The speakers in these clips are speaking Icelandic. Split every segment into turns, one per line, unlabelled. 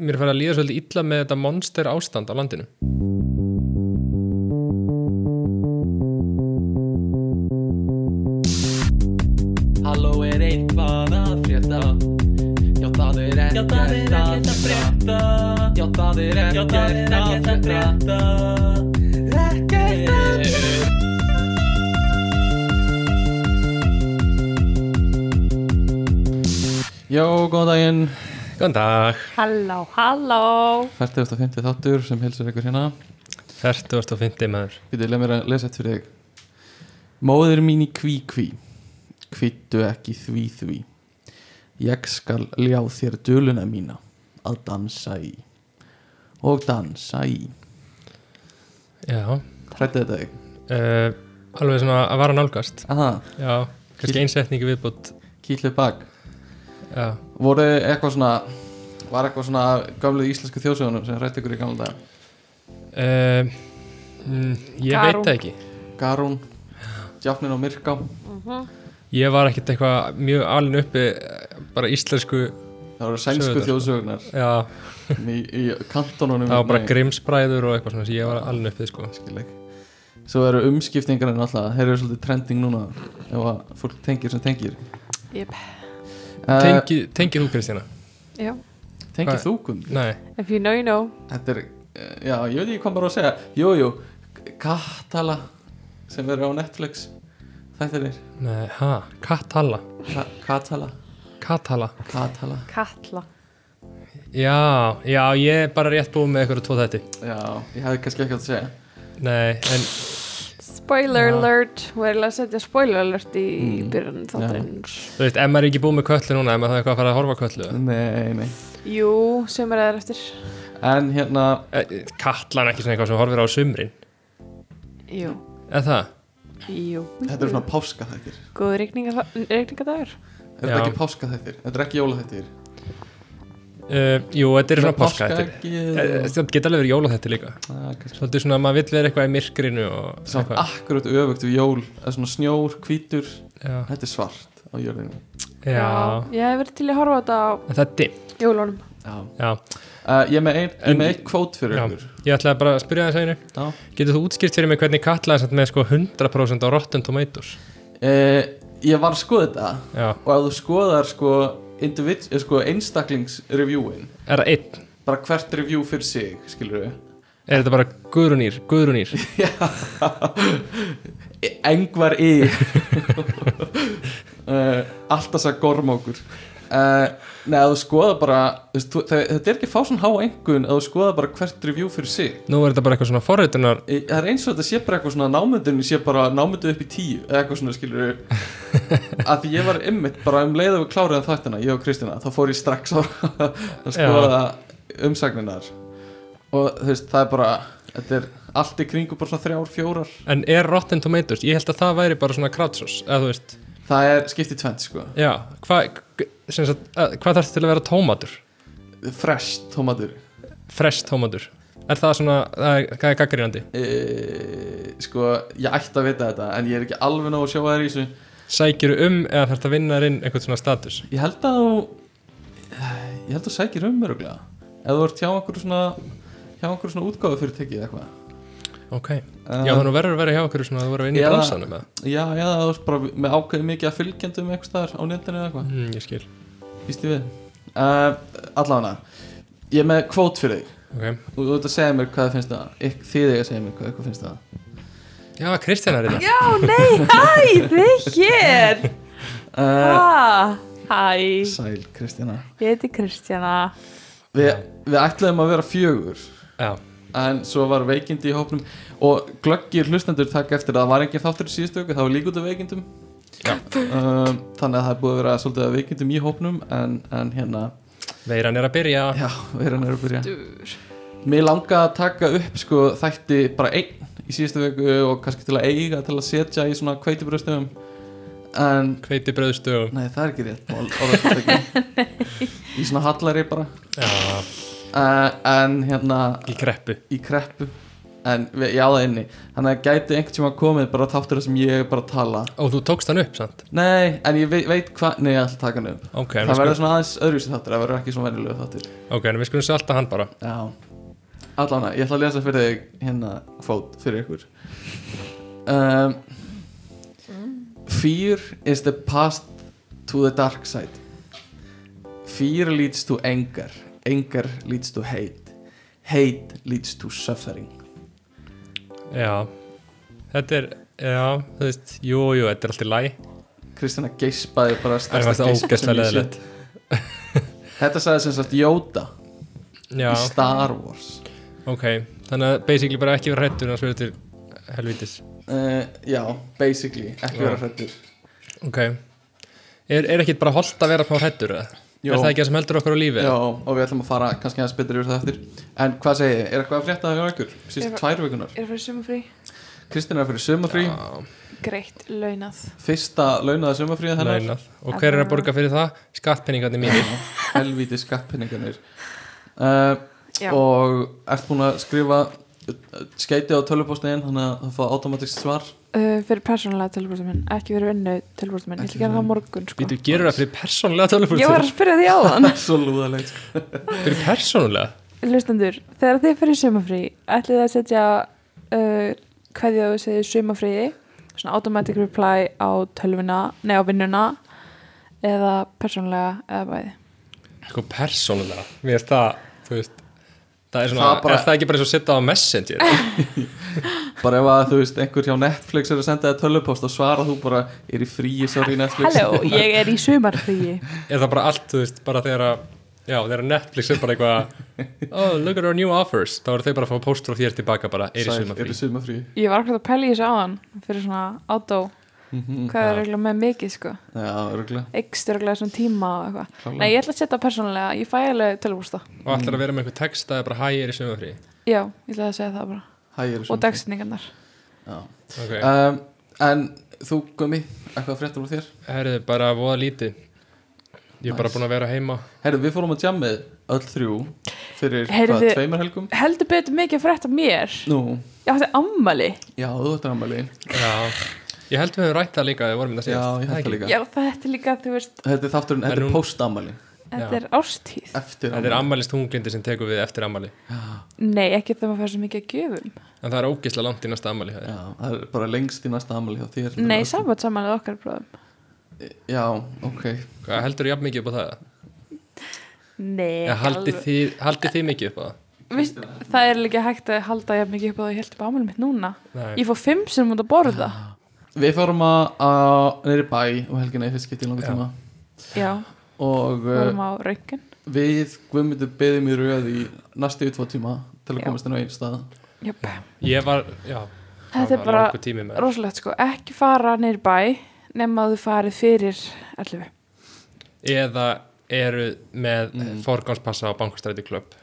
mér fara að líða svolítið illa með þetta monster ástand á landinu
Halló er eitthvað að frétta Já það er ekkert að frétta Já það er ekkert að frétta Ekkert að frétta Jó, góðan daginn
Góðan dag,
Halló, halló
40.50 þáttur sem hilsar ykkur hérna
40.50 maður
Býtið, leið mér að lesa eitt fyrir þig Móðir mín í kví kví Kvittu ekki því því Ég skal ljá þér döluna mína Að dansa í Og dansa í
Já,
Hrætti þetta þig?
uh, alveg svona að vara nálgast
Aha,
Já, kannski einsetningi viðbútt
kýtlu bak
Já,
Voru eitthvað svona Var eitthvað svona gamlu íslensku þjóðsögunum sem hrætti ykkur í gamla dag
uh, mm, ég
Garung.
veit það ekki
Garún, Djáfnin og Myrká
Ég var ekkert eitthvað mjög alin uppi eh, bara íslensku
Það voru sænsku
Sögurnar, sko.
þjóðsögunar
Já,
í, í kantonunum
það var bara
Nei.
grimsbræður og eitthvað svona sem ég var alin uppið sko
skilleg svo eru umskiptingarinn alltaf þeir eru svolítið trending núna ef að fólk tengir sem tengir
yep.
uh,
Tengi, Tengir þú Kristína?
Já,
tengir
Hvað?
þú Guðmundur?
Nei,
if you know, you know
þetta er, uh, já, ég veit ekki hvað maður á að segja jújú, jú, Katala sem eru á Netflix þetta er
nei, ha, Katala
Ka Katala
Katala
Katala,
Katla
Já, já, ég er bara rétt búið með eitthvað tvo þætti
já, ég hefði kannski ekki átt að segja
Nei, en
Spoiler
Já.
alert Við erum að setja spoiler alert í mm. byrjun þáttarins
þú veist, ef maður er ekki búið með köllu núna ef maður það er eitthvað að fara að horfa á köllu
nei, nei
Jú, sem er aðeins eftir
en hérna,
Eh, Katlan er ekki svona eitthvað sem horfir á sumrin
Jú,
Eða það?
jú
þetta eru svona páskaþættir
Góð reikningadagur
er þetta
Já.
ekki páskaþættir, þetta er ekki jólaþættir
Uh, jú, þetta er svona Eh, páska
páskaegg
Þetta geta alveg verið jóla þetta líka
og-
Svolítið svona að maður vill vera eitthvað í myrkrinu og
Samt
eitthvað
akkurat öfugt við jól eða svona snjór, hvítur
Já,
þetta er svart á jörðinu
já.
Ég hef verið til að horfa á þetta á
En Það er dimmt
jólunum
já.
Já,
Uh, ég er með ein- ég er
En-
með eitt kvót fyrir
já,
ykkur
ég ætlaði bara að spyrja þess að einu
já.
Getur þú útskýrt fyrir mig hvernig Katla er samt með sko 100% á Rotten Tomatoes
Uh, ég var að skoða þetta
Já,
og ef þú skoðar sko, individ- eh, sko einstaklingsreviewin
er það einn?
bara hvert review fyrir sig skilur við
Er þetta bara guðrunýr, guðrunýr
E, engvar í uh, alltaf sæt gormókur uh, Nei, ef þú skoðar bara þú veist, þú- þe- þetta er ekki að fá svona há engun ef þú skoðar bara hvert review fyrir sig
Nú er þetta bara eitthvað svona forritunar
Í- Það er eins og þetta sé bara eitthvað svona námyndunni sé bara námyndu upp í tíu eða eitthvað svona skilur að því ég var ymmit bara um leið að við kláriðan þáttina ég og Kristina, þá fór ég strax á að skoða umsagninar og þú veist, það er bara þetta er allt í kringu bara svona þrjár, fjórar
En er Rotten Tomatoes? Ég held að það væri bara svona crowdsource Eða þú veist,
það er skipt í tvent sko
já Hvað hva, hva þarf til að vera tómatur?
fresh tómatur
Fresh tómatur Er það svona, það er, það er gaggrínandi
e, sko, ég ætti að vita þetta en ég er ekki alveg nóg að sjá það í þessu
Sækiru um eða þarf það að vinna þér inn einhvern svona status
ég held að þú ég held að þú sækir um öruglega ef þú ert hjá einhverju svona hjá einhverju svona útgáðu fyrirtæki eða eitthvað
Ok,
Eh,
já þannig verður að vera hjá okkur svona að þú verður að vinna í
Eða-
bransanum eða
já, já, þú ert bara með ákveðið mikið að fylgjendum einhvers staðar á netinu eða eitthvað
mm, Ég skil,
býst ég við uh, allavega ég er með kvót fyrir þig
ok
og þú ert að segja mér hvað þið finnst það Ykk, þið eiga að segja mér hvað eitthvað finnst það
Já, Kristján er hérna. þetta
Já, nei, hæ, þið hér
uh,
ah, Hæ,
sæl Kristina
ég heiti Kristjana
Vi, við ætlaðum að vera fjögur
Já,
en svo var veikindi í hópnum og glöggir hlustendur takk eftir að það var engin þáttur í síðustu öku, það var líka út af veikindum
Já.
um, þannig að það er búið að vera svolítið að veikindum í hópnum en, en hérna,
veiran er að byrja
já, veiran er að byrja mér langa að taka upp sko þætti bara einn í síðustu öku og kannski til að eiga til að setja í svona kveitibröðstöfum en,
Hveiti bröðstugum
nei það er ekki rétt orð- orðafortæki. í svona hallari bara
Já,
uh, en hérna
í kreppu
í kreppu en við- ég á það inni þannig að gæti einhvern tíma komið bara þáttur þar sem ég er bara að tala
og þú tókst hann upp samt
nei, en ég veit, veit hvað, nei ég ætla að taka hann upp
ok, en
það
við
verður
skulum,
svona aðeins öðruvísi þáttur, það verður ekki svona venjulegu þáttur
okay, en við skulum salta hann bara
já, allan að ég ætla að lesa fyrir þig hérna kvót fyrir ykkur um, fear is the path to the dark side fear leads to anger anger leads to hate hate leads to suffering
já, þetta er já, þú veist, jú, jú, þetta er allt í læ
Kristina geispaði bara
það
stærsta
er
geispa sem
ógæslega
ég
leðilegt
sé Þetta sagði sem sagt Yoda
já,
í Star Wars
ok, þannig að basically bara ekki vera hrættur að svöru til helvítis
uh, Já, basically, ekki
Já.
vera hrættur
ok, er, er ekki bara holdt að vera smá hrættur eða?
Jó.
er það ekki það sem heldur okkur á lífi?
Já, og við ætlum að fara kannski aðeins betur yfir það eftir En hvað segi ég, er eitthvað að frétta hjá ykkur? Sýst
Ég-
tvær vikunar
Ég er fyrir sumafrí
Kristina er fyrir sömafrí,
Ah,
Greitt, launað
fyrsta launaða sömafríða hennar
Launað. og hver er að borga fyrir það? skattpenningarnir mínir
Helvíti skattpenningarnir uh,
Já,
Og ert búin að skrifa skeiti á tölvupóstin Þannig að það fá automatist svar
uh, fyrir persónulega tilbúrstum minn Ekki fyrir vinnu tilbúrstum minn Ég ætla að gera það á morgun sko
Býtu, gerur það fyrir persónulega tölvupúlsir?
Ég var að spyrja því áðan
Svo lúðalegt sko.
Fyrir persónulega?
Lustendur, þegar þið fyrir sumafrí ætlið þið að setja uh, hverju þú segir sumafríði svona automatic reply á tölvuna nei á vinnuna eða persónulega eða bæði
Sko persónulega, mér finnst það, þú veist, það er svona,
Það bara-
er það ekki bara eins og setja á Messenger?
bara ef að þú veist einhver hjá Netflix er að senda þér tölvupost og svara þú bara er í fríi, sorry Netflix
Halló, ég er í sumarfríði
er það bara allt, þú veist, bara þegar að, já, þegar að Netflix er bara eitthvað, oh, look at our new offers, þá eru þeir bara að fá póstur og þér tilbaka bara, er í
Sæl,
suma
er í
frí.
sumafrí
Ég var akkur að pæla í þessu áðan fyrir svona átó
Mhm.
hvað
Já.
er eiginlega með mikið sko
já, örgulega
eksturlega svona tíma og eitthvað Nei,
Klárlega.
ég ætla að setja persónulega, ég fæ alveg tölvústa
Og ætlar að vera með einhver text að það er bara, hæ, er í suma frí.
Já, ég ætla að segja það bara
hæ, er í
og
sumafrí
dagsetningarnar
Já.
Ok,
um, en þú Gumi, eitthvað fréttur úr þér
herðu, bara voða lítið. Ég er bara búin að vera heima.
herru, við fórum að jammið öll þrjú fyrir
Heyrðu-
hvað, tveimur helgum
Heldur betur mikið frétt af mér
nú,
Ég átti ammali
já, þú ert ammali
Já, ég held við höfum rætt það líka, við vorum þetta
já, ég held það líka
Já, þetta er líka, þú veist,
þetta er þátturinn,
En
þetta
hún-
er post-ammali
þetta er ástíð
eftir
Þetta er ammalist hunglindi sem tekur við eftir ammali.
Nei, ekki þegar maður fær svo mikið að gjöfum
En það er ógisla langt í næsta ammali.
já, það er bara lengst í næsta ammali hjá þér
Nei, samvægt samanlega okkar bróðum
já, ok
Hvað heldur þú jafn mikið upp á það?
Nei,
Já, haldið þið, haldið þið mikið upp á það?
Vist, Það er líka hægt að halda ég mikið upp á það ég held upp á ammali mitt núna
Nei.
Ég fór fimm sem mútt að borða
Við fórum að, að neyri bæ og helgina í fyrst skipti í langa
Já.
tíma
Já,
og
vorum
uh,
á röngin
við Guðmundur beðum í röð í næstu tvo tíma til að
Já.
komast inn á einn stað
Jöp,
Ég var, já, það
þetta er
var
bara
langur tími með.
rosalegt sko Ekki fara neyri bæ nema að þú farið fyrir 11
Eða eru með mm.
Mm.
forgánspassa á bankastræti klubb.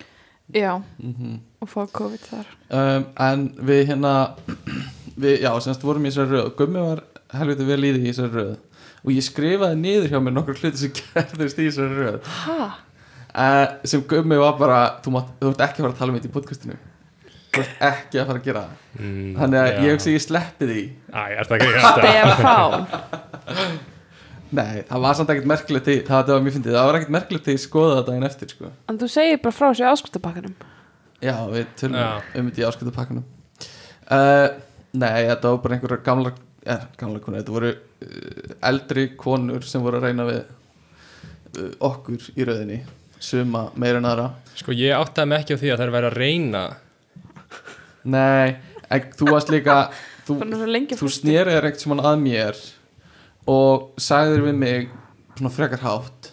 Já,
mm
og fá COVID þar
um, en við hérna við, já, semst vorum í þessari röð og Guðmund var helviti vel í því í þessari röð og ég skrifaði niður hjá mér nokkur hluti sem gerðist í þessari röð
Ha?
uh, sem Guðmund var bara þú, mátt, þú ert ekki að fara að tala um þetta í podcastinu þú ert ekki að fara að gera það
Mm,
þannig að ég hugsi að ég sleppi því
Æ, er það ekki þetta?
Stefán
Nei, það var samt ekkert merkilegt í, það var mjög fyndið, það var ekkert merkilegt í skoða það daginn eftir, sko.
En þú segir bara frá þessu áskutapakkanum
Já, við tölum
Já.
um þetta í áskiptapakkanum. Uh, nei, þetta var bara einhverja gamla, er, gamla konur, þetta voru uh, eldri konur sem voru að reyna við uh, okkur í rauðinni, suma meira en aðra.
Sko, ég áttaði mig ekki á því að það er verið að reyna.
Nei, en þú varst líka, þú,
Bara svo lengi
þú snerið er ekkert sem hann að mér og sagðir við mig svona frekar hátt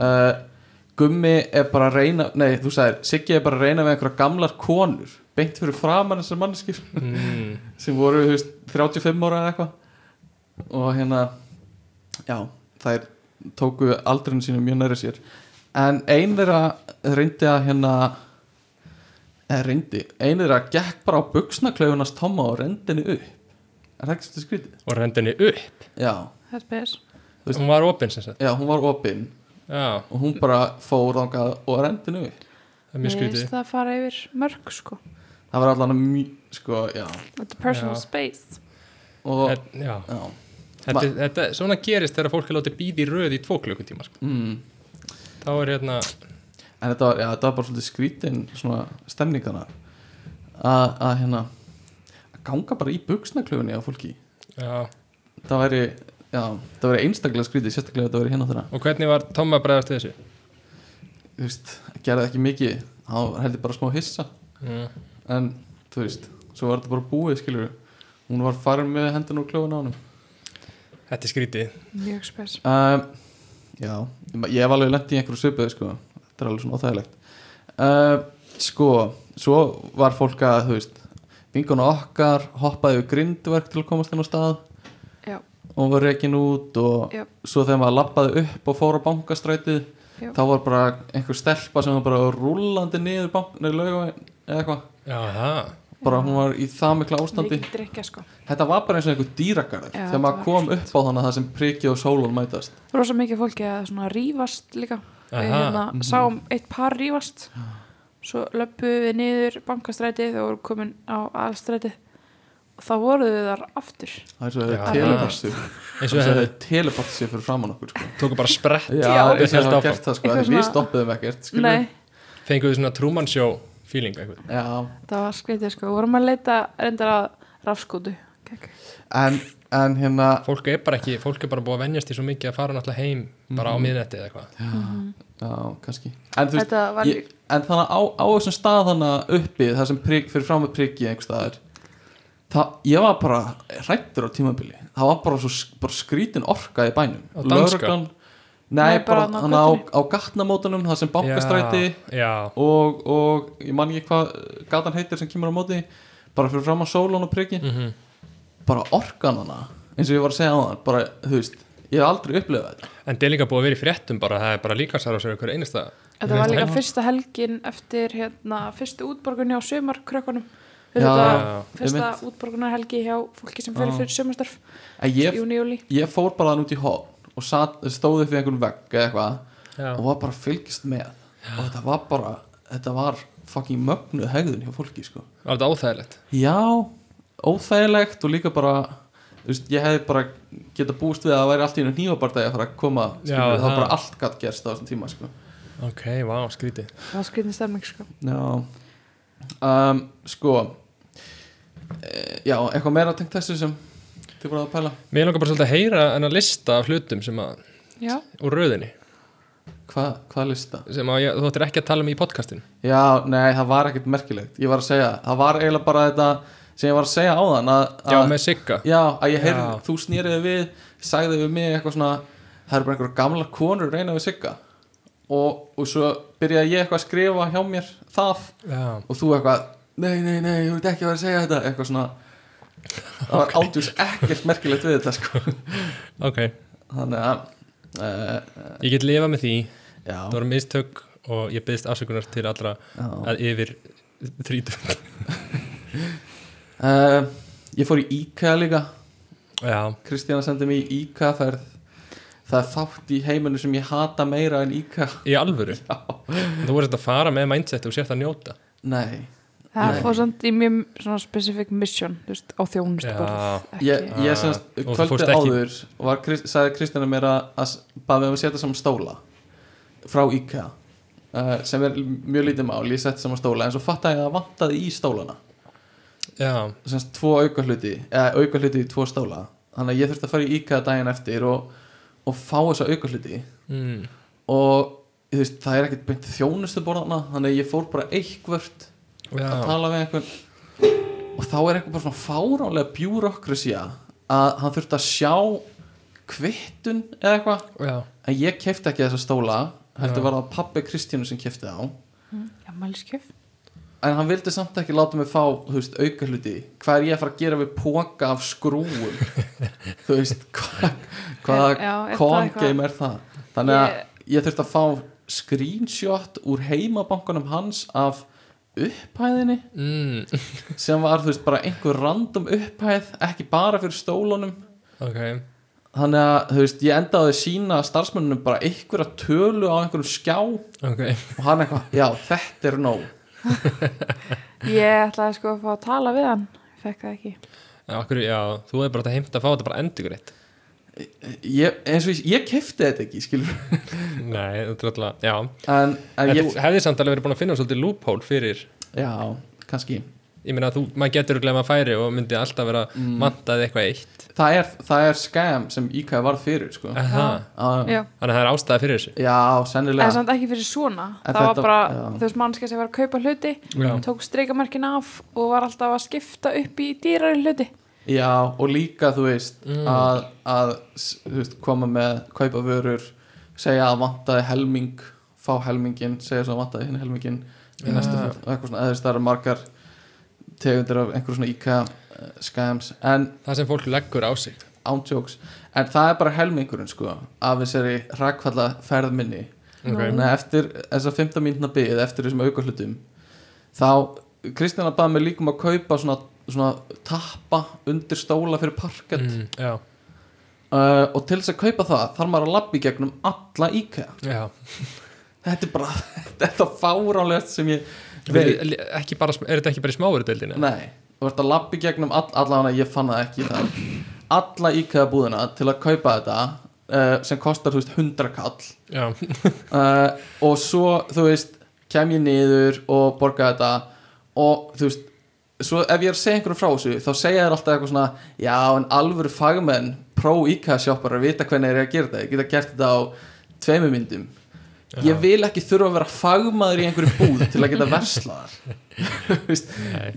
uh, Gummi er bara að reyna nei, þú sagðir, Siggi er bara að reyna við einhverja gamlar konur, beint fyrir framan þessar manneskir
Mm,
sem voru, þú veist, 35 ára eða eitthvað og hérna já, þær tóku aldrinu sínu mjög næri sér en ein þeirra reyndi að hérna eða reyndi, ein þeirra gekk bara á buksnaklaufunast tomma og reyndi henni upp er það ekki svolítið skrítið?
og rendi henni upp.
Já,
Það er spes
Þú veist-
Hún var opinn sem sagt.
já, hún var opinn
Já,
og hún bara fór þangað og reyndi henni upp
það er mjög
Mér finnst
skrítið.
það að fara yfir mörg sko
það var allan mjög, sko, já
Þetta er personal
Já.
space
og,
Þetta- já.
já,
Þetta, þetta, svona gerist þegar fólk er látið býði í röð í tvo klukkutíma sko.
mm.
þá er hérna
en þetta var, já, þetta var bara svolítið skrítin svona stemningana að, að hérna að ganga bara í buksnaklöfunni á fólki
já.
það væri, já, það væri einstaklega skrítið sérstaklega ef þetta væri hérna á þeirra
og hvernig var Tomma bregðast við þessu
þú veist, gerði ekki mikið þá heldur bara smá hissa
mm.
en, þú veist, svo var þetta bara búið skilur, hún var farin með hendun úr klöfun á honum
þetta er skrítið
Mjög space
um, já, ég hef alveg lent í einhverju svipuðu sko, þetta er alveg svona óþægilegt um, sko svo var fólk að, þú veist vinguna okkar, hoppaði við grindverk til að komast inn á stað
Já,
og var rekin út og
Já.
svo þegar maður lappaði upp og fór á bankastrætið
Já.
þá var bara einhver stelpa sem var bara rúllandi niður bankinu lögum eða eitthvað,
já, það
bara hún var í það mikla ástandi
mikið drikja sko
Þetta var bara eins og einhver dýragarður
Já,
þegar maður
þetta
kom upp á þannig að það sem prikið og sólun mætast
Rosa mikið fólki að svona rífast líka Við
Aha.
hérna,
Mhm.
sáum eitt par rífast Svo löppuðum við niður bankastrætið og vorum komin á aðalstrætið og þá voruð við þar aftur
það er svo
Já.
teleportstu
eins og
það
það
er teleportstu sér fyrir framann okkur sko.
tóku bara sprett
Já,
Já.
það er eins og
Hélt
það var
áfram.
gert það sko,
Eitthvað
en við
svona-
stoppuðum ekkert skilur
Nei,
við.
fenguðu svona trúmannsjó feeling eitthvað
Já,
það var skreitið sko Vorum að leita reyndar að rafskútu Gekk.
en, en hérna
fólk er bara ekki, fólk er bara búið að venjast í svo mikið að fara náttúrulega heim bara
Mhm.
á miðnetti eða eitthvað
Já, kannski En, þú veist,
Mhm. Þetta var
ég, en þannig á, á þessum stað þannig uppi það sem prik, fyrir fram með prikið einhver staðar það, ég var bara hrættur á tímabili það var bara svo sk- bara skrítin orka í bænum
Á danska?
Lögreglan- Nei,
Nei,
bara
bara þarna á
hann á,
götunni.
á gatnamótanum það sem bankastræti
já, já,
og, og ég man ekki hvað gatan heitir sem kemur á móti bara fyrir fram að sólan og priki
mhm.
bara orkan hana eins og ég var að segja á það bara, þú veist, ég hef aldrei upplifað þetta
en það er líka búið að vera í fréttum bara, það er bara líkansar á sér einhver einasta
Þetta var
einasta
líka
helgi.
fyrsta helgin eftir hérna, fyrstu útborgunni á sömarkrökkunum
Já,
Þetta
já,
fyrsta
einmitt.
útborgunarhelgi hjá fólki sem fyrir
Já.
fyrir sömarstarf
en ég,
júni, júli
ég fór bara þann út í hóð og sat, stóði fyrir einhvern vegg eða eitthvað
já.
og var bara að fylgist með og þetta var bara, þetta var fucking mögnuð hegðun hjá fólki sko
var þetta óþægilegt
já, óþægilegt og líka bara þú veist, ég hefði bara geta búist við að það væri allt í einu hnífabardagi að fara að koma
Já,
skilur, það
það.
var bara allt gatt gerst á þessum tíma sko
ok, vá, skrítið
Það var skritin stemming sko
Já um, Sko e, Já, eitthvað meira tengt þessu sem þið voruð að pæla
mér langar bara svolítið að heyra en að lista af hlutum sem að,
Já,
úr röðinni
Hva, Hvað lista?
sem að ég, þú ættir ekki að tala um í podcastin
Já, nei, það var ekkert merkilegt Ég var að segja, það var eiginlega bara þetta sem ég var að segja á þann að,
já,
að,
með Sigga
já, að ég heyrði,
Já.
þú snýriði við sagði við mig eitthvað svona það eru bara einhverja gamla konur að reyna við sigga og, og svo byrjaði ég eitthvað að skrifa hjá mér það
já,
og þú eitthvað nei, nei, nei, ég veit ekki að vera að segja þetta eitthvað svona það var áldjús ekkert merkilegt við þetta sko.
ok,
þannig að uh,
ég get lifað með því
já,
það voru mistök og ég byggðist afsökunar til allra
já.
að yfir þrítum
Uh, ég fór í IKEA líka
já,
Kristjana sendi mig í IKEA ferð það er þátt í heiminu sem ég hata meira en IKEA
í alvöru þú voru þetta að fara með mindset og sért að njóta
nei,
það
Nei.
fór samt í mjög svona specific mission þú veist, á þjónustuborð Ekki-
ég, ég semst
Ah, og þú fórst
kvöldi
ekki-
áður var, Krist- sagði Kristjana mér að, að s- bað mig um að setja saman stóla frá IKEA uh, sem er mjög lítið mál, ég setti saman stóla en svo fattaði ég að það vantaði í stólana
já,
semst tvo auka hluti eða auka hluti í tvo stóla þannig að ég þurfti að fara í IKEA daginn eftir og, og fá þessa auka hluti
mm.
og þú veist, það er ekkert beint þjónustu borðana þannig að ég fór bara eitthvert
já.
að tala við einhvern og þá er eitthvað bara svona fáránlega bjúrokrasía að hann þurfti að sjá kvittun eða eitthvað
já.
en ég kefti ekki þessa stóla heldur
Já.
var það pabbi Kristínu sem kefti þá
Mm, Afmæliskjöf
en hann vildi samt ekki láta mig fá þú veist, auka hluti, hvað er ég að fara að gera við póka af skrúum þú veist, hva,
Er- já,
hvaða
er það
con-game er það þannig að
Ég-
ég þurfti að fá screenshot úr heimabankunum hans af upphæðinni
Mm.
sem var þú veist bara einhver random upphæð ekki bara fyrir stólunum
ok
þannig að þú veist ég endaði að sína starfsmönnum bara einhverja tölu á einhverjum skjá og
ok,
hann eitthvað, já þetta er nóg
Ég ætlaði sko að fá að tala við hann Ég fekk það ekki
En okkur, já, þú hefur bara þetta heimt að fá þetta bara endurgreitt
ég, eins og ég, ég kefti þetta ekki skilur
Nei, þetta er alltaf, já En,
en, en ég,
þú hefði samt alveg verið búin að finna svolítið loophole fyrir
já, kannski
Ég meina að þú, maður getur að að færi og myndi alltaf vera mm. mantað eitthvað eitt
það er, það er skam sem IK varð fyrir sko.
Aha.
já,
Já.
Þannig að það er ástæða fyrir þessu
já,
En
sennilega
samt ekki fyrir svona
En
Það var
þetta-
bara,
já.
þú veist, mannskja sem var að kaupa hluti
Já.
Tók streikamarkin af Og var alltaf að skipta upp í dýrari hluti
já, og líka þú veist að, að s- þú veist, koma með kaupa vörur, segja að vantaði helming, fá helmingin segja svo að vantaði hinn helmingin í næstu
Já.
ferð og eitthvað svona, eða þú veist, það eru margar tegundir af einhverjum svona IK eh, scams, en
Það sem fólk leggur á sig
ántjóks en það er bara helmingurinn sko af þessari rakfalla ferð minni
Ok.
þannig að eftir þessa 15 mínutna byggð eftir þessum aukarhlutum þá Kristjana baði mig líkum að kaupa svona, svona tappa undir stóla fyrir parkett
mm, Já,
uh, og til þess að kaupa það þarf maður að labbi gegnum alla IKEA
já
þetta er bara þetta fáránlegast sem ég veit
Við, ekki bara, Er þetta ekki bara í smáverudeldinu?
nei, þú ert að labbi gegnum all, allavega ég fann það ekki það alla IKEA búðina til að kaupa þetta uh, sem kostar þú veist 100 kall
Já,
uh, og svo þú veist kem ég niður og borga þetta og þú veist svo ef ég er að segja einhverjum frá þessu þá segja þér alltaf eitthvað svona já en alvöru fagmenn pró IKEA sjoppar að vita hvernig þeir eru að gera þetta ég geta gert þetta á tveimur myndum ég vil ekki þurfa að vera fagmaður í einhverju búð til að geta versla þar Þú veist,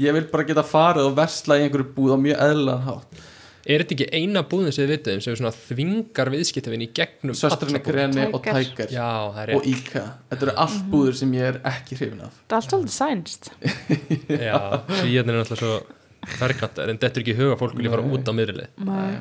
ég vil bara geta farið og versla í einhverju búð á mjög eðlan hátt
er þetta ekki eina búðin sem við vitum sem svona þvingar viðskiptavinn í gegnum
söstrinu
alla búð?
greni og
Tiger.
tækar
Já, það er
og IKEA þetta eru allt búður sem ég er ekki hrifin af
Það er allt svolítið sænst
Já, svíjarnir er náttúrulega svo ferkantar en dettur ekki í huga að fólk vilja fara út á miðrilið
Nei.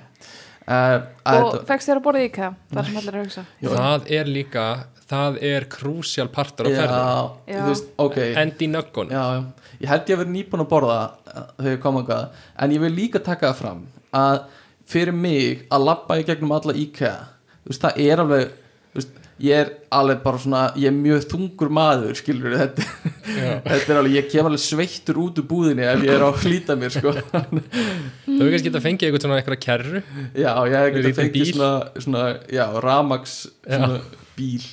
uh,
Og fegst þér að borða í IKEA Það er sem allir er að hugsa
Jó.
Það er líka, það er krúsjál partur á ferðinu
já,
Já.
þú veist, ok
Endi í nöggun
já, já. ég held ég að vera nýbúin að borða eh, þegar ég kom að en ég vil líka taka það fram að fyrir mig að labba í gegnum alla IKEA þú veist, það er alveg þú veist, ég er alveg bara svona ég er mjög þungur maður, skilur þetta þetta er alveg, ég kem alveg sveittur út úr búðinni ef ég er á að hlýta mér sko.
Það við kannski geta að fengið eitthvað svona eitthvað kerru
já, ég hef ekki
Lítinn bíl.
fengið svona, svona já, ramags svona bíl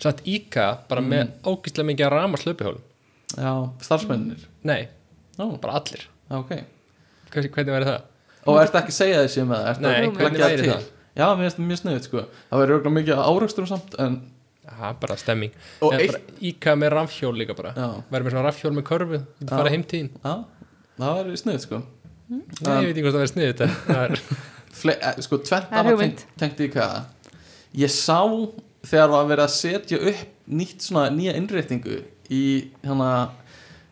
Satt Íka bara með ógíslega mikið að rama slöpihólum
já, starfsmennir
Nei,
já,
bara allir
ok
Hvernig, hvernig væri það?
Og ertu ekki að segja þessi með það? Ertu
Nei,
að
hvernig
leggja
væri
til?
það?
Já, mér finnst það mjög sniðið sko Það verður auðvitað mikið áraugstum samt en,
Já, bara stemming
Og
Eða bara Íka með rafhjól líka bara
Já,
Væri með svona rafhjól með körfu Þú
Já.
fara heimtíðin
já það verður sniðið sko
Nei, ég veit ekki hvort það væri sniðið þetta Það er-
Fle, eh, Sko, tvert
Það er
annað
hugmynd.
tengt, tengt í hvað Ég sá þegar var verið að setja upp nýtt svona nýja innréttingu í hana,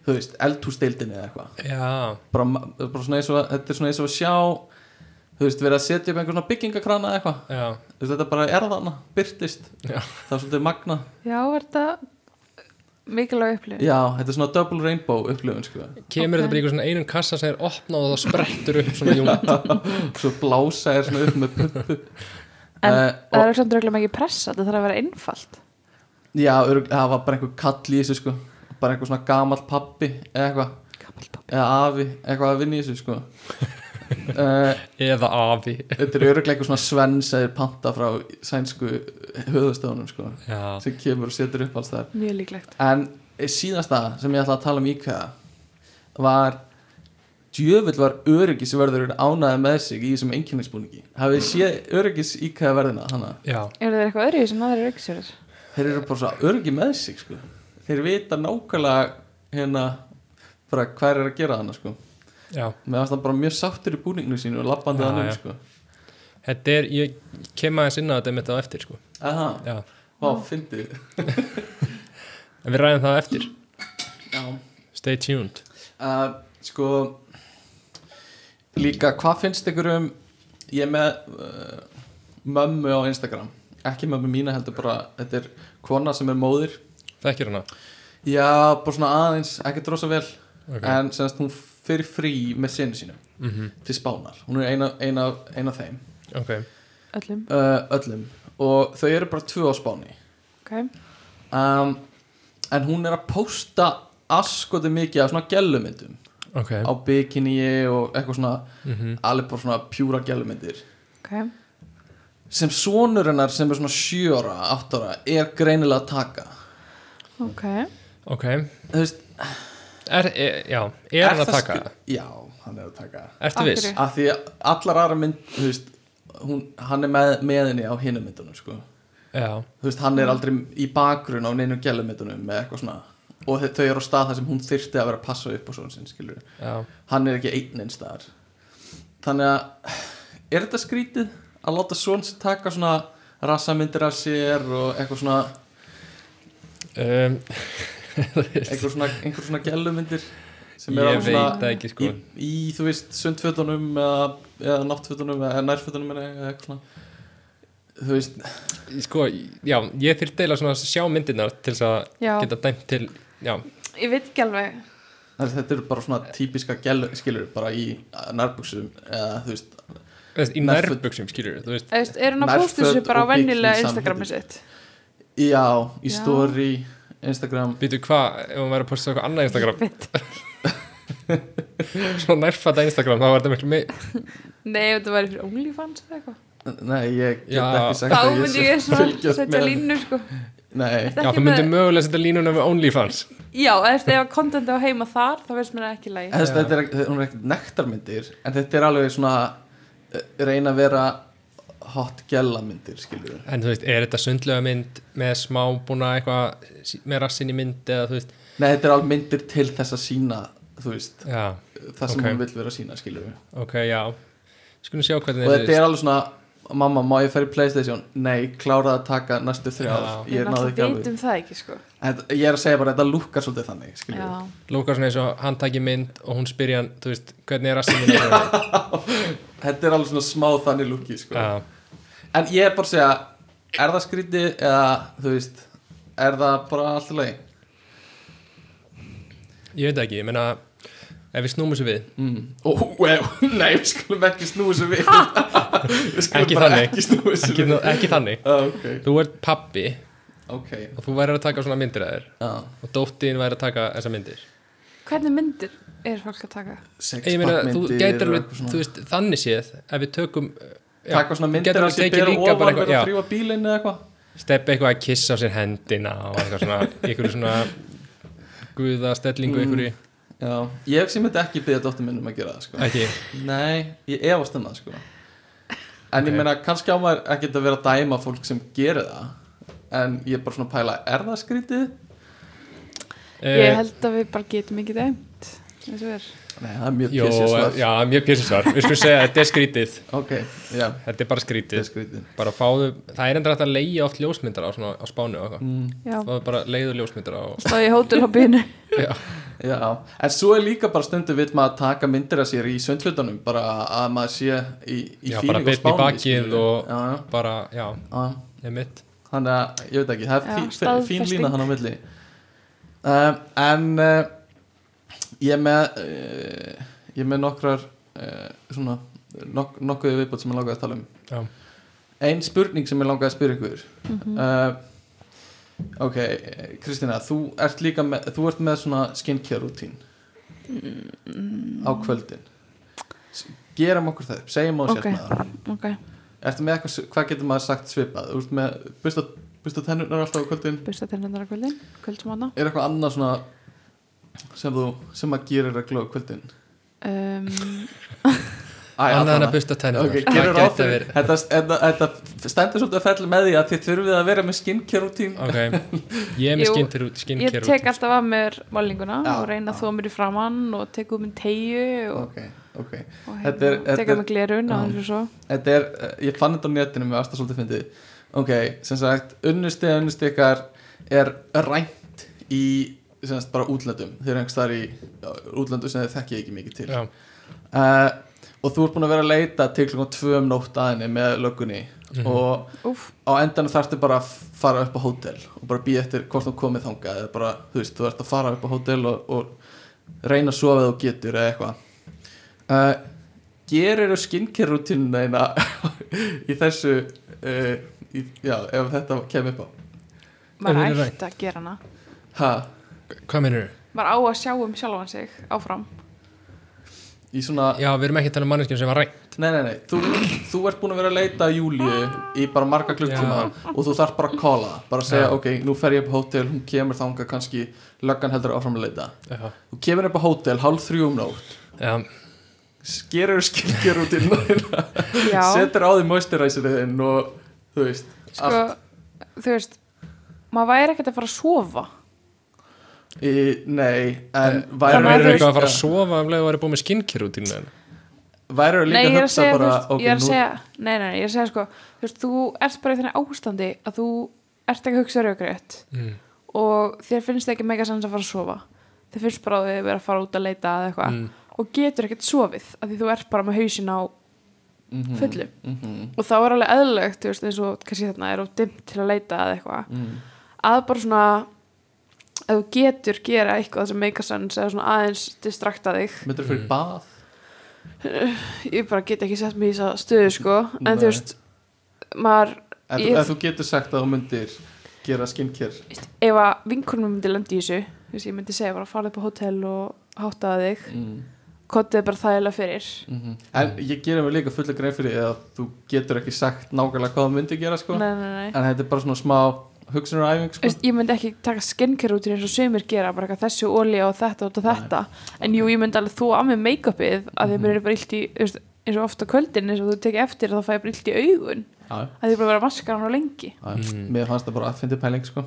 þú veist, eldhúsdeildinni eða eitthvað
Já,
bara, ma- bara svona eins og að, þetta er svona eins og að sjá þú veist, verið að setja upp einhver svona byggingakrana eða eitthvað
já
Þú veist, þetta bara er þarna, byrtist
Já.
það er svolítið magna
Já, er þetta mikilvæg upplifun
Já, þetta er svona double rainbow upplifun sko.
Kemur þetta bara
Ok.
í einhver svona einum kassa sem er opnað og það sprettur upp svona júm
Svo blása er svona upp með pumpu
En
Eh,
Það
og,
er auðvitað örugglega ekki pressa Það þarf að vera einfalt
Já, örug, það var bara einhver kall í þessu sko. Bara einhver svona gamall pappi Eða eitthvað,
Gammal pappi
eða afi Eitthvað að vinna í þessu sko. uh,
Eða afi
Þetta er öruglega einhver svona svens Eða panta frá sænsku höfðustofunum sko,
Já,
Sem kemur og setur upp alls þar
Mjög líklegt
En síðasta sem ég ætla að tala um IKEA Var Djöfull var öryggisverður ánæði með sig í þessum einkennisbúningi Hafið þið séð öryggis IKEA verðina hana
já,
Eru þeir eitthvað öðru sem aðrir aukstjórar?
Þeir eru bara svo öryggi með sig sko Þeir vita nákvæmlega hérna bara hvað er að gera hana sko
já.
Með það bara mjög sáttur í búninginu sínu og labbandi
Já,
hann um
já.
sko
Þetta er, ég kem aðeins inn á þetta mitt á eftir sko.
Aha,
Já.
vá, fyndið
En við ræðum það á eftir
Já
Stay tuned
uh, Sko Líka, hvað finnst ykkur um Ég er með uh, mömmu á Instagram Ekki mömmu mína heldur bara Þetta er kona sem er móðir
Þekkir hana
Já, bara svona aðeins, ekki drosa vel
Ok.
En semst hún fyrir frí með sinni sínu
mm -hmm.
til spánar hún er eina, eina, eina af þeim
Ok,
Öllum
uh, öllum og þau eru bara tvö á spáni
okay.
um, en hún er að posta askoti mikið af svona gælumyndum
ok
á bikini og eitthvað svona
mm
alveg bara svona pjúra gælumyndir
ok,
sem sonur hennar sem er svona 7 ára, 8 ára er greinilega að taka
ok
ok,
Þú veist,
er, er, já, er hann að
það
taka
skil-
það?
Já, hann er að taka
Ertu
Af
viss?
hverju?
af því að allar aðra mynd þú veist, hún, hann er með, með henni á hinum myndunum sko.
Já,
Þú veist, hann er aldrei í bakgrunn á neinu gælumyndunum með eitthvað svona og þau þau eru á stað þar sem hún þyrfti að vera að passa upp og svona sinn skilur
já,
hann er ekki einn einn staðar þannig að er þetta skrítið að láta svon sér taka svona rassamyndir af sér og eitthvað svona
um,
eitthvað svona, einhver svona gælumyndir sem
ég
er alveg
veit
svona
það ekki sko
í, í þú veist sundfötunum eða, eða náttfötunum eða nærfötunum eða eitthvað svona þú veist,
Sko, já, ég þurft deila svona að sjá myndirnar til þess að
já,
geta dæmt til Já,
ég veit ekki alveg
það er- þetta eru bara svona típiska gælu, skilur, bara í nærbuksum eða þú veist
þú veist, í
Nærföt-
nærbuksum skilur þú veist
Þú veist, er hann að
Nærföt
posta þessu bara
og
á venjulega
bikini
Instagramið
samhengi.
sitt
já, í
Já.
story, Instagram
Býtu hvað, ef hún væri að posta eitthvað annað Instagram Svona nærfata Instagram, þá var þetta miklu meir
Nei, ef þetta væri fyrir OnlyFans eða eitthvað
nei, ég get
Já.
ekki sagt
Þá
að
myndi
sé
ég svona
fylgjast
setja
með-
línu sko
nei,
Já, þú myndir mögulega setja línuna með OnlyFans
Já, eftir ef kontenti á heima þar þá veist mér það ekki lægi
Þess, þetta er, hún er ekkert nektarmyndir en þetta er alveg svona eh, reyna að vera hot gælamyndir skilur við
En þú veist, er þetta sundlega mynd með smá búna eitthvað sí- með rassin í mynd eða þú veist
Nei, þetta er alveg myndir til þess að sína þú veist,
Já,
það
Ok.
sem hún vil vera að sína skilur við
ok, já Skulum sjá
og
hvernig
þetta er alveg svona mamma, má ég fara í Playstation? Nei, kláraði að taka næstu þrjá
Já.
ég náði ekki alveg
Vitum það ekki sko
en, ég er að segja bara, þetta lukkar svolítið þannig skilur
Já,
við
Lókar svona eins og hann taki mynd og hún spyrja hann, þú veist, hvernig er rassin í mynd
þetta er alveg svona smá þannig lukki sko.
Já,
en ég er bara að segja er það skrítið eða þú veist, er það bara allt í lagi
ég veit ekki, ég meina ef við snúmum sér við
mm. oh, well, nei, við skulum ekki snúi þessu við við skulum
Ekki
bara
þannig.
ekki snúi þessu
ekki,
við
ekki þannig
ok,
þú ert pappi
ok
og þú væri að taka svona myndir að þér
Já.
og dóttin væri að taka þessa myndir
hvernig myndir er fólk að taka?
Sex
ég meina, þú
pakkmyndir
gætir
og
alveg,
eitthvað svona.
þú veist, þannig séð ef við tökum, uh, já,
taka svona myndir
gætir
að
alveg
sér
tekið
bera
líka
ofan
bara
verið
eitthvað-
að
já.
þrýfa bílinn eða eitthvað
steppi eitthvað að kissa á sér hendina og eitthvað svona, eitthvað svona guðastellingu mm.
já, ég sem myndi ekki byggja dóttir minn um að gera það sko.
ekki,
nei, ég efast um það sko. en
Ok.
ég meina, kannski á maður ekki að vera að dæma fólk sem gerir það en ég er bara svona að pæla, er það skrítið?
Ég
uh,
held að við bara getum ekki dæmt eins og er
nei, það er mjög
jó,
pjessið
eh,
svar
já, mjög pjessinsvar við skulum segja, þetta er skrítið
ok, já,
þetta er bara
það er
skrítið,
skrítið
bara fáðu það er endur hægt að leiða oft ljósmyndar á, svona, á spánu og eitthvað,
mm.
Já,
það er bara leiðu ljósmyndar á,
stóð ég hótel á bínu
já,
Já, en svo er líka bara stundu við maður að taka myndir að sér í söndfjöldunum bara að maður sé í, í
Já, bara
feeling á
beinn í
Spáni,
bakið
skilurðu.
og-
já,
bara, já,
já, já.
ég mitt
þannig að, ég veit ekki, það
Já,
er fí- fín,
staðfesting.
fín lína hann á milli um, En uh, ég er með uh, ég er með nokkrar uh, svona, nok nokkuði viðbót sem ég langaði að tala um
já,
Ein spurning sem ég langaði að spyrja ykkur
Mhm.
uh, Ok, eh, Kristína, þú ert líka með, þú ert með svona skincare rútín
Mm.
á kvöldin S- gerum okkur það upp, segjum á sér
Ok.
okay. með það
Ok,
Ertu með eitthvað, s- hvað getur maður sagt svipað Þú ert með busta, busta tennurnar alltaf á kvöldin
busta til hendara kvöldin, kvöldsmána
Er eitthvað annað svona sem þú, sem maður gerir reglu á kvöldin
um,
annað
Æ,
en
allavega.
að busta tennur
Ok, gerir ráð fyrir þetta, þetta, þetta stendur svolítið að fell með því að þið þurfið að vera með skincare rútín
Ok, ég er með
Jú,
skinnkerút skin
Ég tek alltaf af mér málinguna
Já,
og reyna að
já.
þóa mér í framann og teka um minn tegju og,
Ok, ok
og
Þetta er-
hérna,
þetta
teka
er-
um minn glerun og
já.
þessu svo
Þetta er, eh, ég fann þetta á netinu með aðstæða svolítið fyndið Ok, sem sagt, unnusti unnusti ykkar er rænt í, sem sagt, bara útlöndum Þeir eru einhvers þar í já, útlöndum sem þeir þekki ekki mikið til
Já,
uh, Og þú ert búin að vera að leita til klukkan tvö um nótt aðinni með löggunni Og
Úf,
á endan þarftu bara að fara upp á hótel Og bara býja eftir hvort þú komið þangað Eða bara, þú veist, þú ert að fara upp á hótel og, og reyna að sofa þegar þú getur eða eitthvað uh, Gerir þú skincare rútinuna eina í þessu uh, í, Já, ef þetta kemur upp á
maður
Ef hún er
ætti að gera hana
Ha,
hvað meinur þú?
maður á að sjá um sjálfan sig áfram
Í svona,
Já, við erum ekki að tala um manneskjum sem var rænt
nei, nei, nei þú, þú ert búin að vera að leita að Júlíu í bara marga klukktíma og þú þarf bara að kóla það bara að segja,
Já.
ok, nú fer ég upp á hótel hún kemur þangað kannski, löggan heldur áfram að leita
Já,
þú kemur upp á hótel, hálf þrjú um nótt
já,
skerur skilgjur út í nóðina
já,
setur á því moisturizerið þinn og þú veist
sko þú veist, maður væri ekkert að fara að sofa
í, nei, en
Það
maður-
verður
væri
eitthvað að fara að sofa um leið og væri búið með skinnkeru út í
væri
nei,
líka að
ég er að
hugsa
segja,
bara
þú veist,
ok,
ég er að
nú,
segja nei, nei, nei, ég er að segja sko þú veist, þú ert bara í þenni ástandi að þú ert ekki að hugsa rauðgrétt
Mm.
og þér finnst ekki mega sens að fara að sofa þér finnst bara að þið vera að fara út að leita eða eitthvað
Mm.
og getur ekkert sofið af því þú ert bara með hausin á
mhm,
fullu
mhm,
og þá er alveg eðlilegt, þú veist, eins og kannski þarna er of dimmt til að leita eða eitthvað
mhm.
að bara svona að þú getur gera eitthvað sem make a sense eða svona aðeins distrakta þig
myndir fyrir
Mm.
bað
ég bara get ekki sett mér í þessa stöðu sko en
Nei.
þú veist maður,
ef,
Ég-
ef þú getur sagt að þú myndir gera skincare
ef að vinkunum myndi lenda í þessu þú veist, ég myndi segja bara fara upp á hótel og háttaða þig,
mm.
kottið bara þægilega fyrir
Mhm. en ég gera mig líka fulla grein fyrir því að þú getur ekki sagt nákvæmlega hvað þú myndir gera sko.
nei, nei, nei
en þetta er bara svona smá hugsunaræfing
Þú
sko.
veist, ég myndi ekki taka skincare út eins og sömur gera, bara eitthvað þessu olja og þetta og þetta, en jú, ég myndi alveg þú að með make-upið, að
Mhm.
því mér er bara illt í þú veist, eins og ofta kvöldin, eins og þú tekið eftir þá fæ ég bara illt í augun,
Já, já,
að því ég er bara að vera maskara hann á lengi
já.
Mm.
mér fannst það bara að fyndi pæling sko.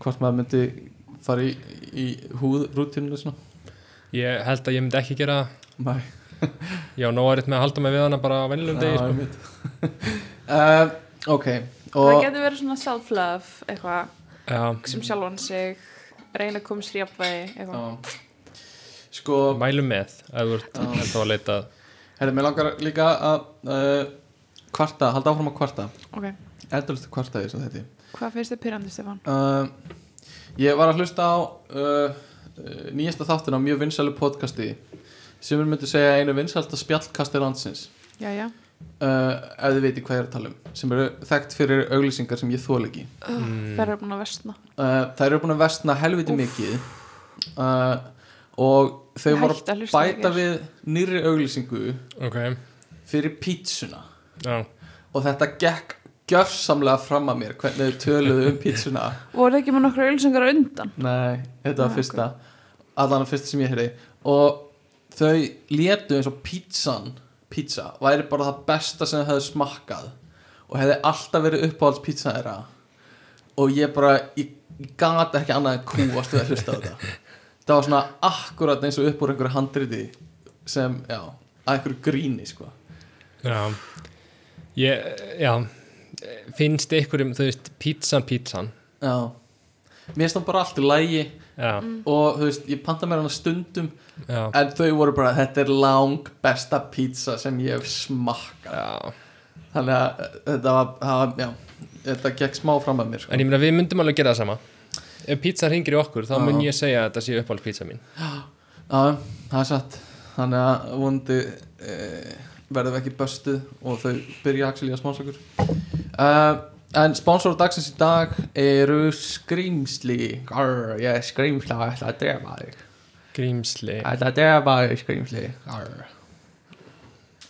hvort maður myndi fara í, í húðrútinu svona.
Ég held að ég myndi ekki gera það
Nei.
Já, nóg er eitt með að halda mig við hana bara á venjulegum degi
Já,
sko.
einmitt. Eh, ok
það
og
getur verið svona self-love eitthvað,
Já,
sem sjálfan sig reyna að koma sér jafnvægi eitthvað,
Já. sko
mælum með ef þú ert
Já.
ennþá að leita
herri, mér langar líka að uh, kvarta, halda áfram að kvarta
ok,
endalist kvarta í þessu þetta
hvað finnst þið pyrrandi Stefan?
uh, ég var að hlusta á uh, uh, nýjasta þáttin á mjög vinsælu podcasti sem er myndi segja einu vinsælta spjallkasti landsins
já, já,
uh, ef þið veitir hvað ég er að tala um sem eru þekkt fyrir auglýsingar sem ég þól ekki Mm.
það er búin að vestna
uh, þær eru búin að vestna helviti
Úff.
mikið uh, og þau
Ég
voru
hætti að
að
hlusta
bæta
í gær.
við nýri auglýsingu
Ok,
fyrir pítsuna
já
og þetta gekk gjörsamlega fram að mér hvernig þau töluðu um pítsuna
voru ekki með nokkru ölsengar undan
nei, þetta var
Ah,
fyrsta allan að fyrsta sem ég heyrði og þau létu eins og pítsan pítsa væri bara það besta sem þau hefðu smakkað og hefði alltaf verið uppáhalds pítsa þeirra og ég bara ég, ég gata ekki annað en kúast við að hlusta á þetta það var svona akkurat eins og upp úr einhverju handriti sem, já, að einhverju gríni sko.
Já, ég, já finnst einhverjum, þú veist, pítsan pítsan
já mér finnst það bara allt í lægi
já,
og þú veist, ég panta mér hana stundum
já,
en þau voru bara, þetta er lang besta pizza sem ég hef smakkað
já
þannig að eh, þetta var, það var já, þetta gekk smá fram að mér sko.
en ég meina við myndum alveg gera það sama ef pítsan hringir í okkur, þá
Já.
mun ég segja að þetta sé uppáld pítsa mín
já, það er satt þannig að vondi e, verðum við ekki böstuð og þau byrja axil í að sponsokur uh, en sponsor dagsins í dag eru skrýmsli Grr, ég er skrýmsla, ég ætla að drefa þig
grímsli,
ég ætla að drefa þig skrýmsli Grr.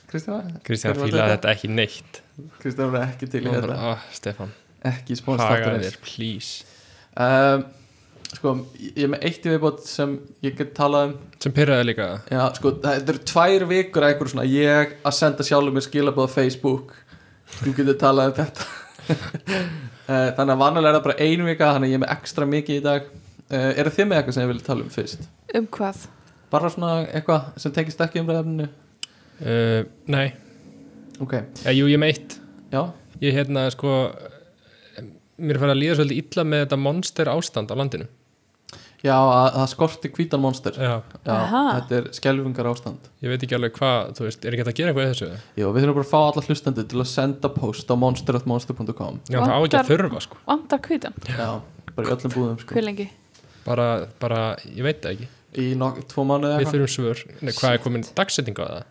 Kristján
Kristján
Hver var
fílaði
þetta?
þetta ekki neitt
Kristján var ekki til í
Hún var
þetta
bara, ah, Stefan,
ekki
haga
spónstátturins
þér, please
um, sko, ég er með eitt í viðbót sem ég get talað um
sem pyrraði líka
já, sko, þetta eru tvær vikur eitthvað svona, ég að senda sjálfur mér skilabóð á Facebook, þú getur talað um þetta uh, þannig að vanalega er það bara einu vika þannig að ég er með ekstra mikið í dag uh, eru þið með eitthvað sem ég vil tala um fyrst?
um hvað?
bara svona eitthvað sem tekist ekki um reyðafninu
uh, nei,
ok,
eh, jú ég meitt
já,
ég hérna sko mér fara að líða svolítið illa með þetta monster ástand á landinu
já að, það skorti hvítan monster já,
já.
Aha.
þetta er skelfingar ástand
ég veit ekki alveg hvað, þú veist, er ekki hægt að gera eitthvað í þessu
Jó, við þurfum bara að fá alla hlustandi til að senda post á monster.monster.com
já, það á ekki að
Vantar-
þurfa sko
Vandar hvítan,
Já, bara í öllum búðum sko
hver lengi?
bara, bara, ég veit það ekki
Í nok tvo mánu eða
við
eitthvað Eh,
þurfum svör, Nei, hvað er komin dagsetning á það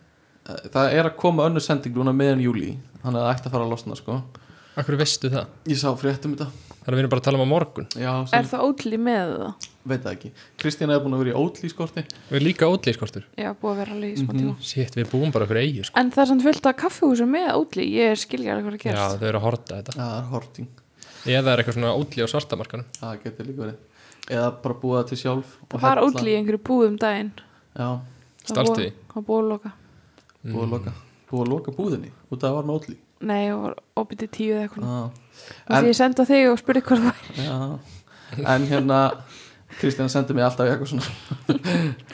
Það er að koma önnur sending núna meðan júli Þannig að það ætti að fara að losna sko
akkur veistu það,
Ég sá fréttum þetta
þannig að við erum bara að tala um á morgun
já,
Er
sem,
það ótlí með það?
veit það ekki Kristína er búin að vera í ótlískorti
við erum líka ótlýskortur
Já, búið að vera
Mhm.
alveg í smá tíma
Sitt, við búum bara okkur eigi sko.
En það er samt fullt af kaffihúsum með ótlí Ég skilja alveg hvað er að
Já,
gerast
þau eru að horta þetta
það er horting,
Eða er eitthvað svona ótlý á svartamarkanum
það getur líka verið eða bara búa það til sjálf og
Það var
hella.
ótlí í einhverju búðum daginn
já,
Það
Stalstu
var-
því?
Það var búið að loka
búið að loka búið að loka búðinni út af að það var með ótlí
Nei, það var opið til tíu eða eitthvað
ah.
Mm. Það því ég sendi á þig og spurði hvað það var
Já, en hérna Kristina sendi mig alltaf í eitthvað svona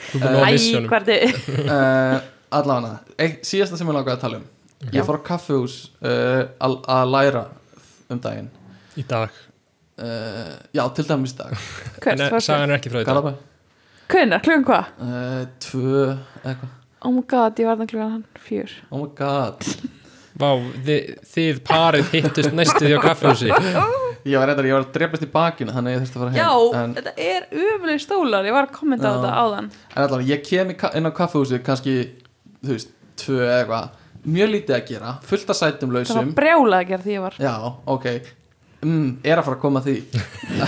Þú búin að vissi honum
hvað er þið?
uh, Allavega, eitt- síðasta sem ég langaði að tala um Ég fór á kaffehús uh, að að læra um daginn
í dag
uh, Já, til dæmis í dag
En eh,
Hvert?
sagan er ekki frá þetta
Galabæ
Hvernig? Klugan hvað?
uh, Tvö, eitthvað
Oh my god, ég var þannig klugan hann fjör
Oh my god
Vá, þið, þið parið hittust næstu því á kaffehúsi
Ég var reyndar, ég var að drepast í bakinu Þannig að ég þurfti að fara heim
Já,
en,
þetta er umlega stólar Ég var að kommenta á
Já.
þetta áðan
en allavega, ég kem í ka- inn á kaffehúsið Kannski, þú veist, tvö eða eitthvað Mjög lítið að gera, fullt af sætum
Það var
lausum
brjála að gera því ég var
Já, ok mm, Er að fara að koma að því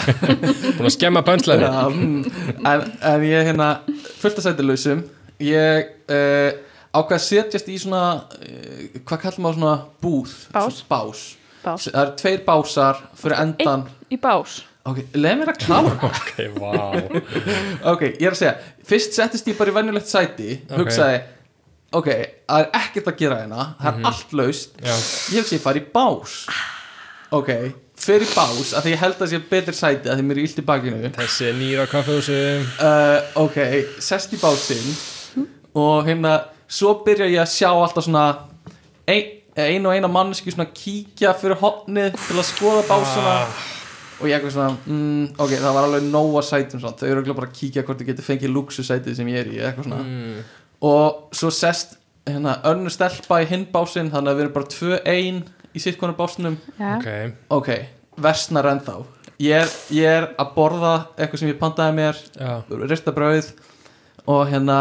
Búin að skemma pönslæði
Já, mm, en, en ég hérna fullt að sæti lausum ég uh, ákvað að setjast í svona uh, hvað kallum maður svona búð
Bás.
Svona bás.
Bás.
það eru tveir básar fyrir endan
Í bás
ok, leið mér að klára
Ok, vá
ok, ég er að segja, fyrst settist ég bara í venjulegt sæti
Ok.
hugsaði ok, það er ekkert að gera hérna það er allt laust
Já.
ég hugsaði ég fari í bás ok, fyrir bás af því ég held að það sé betri sæti af því mér er illt í bakinu
Þessi er nýr á kaffehúsi
uh, ok, sest í bátinn og hérna svo byrja ég að sjá alltaf svona ein, ein og eina manneski svona kíkja fyrir hotnið til að skoða básuna
Ah.
og ég eitthvað svona, mm, ok, það var alveg nóa sætum um svona, þau eru örugglega bara að kíkja hvort þau getur fengið luxusætið sem ég er í eitthvað
Ah, Mm.
svona og svo sest hérna önnu stelpa í hinn básinn þannig að við erum bara tvö ein í sitt konar básnum
Já,
Ok,
ok, versnar ennþá ég er, ég er að borða eitthvað sem ég pantaði mér
já
ristabrauð og hérna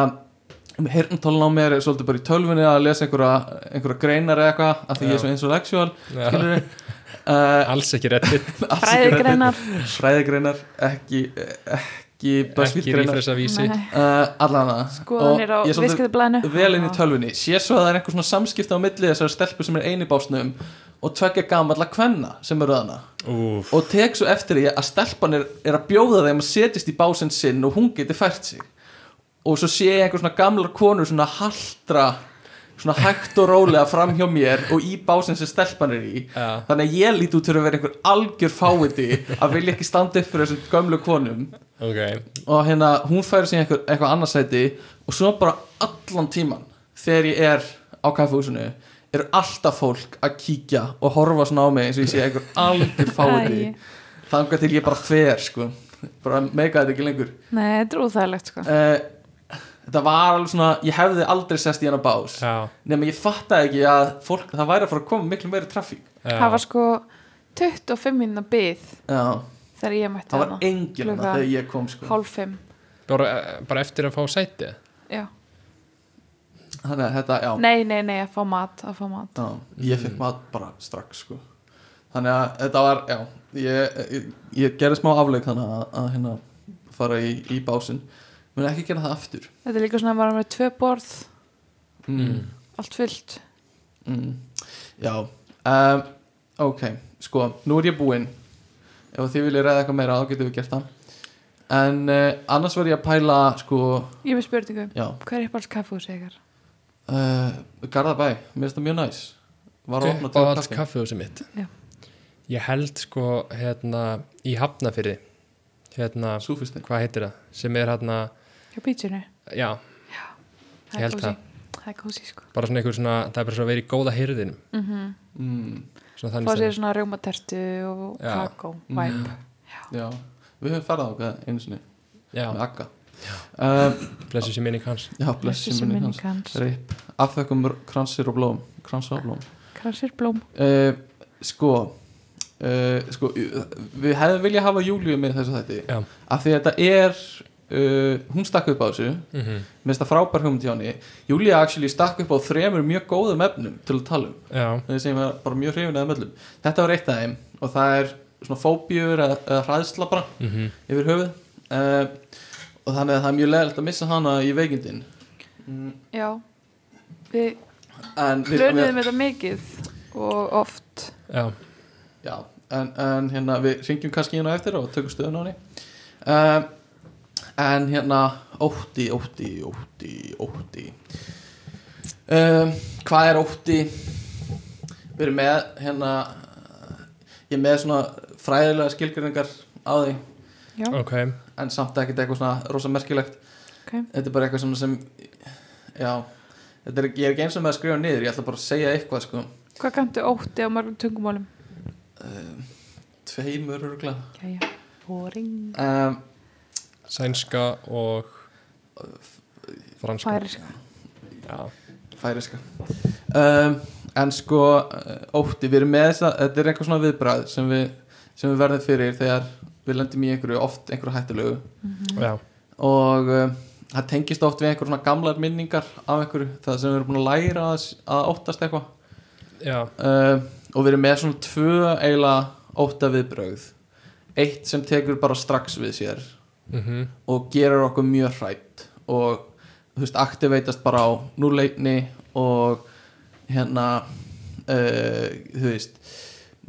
hirntólun á mér er svolítið bara í tölfunni að lesa einhverja, einhverja greinar eða eitthvað af því ég er
Já.
svo eins og leksjál
Já. Alls ekki reddit
fræðigreinar
fræðigreinar ekki, ekki
Ekki
bæsvíðgreinar
rífresa vísi
Nei.
uh, allan að
Skoðanir á
og ég er svolítið
viðskiptablaðinu
vel inn í tölfunni sé svo að það er einhver svona samskipta á milli þessar stelpu sem er einu í básnum og tvekja gamalla kvenna sem eru þarna
Úf,
og tek svo eftir því að stelpan er, er að bjóða þeim að setjast í básinn sinn og hún geti fært sig og svo sé ég einhver svona gamlar konur svona haldra svona hægt og rólega fram hjá mér og í básinn sem stelpan er í
Já.
þannig að ég líti út fyrir að vera einhver algjör fáviti að vilja ekki standa upp fyrir þessum gömlu konum
ok
og hérna hún færi sig í einhver, eitthvað annarsæti og svo bara allan tíman þegar ég er á kaffehúsinu er alltaf fólk að kíkja og horfa svona á mig eins og ég sé einhver algjör fáviti
Æi.
þangar til ég bara fer sko bara meika þetta ekki lengur
Nei, þetta er úþægilegt sko
uh, þetta var alveg svona ég hefði aldrei sest í hana bás
Já,
nema ég fattaði ekki að fólk það væri að fara að koma miklu meiri traffík
já
Það var sko 25 minna byð
já,
þegar ég mætti
það var
hana
enginn hana
Klukkan
þegar ég kom sko
Hálf fimm
bara, bara eftir að fá sæti
Já.
þannig að þetta, já
Nei, nei, nei, að fá mat, að fá mat
Já, ég fekk mat bara strax sko. þannig að þetta var já, ég, ég, ég gerði smá afleik þannig að, að hérna fara í, í básinn, mun ekki gera það aftur
Þetta er líka svona að maður er með tvö borð
mm.
Allt fullt
Mm. já um, ok, sko, nú er ég búinn ef þið viljið ræða eitthvað meira þá getum við gert það en uh, annars var ég að pæla sko,
Ég er með spurningu
já
Hvað er uppáhalds kaffehús ykkar?
uh, Garðabæ, mér finnst það mjög næs var að opna til
Uppáhalds
kaffi
kaffehúsi mitt
Já.
Ég held sko hérna í Hafnafyrði hérna,
súfisti,
hvað heitir það? sem er hérna,
Hjá pítsinu?
já,
Það
Ég
er
held
kósí. Það er kósi sko
bara svona einhver svona það er bara svona að vera í góða hyrðinum
mm,
svona
Fá
þannig
sér
stæðum
svona rjómatertu og
Já.
kakó,
Mm.
væp
já, við höfum farað á hvað einu sinni með
Já,
Akka um,
blessu sér minning hans
Já, blessi sem minni hans
hans
Rip, afþökkum kransir og blóm Kransir og blóm
Kransir blóm
uh, Sko uh, Sko, uh, við hefðum viljað hafa Júlíu með þessu þætti
Já.
Af því að þetta er uh, Hún stakk upp á þessu
mm
Mér finnst það frábær hugmynd hjá henni Júlíu actually stakk upp á þremur mjög góðum efnum Til að tala um
Já,
Það sem er bara mjög hrifin að möllum Þetta var eitt af þeim Og það er svona fóbíur eða, eða hræðsla bara
Mhm.
yfir höfuð uh, og þannig að það er mjög leðilegt að missa hana í veikindin mm,
já við
en við,
raunuðum þetta mikið og oft
já,
já, en, en hérna við ringjum kannski hérna eftir og tökum stöðun á henni uh, en hérna ótti, ótti, ótti, ótti um, hvað er ótti við erum með hérna ég er með svona fræðilega skilgjöringar á því
já,
ok
en samt ekkert eitthvað svona rosa merkilegt
ok
þetta er bara eitthvað svona sem já, þetta er, ég er ekki eins og með að skrifa niður ég ætla bara að segja eitthvað sko
hvað kanntu ótti á margum tungumálum?
um, tveimur örgla
já, já, boring
um,
Sænska og franska
færisk
Já,
færiska um, en sko eh, ótti, við erum með þess að þetta er eitthvað svona viðbræð sem við, sem við verðum fyrir þegar við lendum í einhverju oft einhverju hættulegu
já,
og um, það tengist oft við einhverju svona gamlar minningar af einhverju það sem við erum búin að læra að, s- að óttast eitthvað
já,
um, og við erum með svona tvö eiginlega ótta viðbræð eitt sem tekur bara strax við sér
mhm,
og gerir okkur mjög hrætt og þú veist, aktiveitast bara á núleikni og hérna uh, þú veist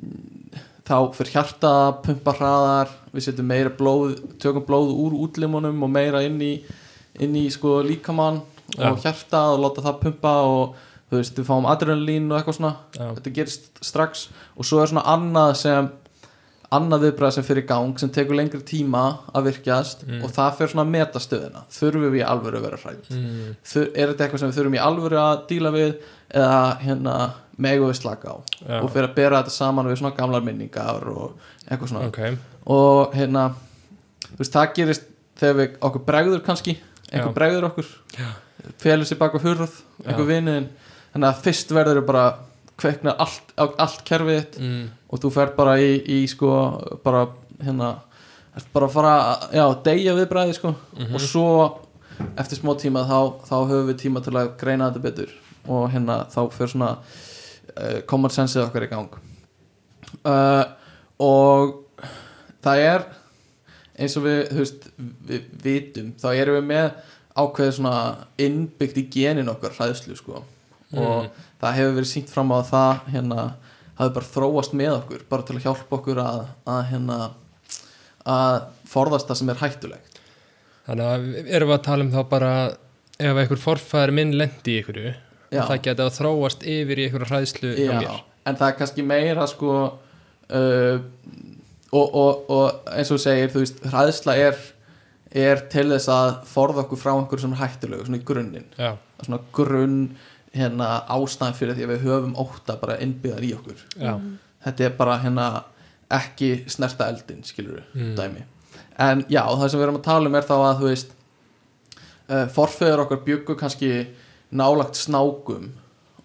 mm, þá fyrir hjarta að pumpa hraðar við setjum meira blóð tökum blóð úr útlimunum og meira inn í inn í sko líkamann og hjarta og láta það pumpa og þú veist, við fáum adrenalín og eitthvað svona
já,
þetta gerist strax og svo er svona annað sem annað viðbræð sem fyrir gang sem tekur lengri tíma að virkjast
Mm.
og það fyrir svona að meta stöðina þurfum við í alvöru að vera hrætt
mm,
Þur, er þetta eitthvað sem við þurfum í alvöru að díla við eða hérna megu við slaka á
já,
og fyrir að bera þetta saman við svona gamlar minningar og eitthvað svona
ok,
og hérna þú veist, það gerist þegar við okkur bregður kannski einhver
Já.
bregður okkur félur sér bak á hurð einhver
Já.
vinnin þannig að fyrst verður þau bara kveikna allt, á allt kerfið þitt
mm,
og þú fer bara í, í sko bara hérna ert bara að fara að já, deyja við bræði sko
Mhm.
og svo eftir smá tíma þá, þá höfum við tíma til að greina þetta betur og hérna þá fer svona uh, common senseið okkar í gang uh, og það er eins og við, þú veist, við vitum þá erum við með ákveðið svona innbyggt í genin okkar hræðslu sko og
Mm.
það hefur verið sínt fram á að það hérna hafi bara þróast með okkur bara til að hjálpa okkur að, að hérna að forðast það sem er hættulegt
þannig að erum við að tala um þá bara ef einhver forfæður minn lendi í einhverju
Já.
það geti að þróast yfir í einhverju hræðslu hjá mér
en það er kannski meira sko uh, og, og, og eins og þú segir, þú veist, hræðsla er er til þess að forða okkur frá einhverju sem er hættulegu, svona í grunninn
já,
svona grunn hérna ástæðan fyrir því að við höfum ótta bara innbyggðar í okkur
já,
þetta er bara hérna ekki snerta eldin, skilur
Mm.
við, dæmi en já, það sem við erum að tala um er þá að þú veist uh, forfeður okkar byggu kannski nálagt snákum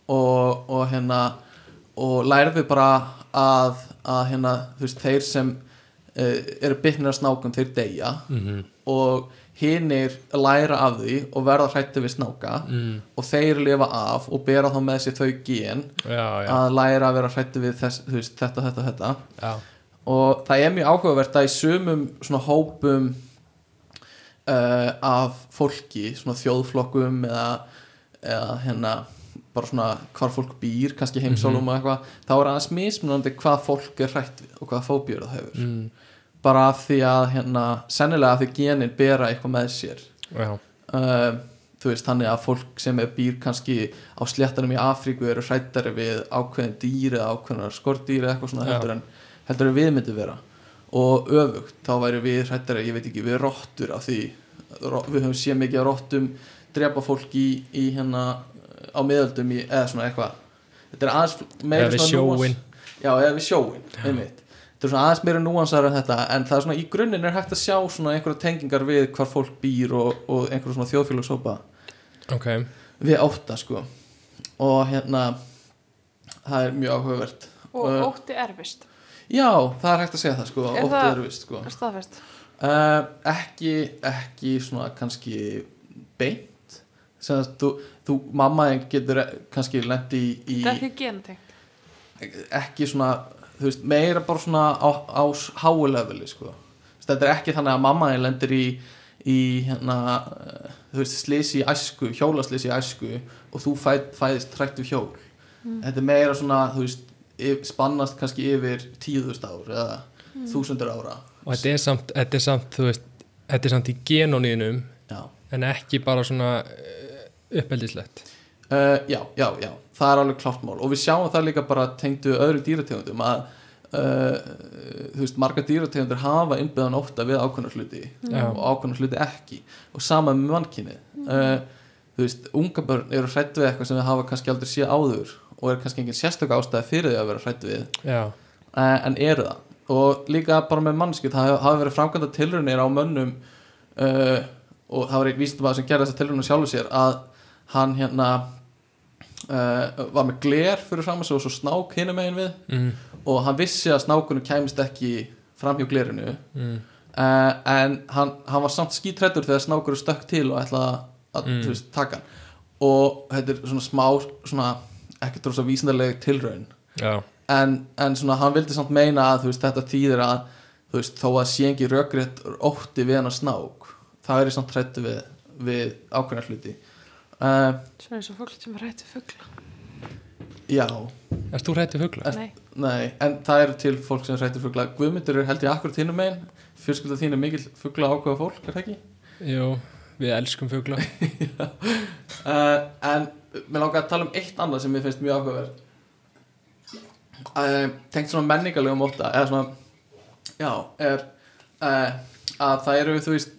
og, og hérna og lærðu bara að, að hérna, þú veist, þeir sem uh, eru bytnir að snákum, þeir deyja
mhm,
og hinnir læra af því og verða hrættu við snáka
mm,
og þeir lifa af og bera þá með sér þau gen
já, já,
að læra að vera hrættu við þess, þú veist, þetta, þetta, þetta
já,
og það er mjög áhugavert að í sumum svona hópum uh, af fólki svona þjóðflokkum eða, eða hérna bara svona hvar fólk býr, kannski heimsálum og eitthvað, þá er aðeins mismunandi hvað fólk er hrætt við og hvaða fóbjur það hefur
mm,
bara af því að hérna, sennilega af því genin bera eitthvað með sér
já,
uh, þú veist, þannig að fólk sem er býr kannski á sléttanum í Afríku eru hrættari við ákveðin dýr eða ákveðin skordýr eða eitthvað svona
Já.
heldur en, heldur en við myndum vera og öfugt, þá væri við hrættari ég veit ekki, við rottur af því ro- við höfum séð mikið að rottum drepa fólk í, í hérna á miðöldum í, eða svona eitthvað þetta er aðeins meira
Eða við
svona núans-
sjóinn.
já, eða við sjóin, einmitt þetta er svona aðeins meira núansar en þetta en það er svona í grunninn er hægt að sjá svona einhverja tengingar við hvar fólk býr og, og einhverja svona þjóðfélagshópa
ok
við ótta sko og hérna það er mjög áhugavert
og
Uh,
ótti erfist
já, það er hægt að segja það sko,
Er
ótta
það-
er vist sko
staðfest
uh, ekki, ekki svona kannski beint sem að þú, þú mamma þín getur kannski lendi í,
það er
í
ekki genetengt
ekki svona þú veist, meira bara svona á, á háuleveli sko. Þú veist, þetta er ekki þannig að mamma þín lendir í, í hérna, eh, þú veist, slisi í æsku hjólaslisi í æsku og þú fæð, fæðist trættu hjól þetta er meira svona, þú veist yf- spannast kannski yfir tíðust ár eða þúsundur ára
og þetta er samt, þetta er samt, þú veist, þetta er samt í genóniðinum
já.
en ekki bara svona uh, uppeldislegt
Uh, já, já, já, það er alveg klart mál og við sjáum það líka bara tengdu öðru dýrategundum að uh, þú veist, marga dýrategundur hafa innbyðan ótta við ákveðna hluti
Já.
og ákveðna hluti ekki og sama með mannkynni uh, þú veist, unga börn eru hrætt við eitthvað sem þau hafa kannski aldrei séð áður og er kannski engin sérstök ástæði fyrir þau að vera hrætt við
já,
uh, en eru það og líka bara með mannskið það hafa- hafa verið framkvæmda tilraunir á mönnum uh, og það var einn vísindabæð sem gerði þessa tilraunir sjálfur sér að hann hérna uh, var með gler fyrir fram að sig og svo snák hinum megin við
mm,
og hann vissi að snákunum kæmist ekki fram hjá glerinu
mm,
uh, en hann, hann var samt skítrættur þegar snákur stökk til og ætlaði að
Mm.
mm. veist, taka hann og þetta er svona smá svona, ekkert rosa vísindarleg tilraun
já,
en, en svona hann vildi samt meina að þú veist, þetta þýðir að þú veist, þó að sé engi rökrétt ótti við hann að snák það er samt hrættu við, við ákveðna hluti uh,
Svona eins og fólk sem rættu fugla
já,
erst þú hrættu fugla?
Nei,
nei en það eru til fólk sem hrættu fugla Guðmundur er held ég akkurat hinnum megin fjölskylda þín er mikil fugla ákveða fólk er það ekki?
Jú, við elskum fugla
uh, en mér langar að tala um eitt annað sem mér finnst mjög áhugaverð uh, tengt svona menningarlegum óta eða svona já, er uh, að það eru þú veist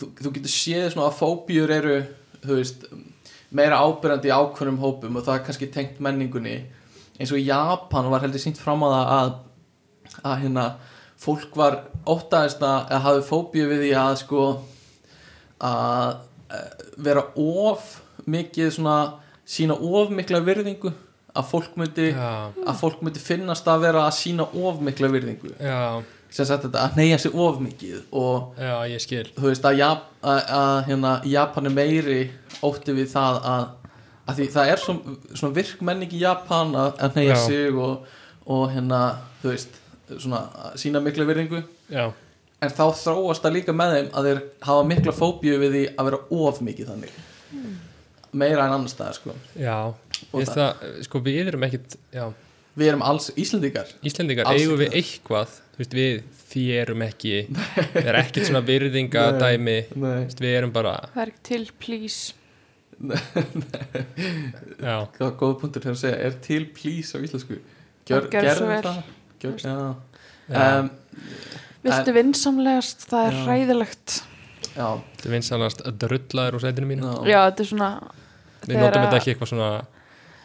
þú, þú getur séð svona að fóbíur eru þú veist meira ábyrjandi í ákvörnum hópum og það er kannski tengt menningunni eins og í Japan var heldur sínt fram að það að, að hérna fólk var óttaðist að, að hafi fóbíu við því að sko að eh, vera of mikið svona sína of mikla virðingu að fólk myndi,
já,
að fólk myndi finnast að vera að sína of mikla virðingu
já,
sem sagt þetta að neyja sig of mikið og
já, ég skil
þú veist að, Jap að, að hérna, Japan er meiri ótti við það að, að því það er svona, svona virk menning í Japan að, að neyja
Já.
sig og, og hérna þú veist svona að sína mikla virðingu
já,
en þá þróast það líka með þeim að þeir hafa mikla fóbíu við því að vera of mikið þannig meira en annars staðar sko
já
Og
Mm. Ég veist það, sko við erum ekkit já,
við erum alls Íslendingar
Íslendingar
Alls
eigum við
ekki.
eitthvað þú veist, við því erum ekki það er ekkit svona virðinga
Nei.
dæmi
nei,
við erum bara
það er ekki til, please
já,
það er góða punktur til að segja er til please á íslensku
Gjör- Gjörðu svo
gerðu
vel.
það Gjör, já.
já,
Um,
Viltu vinsamlegast, það er
Já.
hræðilegt
já,
þetta er vinsanast að drullaður úr sætinu mínu
já,
Já, þetta er svona
við notum
þegar
þetta ekki eitthvað svona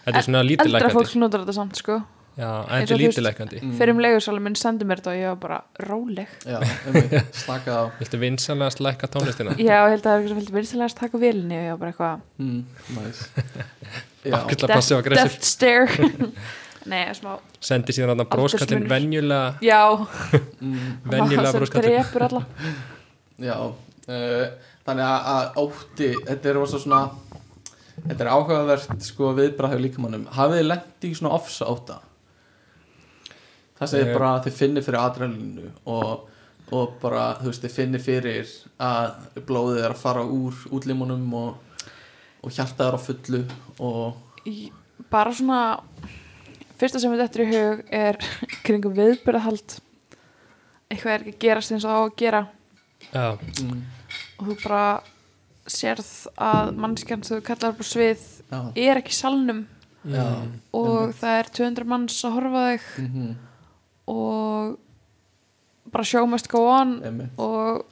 þetta er svona
Eldra
lítilækandi
fólk notar þetta samt, sko
já, en
Eins
þetta
og
er
þú veist-
lítilækandi
Mm.
Fyrir um leigursalum minn sendi mér þetta og ég var bara róleg
já einmitt, slakað á
viltu vinsanast lækka tónlistina?
Já, ég held að það er eitthvað sem vildi vinsamlegast taka vélinni og ég var bara eitthvað
mm, nice. já,
ákveðla passið og aggressív
Death stare Nei, smá,
sendi síðan að bróskallin
Aldursmunur.
venjulega
já
mm,
venjulega
sem
bróskallin
drepur alla
já uh, þannig að, að ótti þetta er rosa svona þetta er áhugavert sko viðbræðu líkamannum hafið þið lent í svona ofsa óta það segir
Eh.
bara að þið finnir fyrir adrenalinu og, og bara þú veist þið finnir fyrir að blóðið er að fara úr útlimunum og, og hjartað er á fullu og
Í- Bara svona Fyrsta sem við þetta í hug er kringum viðbyrðahald Eitthvað er ekki að gerast eins og það á að gera
já,
mm,
og þú bara sérð að mannskjarn sem þú kallar upp á svið
já,
er ekki í salnum
já,
já
og það er 200 manns að horfa á þig
mm -hmm,
og bara show must go on og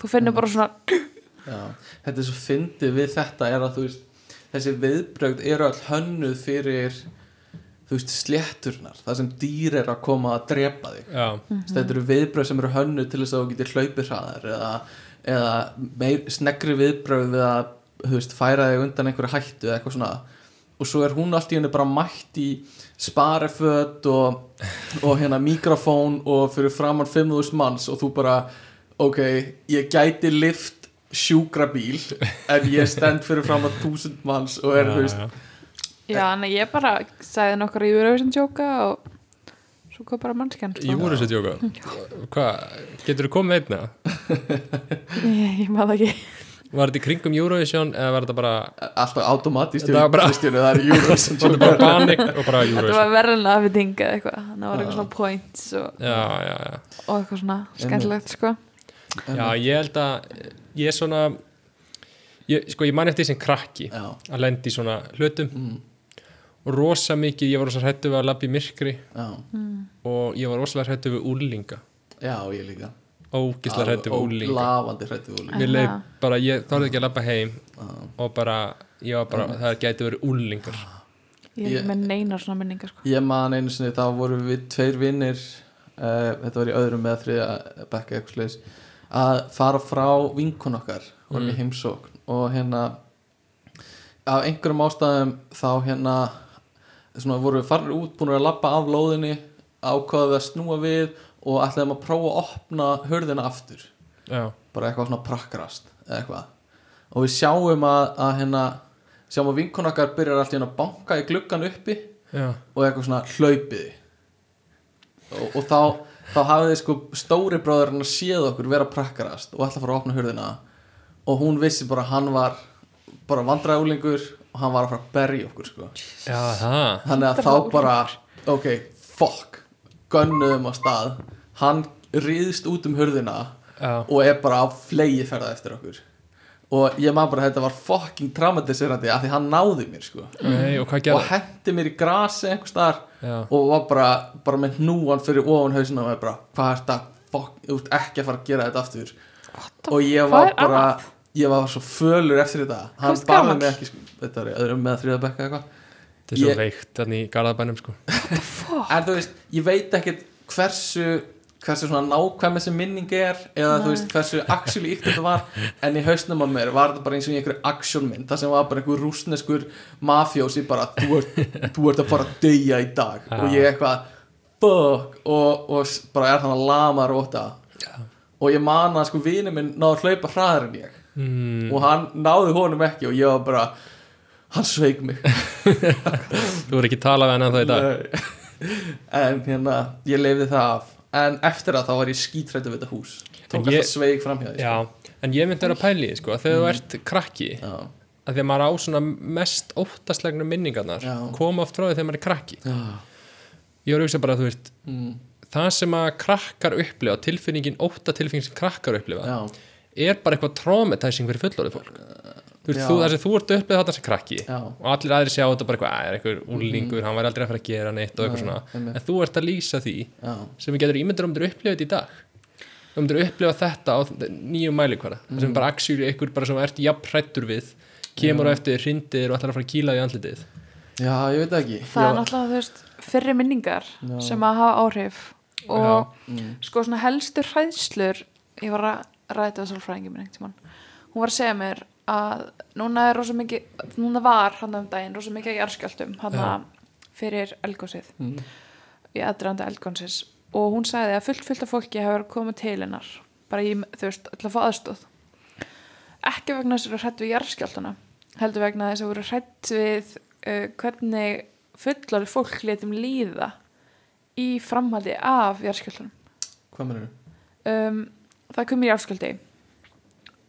þú finnur bara svona
Já, þetta er svo fyndið við þetta er að þú veist þessi viðbrögð eru all hönnuð fyrir þú veist slétturnar það sem dýr er að koma að drepa þig
já,
mm þetta eru viðbrögð sem eru hönnuð til þess að þú getur hlaupið hraðar eða, eða meir, snegri viðbrögð við að þú veist, færa þig undan einhverju hættu eða eitthvað svona og svo er hún allt í henni bara mætt í spareföt og, og hérna mikrofón og fyrir framann 5.000 manns og þú bara ok, ég gæti lift sjúkrabíl en ég stend fyrir framann 1000 manns og er,
já,
þú veist,
já.
já, en ég bara sagði nokkar í Eurovision tjóka um og svo kom bara mannskjan
Í úrlýsutjóka Hvað, getur þú komið einna?
Ég, ég maður ekki
Var þetta í kringum Eurovision eða var þetta bara,
Alltaf automatist
Þetta var bara-
Kristjánu, það er Eurovision
var þetta bara panik og bara
Þetta
Eurovision?
var verðan að við dinga eitthvað Þannig að var eitthvað svona points og,
Já, já, já
og eitthvað svona skemmtilegt sko
Já, ég held að ég er svona ég, sko, ég man eftir því sem krakki
Já,
að lendi í svona hlutum og rosa mikið, ég var rosa hrættu við að labba í myrkri
já,
og ég var rosalega hrættu við úlinga
já, ég líka
ógislega hrættu við
Alveg
úlinga
Lafandi hrættu við úlinga
Mér leið
Aha.
bara, ég þorði ekki að labba heim
Já.
og bara, ég var bara, það gæti verið úlingar
Ég er
Ég-
ekki með neinar svona minningar sko
Ég man einu sinni, þá vorum við tveir vinnir uh, þetta var í öðrum með þriða bekka eitthvað sliðis að fara frá vinkun okkar vorum í heimsókn og hérna af einhverjum ástæðum þá hérna svona vorum við farin út búin að labba af lóðinni ákvaðum við að snúa við og ætlaðum að prófa að opna hörðina aftur
Já,
bara eitthvað svona prakkarast eða eitthvað og við sjáum að, að hérna sjáum að vinkun okkar byrjar alltaf að banka í gluggan uppi
já,
og eitthvað svona hlaupið og, og þá þá hafði sko stóri bróður hann að séð okkur vera að prakkarast og ætla að fara að opna hurðina og hún vissi bara að hann var bara vandræðúlingur og hann var að fara að berja okkur sko
já, það
þannig að þá bara ok, fuck, gönnuðum á stað hann rýðst út um hurðina
Já.
og er bara á flegi ferða eftir okkur og ég maður bara að þetta var fucking traumatiserandi af því hann náði mér sko
Nei, og hvað
og
gerði?
hendi mér í grasi einhvers staðar
Já.
og var bara, bara með hnúan fyrir ofan hausinu og mér bara, hvað er þetta fokk, þú ert ekki að fara að gera þetta aftur
the-
og ég
hvað
var
er
bara ég var svo fölur eftir þetta hann
varstu
barði
gamall?
mig ekki, sko, þetta var í öðrum með þriða bekka eitthvað
Þetta er svo
Ég-
veikt, þannig í Garðabænum sko
en þú veist, ég veit ekkert hversu hversu svona nákvæm þessi minning er eða þú veist hversu actually ykt þetta var en í hausnum á mér var þetta bara eins og í einhverju actionmynd það sem var bara einhver rúsneskur mafjósi bara þú ert, þú ert að fara að deyja í dag og ég eitthvað fuck og, og s- bara er hann að lama róta og ég man að sko vini minn náður hlaupa hraðar en ég
mm,
og hann náði honum ekki og ég var bara hann sveik mig
Þú voru ekki talað við hann ennþá í dag
Nei. en hérna, ég leifði það af en eftir að þá var ég skítrættu við þetta hús
En
tók
ég-
alltaf sveig fram hjá því sko.
Já, en ég myndi vera að pæli sko, að þegar þú ert krakki
Já.
að því að maður á svona mest óttaslegnu minningarnar
Já.
koma oft frá því þegar maður er krakki
Já.
ég var að hugsa bara að þú veist
Mm.
það sem að krakkar upplifa, tilfinningin óttatilfinning sem krakkar upplifa
Já.
er bara eitthvað traumatizing fyrir fullorðið fólk þú veist,
Já.
þú, það sem þú ert upplifað þetta sem krakki
Já. Mhm.
og allir aðri sjá þetta bara eitthvað "Æ, er eitthvað úlingur, hann væri aldrei að fara að gera neitt og eitthvað svona,
einmitt.
en þú ert að lýsa því
Já.
sem við getur ímyndir um þetta upplifað þetta í dag um þetta upplifa þetta á nýjum mælikvara mm. sem bara axjúli ykkur bara sem ert jafn hrættur við kemur á eftir, hrindir og ætlar að fara að kýla því andlitið
Já, ég veit það ekki
Það er
Já.
náttúrulega þú veist fyrri minningar sem að hafa áhrif og
Mm.
sko svona helstu hræðslur ég var að ræta þessar fræðingi minn einhvern tímann hún var að segja mér að núna er rosa mikið núna var hann um daginn rosa mikið í arskjöldum hann fyrir elgósið í aðdraðanda elgónsins og hún sagði að fullt fullt af fólki hefur komið til hennar bara í, þú veist, til að fá aðstóð ekki vegna þess að voru hrætt við jarðskjáltana heldur vegna þess að voru hrætt við uh, hvernig fullar fólk letum líða í framhaldi af jarðskjáltanum
Hvað mennur
um, það komir jarðskjálti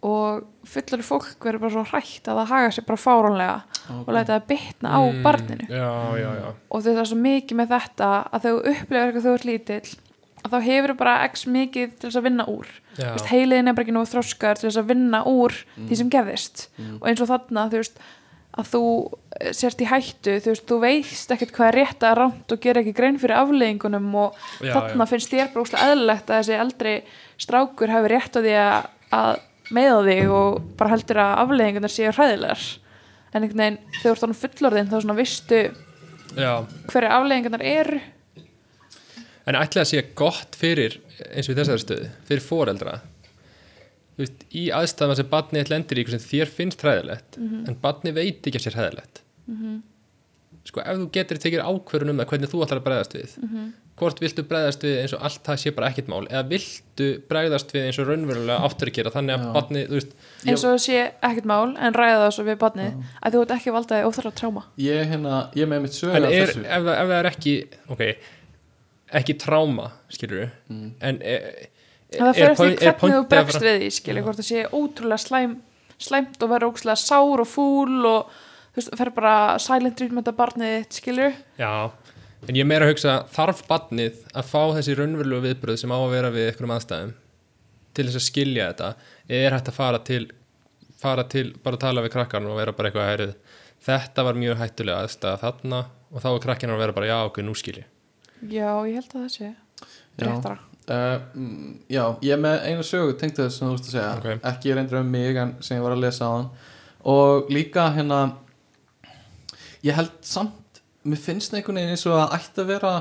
og fullar fólk verður bara svo hrætt að það haga sér bara fáránlega og læta það bitna á
Mm.
barninu
já, já, já,
og þau það er svo mikið með þetta að þau upplifir eitthvað þú ert lítill að þá hefur bara x mikið til þess að vinna úr
Já. Mm.
Þú veist, heiliðin er bara ekki nógu þroskar til þess að vinna úr því sem gerðist og eins og þarna þú veist að þú eh, sért í hættu þú veist, þú veist ekkert hvað er rétt að rámt og gera ekki grein fyrir afleðingunum og
Já,
þarna finnst þér bara úslega eðlilegt að þessi eldri strákur hafi rétt á því að, að meða þig og bara heldur að afleðingunar séu hræðilegar en einhvern veginn, þegar þú ert þannig fullorðin þá svona vistu
já.
hverju afleðingarnar eru
en ætla að sé gott fyrir eins og í þessari stöðu, fyrir foreldra þú veist, í aðstæðum sem barnið þitt lendir í ykkur sem þér finnst hræðilegt
Mhm.
en barnið veit ekki að sér hræðilegt sko ef þú getur tekið ákvörun um það hvernig þú ætlar að bregðast við
Mhm.
hvort viltu bregðast við eins og allt það sé bara ekkert mál eða viltu bregðast við eins og raunverulega áttur að gera þannig að
Já.
barnið, þú veist
eins og það sé ekkert mál en ræða það svo við barnið að þú ert ekki valdaði óþarra tráma
Ég, hérna, ég með mitt sögur
en er, ef, það- ef það er ekki ok, ekki tráma, skilur en e, e,
En það fyrir eftir því
point-
hvernig þú
pointið að
bregst
vera-
við því skilur, hvort það sé ótrúlega slæm, slæmt og vera ótrúlega sár og fúl og þú veist, fer bara silent treatment að barnið þitt skilur,
Já, en ég er meira að hugsa þarf barnið að fá þessi raunverulegu viðbröð sem á að vera við einhverjum aðstæðum til þess að skilja þetta eða er hægt að fara til fara til, bara að tala við krakkarn og vera bara eitthvað hærið, þetta var mjög hættulega aðstæða þarna og þá er krakkarn að vera bara já, ok, nú skilji
já, ég held að það sé réttara,
Uh, mm, já, ég er með eina sögu tengt þess sem þú veist að segja,
Ok.
ekki reyndur um mig en sem ég var að lesa á hann og líka hérna ég held samt, mér finnst einhvern veginn eins og að ætti að vera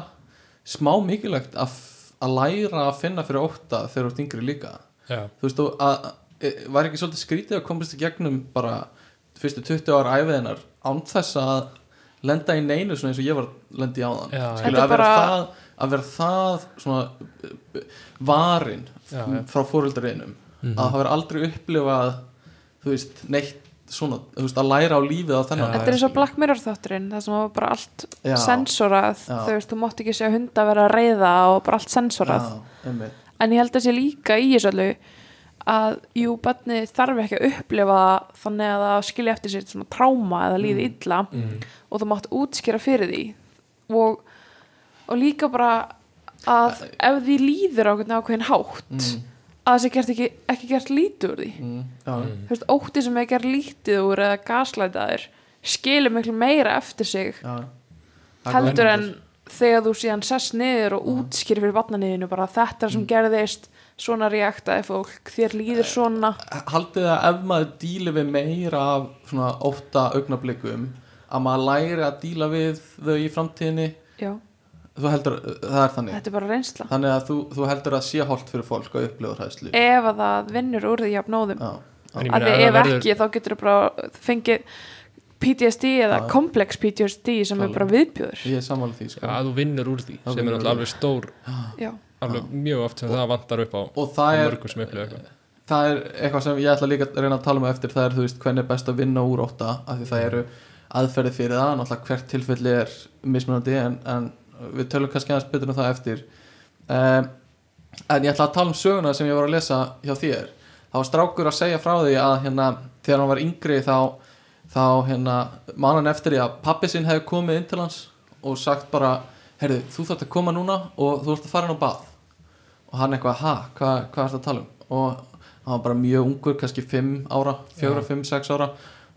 smá mikilvægt að, f- að læra að finna fyrir ótta þegar þú ert yngri líka
Já,
þú veist, og að, að, var ekki svolítið skrítið að komast í gegnum bara fyrstu 20 ára æfiðinar án þess að lenda í neinu svona eins og ég var lendi á þann
Já, já.
Skilur,
Þetta
að, vera
bara-
það, að vera það svona uh, uh, varin
Já, já.
frá fóreldarinnum
Mhm.
að það vera aldrei upplifað þú veist, neitt svona þú veist, að læra á lífið á þennan
Já,
þetta er eins og Black Mirror þátturinn það sem var bara allt
Já.
sensorað
Já.
þú veist, þú mátt ekki segja hunda vera að reyða og bara allt sensorað
Já, einmitt.
en ég held að sé líka í þessu allu að jú, barnið þarf ekki að upplifa það þannig að það skilja eftir sér svona tráma eða líði
Mm.
illa og þú mátt útskýra fyrir því og, og líka bara að ef því líður á einhvern ákveðin hátt
Mm,
að það sé gert ekki, ekki gert lítið úr því
mm, já,
þú veist, ótti sem er gert lítið úr eða gaslætaður skilur miklu meira eftir sig
já.
heldur en þegar þú síðan sess niður og útskýrir fyrir barnaniðinu bara
Mm.
þetta er sem gerðist, svona reaktaði fólk, þér líður
Eh.
svona
haldið að ef maður díli við meira af svona ótta augnablikum að maður læri að díla við þau í framtíðinni
já,
þú heldur, það er
Eh.
þannig
þetta er bara reynsla
þannig að þú, þú heldur að sé holt fyrir fólk að upplifa hræðslu já,
ef að það vinnur úr því jafnóðum
En Ah. ég
að
meina,
því ef
það verður-
ekki þá getur þú bara fengið PTSD eða
Ah.
Já.
komplex PTSD sem er
Klálega.
bara viðbjöður
ég er sammála því
Já,
sko.
að þú vinnur úr því
Það
sem er
vinnur
náttúrulega
úr því.
alveg stór
já,
alveg mjög oft sem það vantar upp á
og það er,
mörgum sem upplifa eitthvað
það er eitthvað sem ég ætla líka að reyna að tala um á eftir það er þú veist hvernig er best að vinna úr ótta af því það eru aðferði fyrir það náttúrulega hvert tilfelli er mismunandi en, en við tölum kannski aðeins betur um það eftir um, en ég ætla að tala um söguna sem ég var að lesa hjá þér þá var strákur að segja frá því að hérna, þegar hann var yngri þá, þá hérna, man hann eftir því að pappi sinn hefði komið inn til hans og sagt bara, heyrðu, þú þarft að koma núna og þú ert að fara inn á bað og hann eitthvað, ha, hvað, hvað ert að tala um og hann var bara mjög ungur kannski 5 ára, 4, 5, 6 ára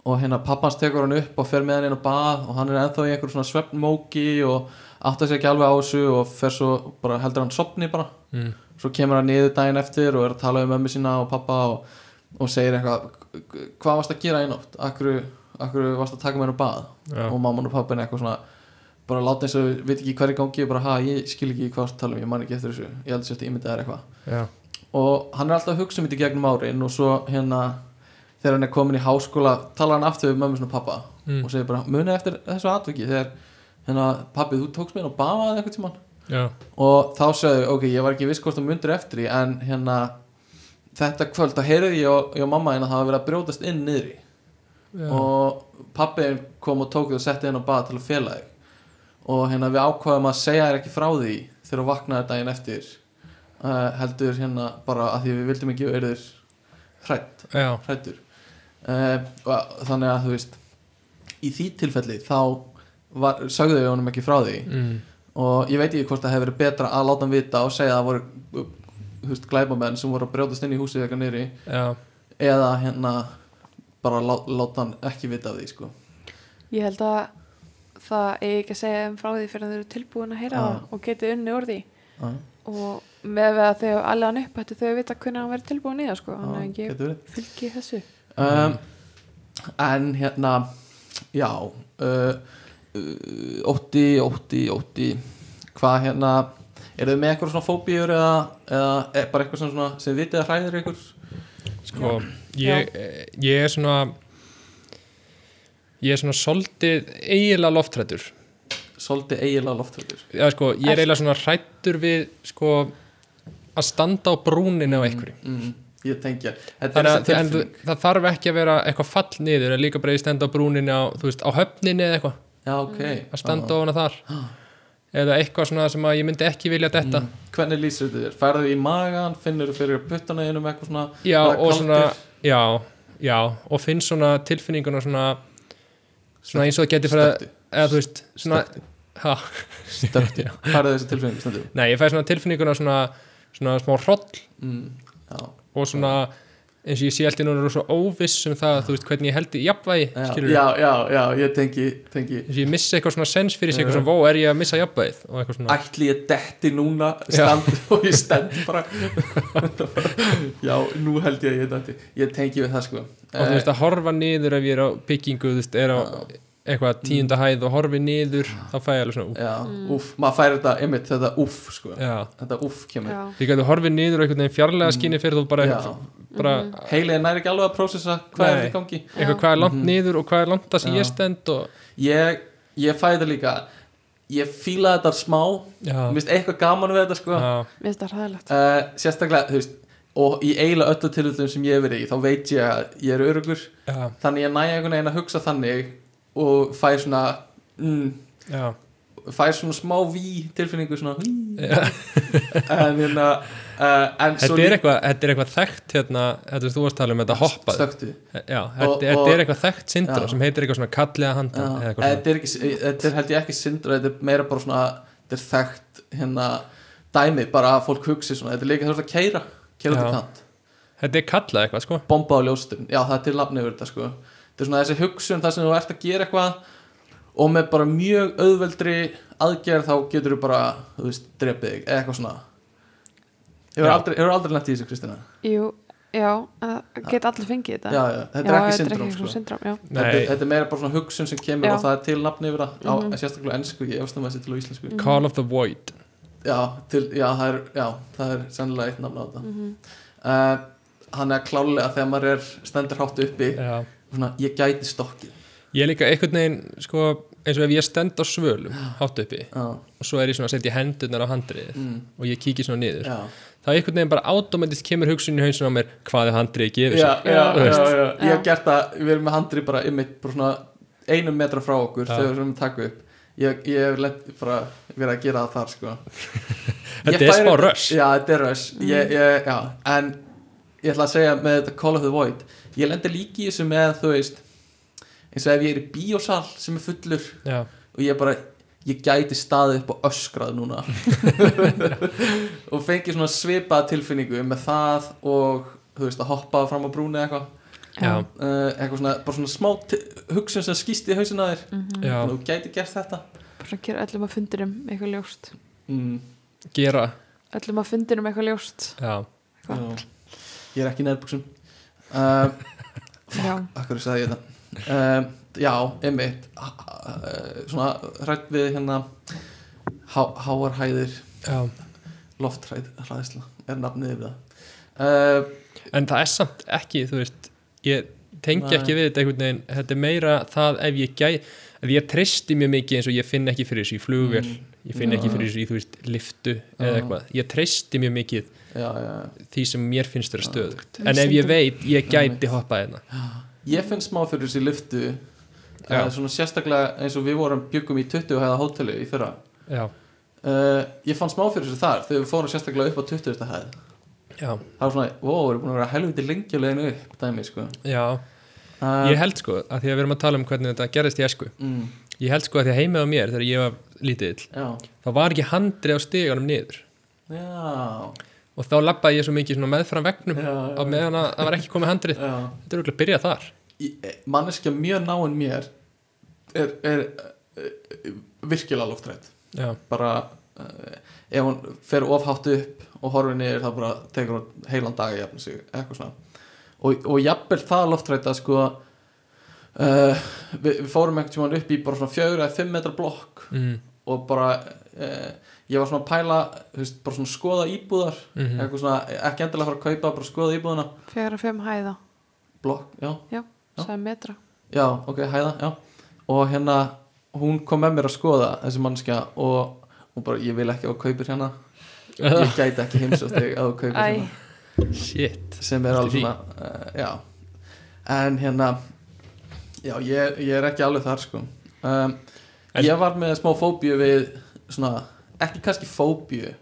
og hérna pappans tekur hann upp og fer með hann inn á bað og hann er ennþá í einhver svona svefnmóki og átt að segja ekki alveg á þessu og fer svo, bara heldur hann sopni bara
mm.
svo kemur hann niður daginn eftir og er að tala um mömmu sína og pappa og, og segir eitthvað hvað varst að gera í nótt, akkur, akkur varst að taka mér á bað
Já.
og mamman og pappin eitthvað svona bara láta eins og við veit ekki hverju gangi og bara ha, ég skil ekki hvað varst að tala um, ég man ekki eftir þessu ég held sér að ímynda þær eitthvað
Já,
og hann er alltaf að hugsa um þetta í gegnum árin og svo hérna þegar hann er komin í háskóla tala hann aftur við mömmu sinna og pappa
Mm.
og segir bara munið eftir þessu atviki þegar hérna, pappi þú tókst mér og bafaði eitthvað tímann
já,
og þá sagði ok, ég var ekki viss hvort þú mundir eftir því en hérna þetta kvöld, þá heyrði ég og, ég og mamma henni að það var verið að brjótast inn niðri
já.
og pappi kom og tók þig og setti henni á bað til að fela þig og hérna við ákvaðum að segja þér ekki frá því þegar þú vaknaði daginn eftir uh, heldur hérna bara að því við vildum ekki verður hrætt,
já.
hrættur uh, og þannig að þú veist í því tilfelli þá var, sögðu við honum ekki frá því
Mm.
og ég veit ekki hvort það hefur verið betra að láta hann vita og segja að það voru þú veist, glæbamenn sem voru að brjótast inn í húsið eitthvað niðri
já.
eða hérna bara lá, láta hann ekki vita af því sko.
ég held að það eigi ekki að segja þeim frá því fyrir að þau eru tilbúin að heyra
Ah.
Já.
það og getið unni úr því
Já,
og með við að þau alveg hann upp ættu þau að vita hvernig hann verið tilbúin í það sko,
Ah.
já,
þannig að ég
getur verið.
fylgi þessu
um, en hérna já uh, uh, ótti, ótti, ótti hvað hérna eru þið með eitthvað svona fóbíur eða, eða er bara eitthvað sem, svona, sem vitið að hræðir ykkur
Sko, ég, eh, ég er svona ég er svona soldið eiginlega loftrættur
svolítið eiginlega loftröður
Já, sko, ég er
Ert-
eiginlega svona hrættur við sko, að standa á brúninu á einhverju
mm, ég tengja þetta er
Þannig að
þessi
en, þú-
tilfinning.
það þarf ekki að vera eitthvað fall niður en líka bara Mm. að standa á brúninu á, þú veist, á höfninu eða eitthvað
já ok
að standa ofan að þar eða eitthvað svona sem að ég myndi ekki vilja detta
Mm. hvernig lýsir þetta þér? Færðu í magan, finnur þú fyrir puttana einum eitthvað svona
já,
bara
og svona
kaldir?
já, já, og finn svona tilfinninguna svona svona eins og það getur fyrir að
Stöktu,
eða þú veist, svona ha,
stöktu Færðu þessi tilfinningu stendur
nei, ég fæ svona tilfinninguna svona, svona smá hroll
mm, Já,
og svona eins og ég sé alltaf núna svo óviss um það, þú veist, hvernig ég held í jafnvægi,
já,
skilur
já, já, já, ég tengi, tengi
eins og ég missa eitthvað svona sens fyrir sig,
Já.
eitthvað svona, vó, er ég að missa jafnvægið og eitthvað svona,
Ætli ég detti núna
Já.
stand, og ég stend bara Já, nú held ég að ég detti Ég tengi við það sko
og þú veist, að horfa niður ef ég er á byggingu, þú veist, er á eitthvað tíunda hæð og horfi niður þá fæ ég alveg svona,
Mm. Eh, Já, úff, maður fær þetta einmitt þetta úff sko
ú, já
Þetta úff kemur
já,
líka þú horfið niður og einhvern veginn fjarlæga skinni fyrir þú bara,
Mm. Já.
bara
Heilið næri ekki alveg að prósessa hvað er
Nei.
þetta í gangi
eitthvað hvað er langt niður og hvað er langt að sem
Mhm. Já.
ég stend og
Ég, ég fæ þetta líka Ég fíla þetta smá
já,
Mér finnst eitthvað gaman við þetta sko
já,
mér finnst það hræðilegt
uh, Sérstaklega, þú veist Og í eiginlega öllu tilhildum sem ég hef verið í Þá veit ég að ég er örugur
já,
Þannig ég næja einhvern veginn að hugsa þannig Og fæ svona mm,
já,
Fæ svona smá ví tilfinningu svona, mm,
já.
En, hérna, uh, en
Þetta, er eitthvað, þetta er eitthvað þekkt hérna, þetta er þú varst að tala um þetta hoppað
Stöktu
já, þetta,
Og-
þetta
og-
er eitthvað þekkt syndra
Já.
sem heitir eitthvað svona kallega
Já,
handan eða eitthvað
eða
svona,
þetta er, ekki, eh, þetta er held ég ekki syndra þetta er meira bara svona þetta er þekkt hérna dæmi bara að fólk hugsi svona þetta er líka þú ert að keira keira
Já.
til kant
þetta er kallað eitthvað sko
bomba á ljóstum já það er til lafni yfir þetta sko þetta er svona þessi hugsun þar sem þú ert að gera eitthvað og með bara mjög auðveldri aðgerð þá getur þú bara þú veist drepið þig eða eitthvað svona hefur
Já.
aldrei, hefur aldrei nætt í þessu Kristina
jú, já, það get allir fengið
já,
þetta
já, þetta er ekki
þetta er
syndrom
ekki
sko.
svona syndrom já.
Nei.
þetta, þetta er meira bara svona hugsun sem kemur
Já.
og það er til nafni yfir það mm -hmm. sérstaklega á ensku ég efstum að þessi til á íslensku
Call of the Void
já, til, já, það er, já, það er sennilega eitt nafn á þetta mm hann er klálega þegar maður er stendur hátt uppi
já.
svona, ég gæti stokki
ég er líka einhvern veginn sko, eins og ef ég stend á svölum hátt uppi
já,
og svo er ég svona að setja hendurnar á handriðið
mm,
og ég kíki svona niður
já,
það er einhvern veginn bara automatist kemur hugsun í hausin á mér hvað er handriðið gefið
já,
sig
já,
Þú
já,
veist.
já. ég
Já.
hef gert það við erum með handri bara ymmit bara svona einum metra frá okkur
Já.
þegar við erum að taka upp ég, ég hef lent bara verið að gera það þar sko. Ég
þetta er
færi-
smá rush
já, þetta er rush ég, ég, já, en ég ætla að segja með þetta Call of the Void ég lendi líki í þessu með þú veist eins og ef ég er í bíósal sem er fullur
já,
og ég bara ég gæti staðið upp og öskrað núna og fengi svona svipað tilfinningu með það og þú veist að hoppa fram á brúni eða eitthvað
já,
uh, eitthvað svona, bara svona smá ti- hugsun sem skýst í hausin að þér
já,
Þannig að þú gæti gert þetta
bara svona gera öllum að fundurum eitthvað ljóst
mm,
gera
öllum að fundurum eitthvað ljóst
já,
Hva?
já. ég er ekki í nærbúksum uh,
já,
akkur sagði ég þetta um, já, einmitt uh, svona hrætt við hérna há, háarhæðir
já.
loftræð hræðsla er nafnið yfir það uh,
en það er samt ekki þú veist, ég tengi
Nei.
ekki við þetta einhvern veginn, þetta er meira það ef ég gæ ef ég treysti mjög mikið eins og ég finn ekki fyrir þessu í flugvél
Mm.
ég finn
Já.
ekki fyrir þessu í þú veist, liftu
Já.
eða eitthvað, ég treysti mjög mikið
já, já.
því sem mér finnst vera stöðugt
Já.
en ef ég
Stundum.
veit, ég gæti hoppað hérna
ég finn smá fyrir þessi lyftu
Já.
uh, svona sérstaklega eins og við vorum byggum í 20 hæða hóteli í fyrra
já,
uh, ég fann smá fyrir þessu þar þegar við fórum sérstaklega upp á 20 hæð
já,
það var svona, ó, við erum búin að vera helviti lengi á leiðinu upp, dæmi, sko
já
uh,
ég held sko, að því að við erum að tala um hvernig þetta gerðist í esku,
mm,
ég held sko að því að heimið á mér þegar ég var lítill,
já,
þá var ekki handri á stegunum niður
já,
og þá labbaði ég svo mikið svona meðfram vegnum
Já, já,
á meðan að það var ekki komið handrið
já.
þetta er auðvitað að byrja þar
Í- eh, manneskja mjög náinn mér er, er uh, virkilega loftrætt
já,
bara uh, ef hún fer ofhátt upp og horfir niður þá bara tekur hún heilan dag að jafna sig eitthvað svona og, og jafnvel það loftræta sko uh, við, við fórum einhvern tímann upp í bara svona fjögur eða fimm metra blokk
mm,
og bara uh, ég var svona að pæla þú veist, bara svona skoða íbúðar
Mhm.
eitthvað svona, ekki endilega fara að kaupa bara skoða íbúðana,
fjara fimm hæða
blokk, já Já.
sagði metra
Já, ok, hæða, já Og hérna, hún kom með mér að skoða þessi mannskja og hún bara, ég vil ekki að þú kaupir hérna Ég gæti ekki heimsótt þig að þú kaupir
Æ,
hérna
mm, shit
sem er alveg svona, uh, já En hérna, já, ég, ég er ekki alveg þar sko um,
En-
Ég var með smá fóbíu við svona, ekki kannski fóbíu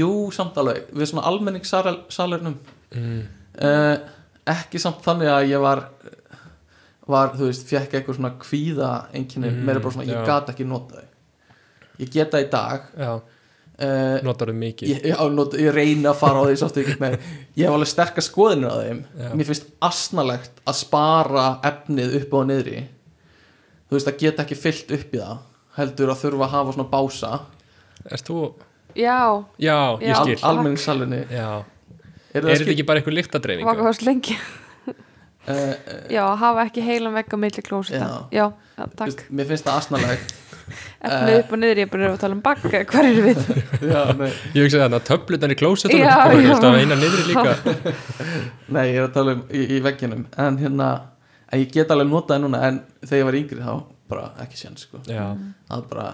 jú, samt alveg við svona almenningssalernum
mm.
uh, ekki samt þannig að ég var var, þú veist, fekk eitthvað svona kvíða einkenni,
Mm,
meira bara svona, ég
já.
gat ekki nota þau ég get það í dag
já,
uh,
notar þau mikið
ég, já, not, ég reyna að fara á því sátt ekki með ég hef alveg sterkar skoðinir á þeim
Já.
mér finnst asnalegt að spara efnið upp og niðri þú veist að geta ekki fyllt upp í það heldur að þurfa að hafa svona bása
Erst þú,
Já,
já,
Já.
ég skil
Al-
almenningssalunni
Já,
er
er
það
þetta
skil
ekki bara einhver
var
lyktadreifinga?
hvað svo lengi
uh,
Já, að hafa ekki heilan vegg á milli klósita Já, já takk
mér finnst það asnalegt
Efnið
eh,
upp og niður, ég er bara að tala um bakka Hvar eru við?
já, nei,
Ég hugsaði þannig að töflutan í klósetunum
Já,
bara,
já.
veist, það var eina niðri líka
nei, ég er að tala um í, í vegginum en hérna, en ég get alveg notað núna en þegar ég var yngri þá bara ekki séns sko,
Já,
það er bara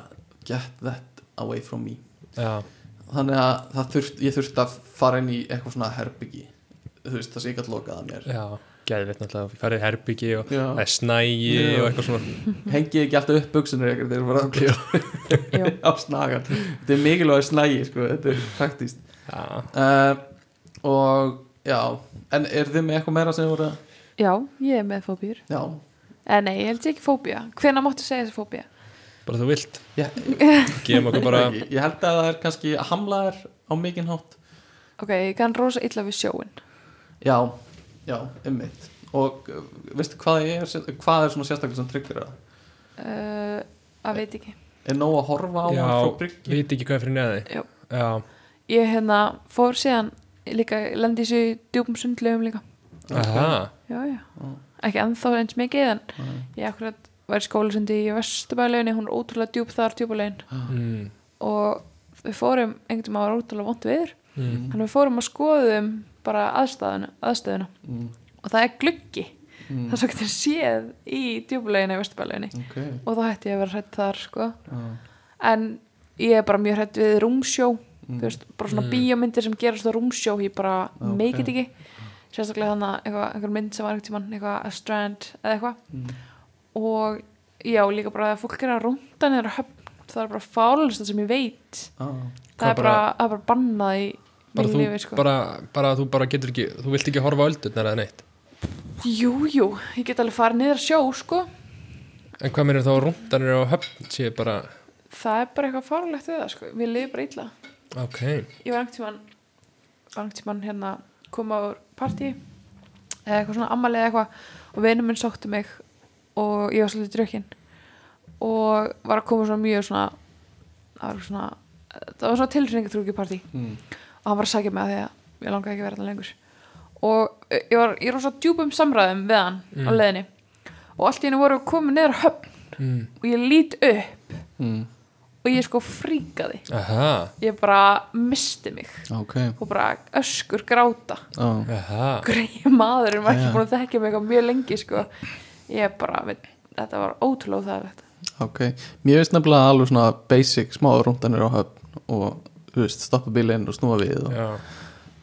get that away from me
já,
þannig að það þurft, ég þurfti að fara inn í eitthvað svona herbyggi þú veist, það sé ekki að lokaða mér
já Gæðvitt náttúrulega, þú færið herbyggi og
Já.
það er snægi
Já.
og eitthvað svona
hengi ég ekki alltaf upp buksunir ekkert þeir eru bara
Já,
á snagan þetta er mikilvæg snægi, sko, þetta er praktíst
Já,
uh, og já en er þið með eitthvað meira sem voru að-
já ég er með fóbíur
já,
Eh, nei, ég held ég ekki fóbía Hvenær máttu segja þessi fóbía?
bara þú vilt
ég,
Gefum okkur bara
ég, ég held að það er kannski að hamla þær á mikinn hátt
Ok, ég kann rosa illa við sjóin
já, já, ummitt og uh, veistu hvað, ég er, sér- hvað er svona sérstaklega sem tryggir það
uh, Að veit ekki
er nóg að horfa á
Já,
hann frá bryggju
veit ekki hvað er fyrir neði
Já.
Já,
Ég hérna fór síðan líka, lendi þessu í djúpum sundlegum líka
aha,
Já, já,
Mm.
ekki ennþá eins mikið en
Nei.
ég akkurat var í skólasundi í Vesturbæleginni, hún er ótrúlega djúp þar djúpulegin
mm,
og við fórum, einhvern veginn var ótrúlega vont viður
mm.
þannig við fórum að skoðum bara aðstæðuna, aðstæðuna
mm,
og það er gluggi,
mm,
það er svo getur séð í djúpuleginni í Vesturbæleginni
ok
og þá hætti ég að vera hrætt þar sko
já.
en ég er bara mjög hrætt við rúmsjó
Mm.
þú veist, bara svona
Mm.
bíómyndir sem gerast á rúmsjó, ég bara
Já,
okay. meikið ekki sérstaklega þannig að eitthvað- einhver mynd sem var einhvern tímann, eitthvað að strand eða eitthvað
Mm.
og já, líka bara að fólk er að rúnda niður að höfn, það er bara fálist sem ég veit,
Ah,
Hvað
það er bara, það er bara bannað í
Bara
mínu
þú,
lífi sko.
bara, bara þú bara getur ekki Þú vilt ekki horfa á öldurnar eða neitt
jú, jú, ég get alveg farið niður að sjó sko,
En hvað meður þá að rúndanir á höfn sé bara,
það er bara eitthvað fárlegt við það sko, mér liði bara illa
ok
ég var einhvern tímann var einhvern tímann hérna koma úr partí eða eitthvað svona ammali eða eitthvað og vinur minn sótti mig og ég var svolítið drökkinn og var að koma svona mjög svona það var svona það var svona tilfinningatrúki partí
mm,
og hann var að sagja mig að því að ég langaði ekki að vera þarna lengur og eh, ég var, ég var svo djúpum samræðum við hann á
Mm.
leiðinni og allt í henni voru komið niður á höfn
mm.
og ég lít upp
mm,
og ég sko fríkaði
Aha,
ég bara misti mig
ok
og bara öskur gráta
ah,
aha
greið maðurinn var ekki
Já.
búin að þekkja mig eitthvað mjög lengi sko. ég bara, við, þetta var ótrúlega þaðlegt
ok, mér veist nefnilega alveg svona basic smá rúndanir á höfn og þú veist, stoppa bílinn og snúa við og,
Já,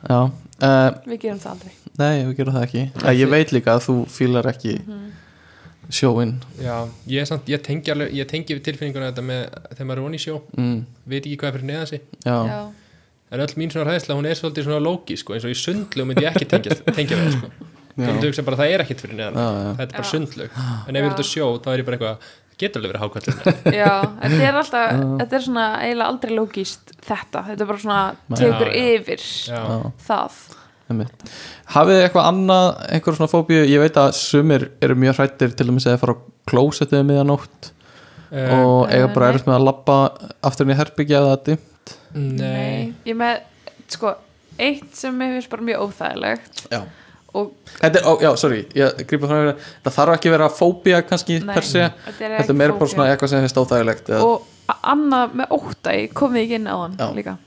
já, uh,
við gerum það aldrei
nei, við gerum það ekki uh, ég veit líka að þú fílar ekki sjóinn
já, ég, er samt, ég tengi alveg Ég tengi við tilfinninguna þetta með þegar maður er von í sjó
mm,
Veit ekki hvað er fyrir neða sig
já,
já,
En öll mín svona hræðsla, hún er svolítið svona lóki sko, eins og í sundlög myndi ég ekki tengja, tengja við það, sko.
já,
Þannig að hugsa bara það er ekkit fyrir neðan
já, já.
Þetta er bara
Já.
sundlög En ef ég er út að sjó, þá er ég bara eitthvað Það getur alveg verið hákvæðlega
já, þetta er alltaf þetta er svona eiginlega aldrei logíst þetta, þetta er bara svona tekur
Já, já.
yfir
Já,
já.
það
einmitt. Hafið þið eitthvað annað, einhver svona fóbíu ég veit að sumir eru mjög hrættir til að segja að fara á klósetið miðanótt
uh,
og eiga
eh,
bara
nei.
erfitt með að labba aftur inn í herbyggja eða þetta
Nei,
ég með, sko, eitt sem mér finnst bara mjög óþægilegt
já
og
Þetta er, ó, já, sorry, ég grípa frá mér það þarf ekki að vera fóbía kannski
Nei,
per se,
þetta er,
þetta
ekki
er meira bara
fóbía.
svona eitthvað sem finnst óþægilegt eða,
og a- annað með ótta ég kom því ekki inn á hann
Já.
líka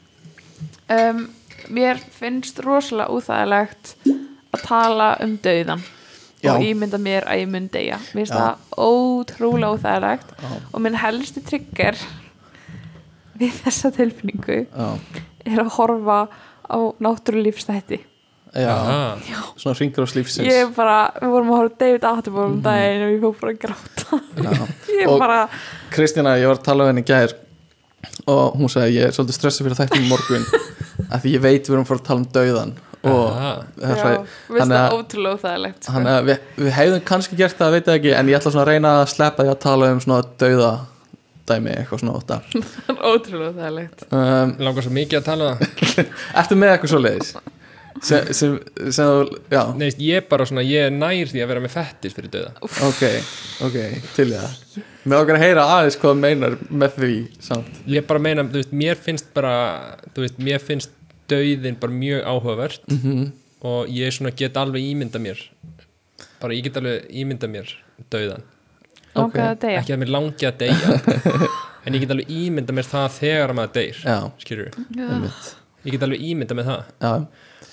um, mér finnst rosalega úþægilegt að tala um dauðan
Já.
og ímynda mér að ég mun deyja mér finnst
Já.
það ótrúlega úþægilegt
já,
og minn helsti trigger við þessa tilfinningu
já,
er að horfa á náttúrulífstætti
já,
Aha.
svona ringur á slífsins
ég er bara, við vorum að horfa á David Attenborough um daginn og ég fór bara að gráta
já.
ég er
Mhm. Og-
bara,
Kristína, ég var að tala við henni í gær og hún sagði ég er svolítið stressuð fyrir þættum morgun af því ég veit við erum að fara að tala um dauðan og
Aha.
það er hræ-
veist
þannig
það
að-
ótrúlega óþægilegt sko.
Þannig að við, við hefðum kannski gert það, veit það ekki en ég ætla svona að reyna að sleppa því að tala um svona dauða dæmi eitthvað svona óta
Það er ótrúlega óþægilegt
um,
langar svo mikið að tala um það
Ertu með eitthvað svo leiðis? Sem, sem, sem þú, já,
Nei, veist, ég bara svona, ég er nær því að vera með fettis fyrir döða
ok, ok, til í það Með okkar að heyra aðeins hvað þú meinar með því samt
ég bara meina, þú veist, mér finnst bara þú veist, mér finnst döðin bara mjög áhugavert
mm -hmm.
og ég svona get alveg ímynda mér bara ég get alveg ímynda mér döðan,
Langaði að deyja
ekki að mér langi að deyja en ég get alveg ímynda mér það þegar maður deyr,
Já,
skilur við
Já.
einmitt
ég get alveg ímynda með það
Já,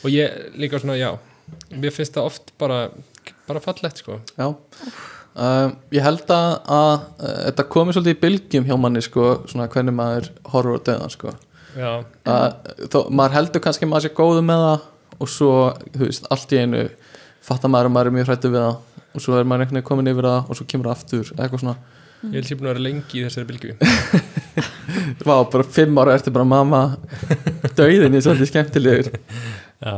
og ég líka svona, já mér finnst það oft bara, bara fallegt sko,
já um, Ég held að, að uh, þetta komi svolítið í bylgjum hjá manni sko, svona hvernig maður horfur á dauðan sko
já,
að þó, maður heldur kannski að maður sé góður með það og svo, þú veist, allt í einu fattar maður að maður er mjög hrættu við það og svo er maður einhvern veginn komin yfir það og svo kemur það aftur eitthvað svona,
ég held sér búin að vera lengi í þessari bylgu
vá, bara fimm ára ertu bara mamma, dauðin er svolítið skemmtilegur
já,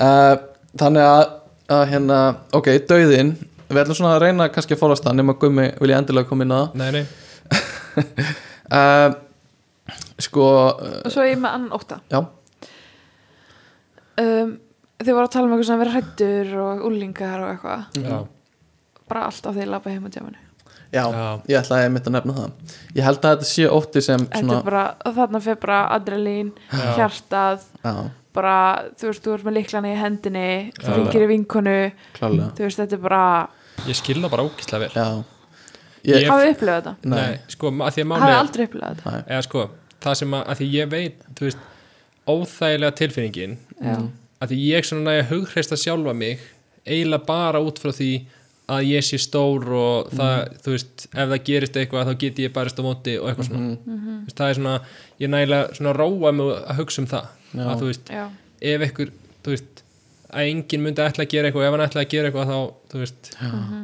uh, þannig að, að hérna, ok, dauðin við ætlum svona að reyna kannski að fórast það nema gummi vil ég endilega koma inn á
nei, nei
það uh, sko, uh,
Og svo er ég með annan óta
já
um, Þið voru að tala um eitthvað svona að vera hrættur og úlingar og eitthvað
Mhm.
já,
Bara allt á því að labba heim á djámanu
Já,
Já.
ég ætlaði einmitt að nefna það Ég held að þetta sé ótti sem
Þetta er
svona,
bara, þarna fyrir bara adrenalín,
Já.
hjartað
já,
bara, þú veist, þú ert með líklana í hendinni þú
Já.
ringir í vinkonu
klálega
þú veist, þetta er bara,
ég skil það bara ógislega vel
Já ég,
Ég-
hafið upplifað þetta
Nei,
Nei, sko, ma- að því að
hafið
málega
aldrei upplifað þetta
eða sko, það sem að, að því ég veit þú veist, óþægilega tilfinningin
já,
að því ég svona næja hugreista sjálfa mig eiginlega bara út frá því að ég sé stór og það, þú veist, ef það gerist eitthvað þá geti ég barist á móti og eitthvað svona mm. veist, það er svona, ég nægilega svona róa mig að hugsa um það
Já.
að þú veist,
já,
ef einhver, þú veist að enginn myndi ætla að gera eitthvað og ef hann ætla að gera eitthvað þá, þú veist,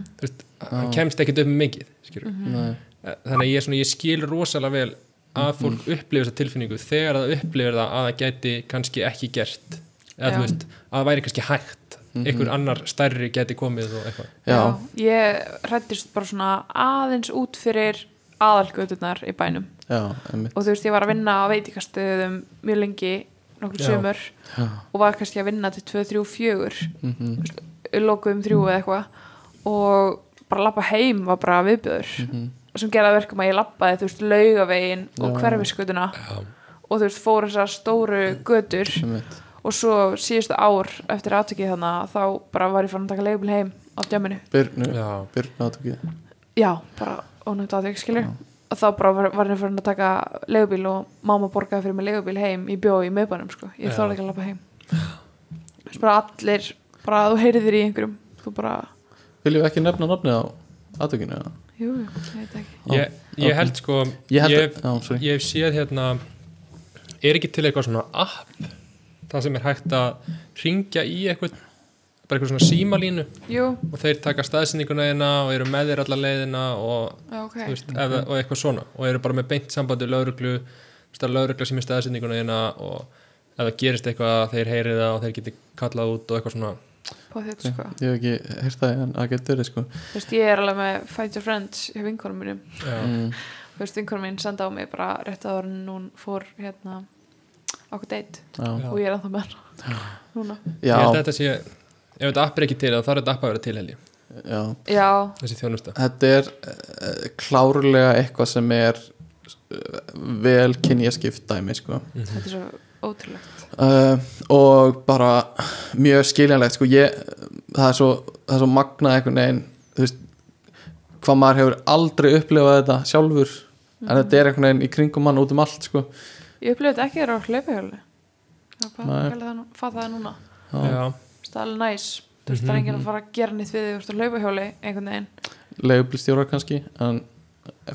þú veist hann kemst ekkert upp með mikið, skilur
nei,
Eh, þannig að ég, svona, ég skil rosalega vel að fólk mm. upplifir þessa tilfinningu þegar það upplifir það að það gæti kannski ekki gert eða
Já.
þú veist, að það væri kannski hægt einhver annar stærri gæti komið og eitthvað
já,
ég hrættist bara svona aðeins út fyrir aðalgötunar í bænum
já, einmitt
og þú veist, ég var að vinna á veitikastöðum mjög lengi, nokkur
Já.
sömur
Já,
og var kannski að vinna til 2, 3, 4
mhm,
lokuðum þrjú eða eitthvað og bara lappa heim var bara viðbjöður sem geraði að verkum að ég lappaði þú veist laugavegin og
Mhm. Já.
hverfiskutuna og þú veist fór þessar stóru götur
einmitt
og svo síðustu ár eftir aðtökið þannig þá bara var ég fann að taka leigubil heim á djáminu,
Byrnu,
Já,
byrnu átökið
já, bara ónæmt aðtökið skilur og þá bara var, var ég fann að taka leigubil og mamma borgaði fyrir mig leigubil heim, ég bjóði í mögbænum sko, ég
Já.
þorði ekki að lappa heim Þú veist, bara allir, bara þú heyrið þér í einhverjum þú bara,
Viljum við ekki nefna nafnið á átökinu? eða?
jú, jú, ég veit ekki
ég,
ok.
ég held sko
Ég held
ég,
að, já, sorry
ég hef séð hérna er ekki til eitthvað svona app það sem er hægt að ringja í eitthvað bara eitthvað svona símalínu
Jú,
og þeir taka staðsendinguna þeirna og eru með þér alla leiðina og
já, ok
þú
Mhm.
veist, ef, og eitthvað svona og eru bara með beint sambandi við lauruglu veist, laurugla sem er staðsendinguna þína hérna og ef það gerist eitthvað þeir heyri það og þeir geti kallað út og eitthvað svona
Pá þetta sko
Ég hef ekki heyrt það en það getur verið sko
Þú veist, ég er alveg með Fight Your Friends hjá vinkonum mínum
já,
mm,
Þú veist, vinkonum mín senda á mig bara rétt að orðin hún fór hérna okkur deitt
Já,
Já.
og ég er að það með hana Núna
ég held að
já,
þetta sé ef þetta app er ekki til þá þarf þetta app að vera til helgi
já
Já,
þessi þjónusta
Þetta er uh, klárlega eitthvað sem er uh, vel kynjaskipt dæmi sko
þetta er svo ótrúlegt
uh, og bara mjög skiljanlegt sko ég, það er svo, það er svo magnað einhvern veginn þú veist hvað maður hefur aldrei upplifað þetta sjálfur en þetta er einhvern veginn í kringum mann út um allt sko
Ég upplifði þetta ekki þegar á hlaupahjóli Það er bara
Nei.
að það, fatta það núna Þú
já.
já,
veist, Það er alveg næs Þú veist, það er enginn að fara að gera nýtt við því Þú veist, á hlaupahjóli einhvern veginn
leigubilstjórar kannski en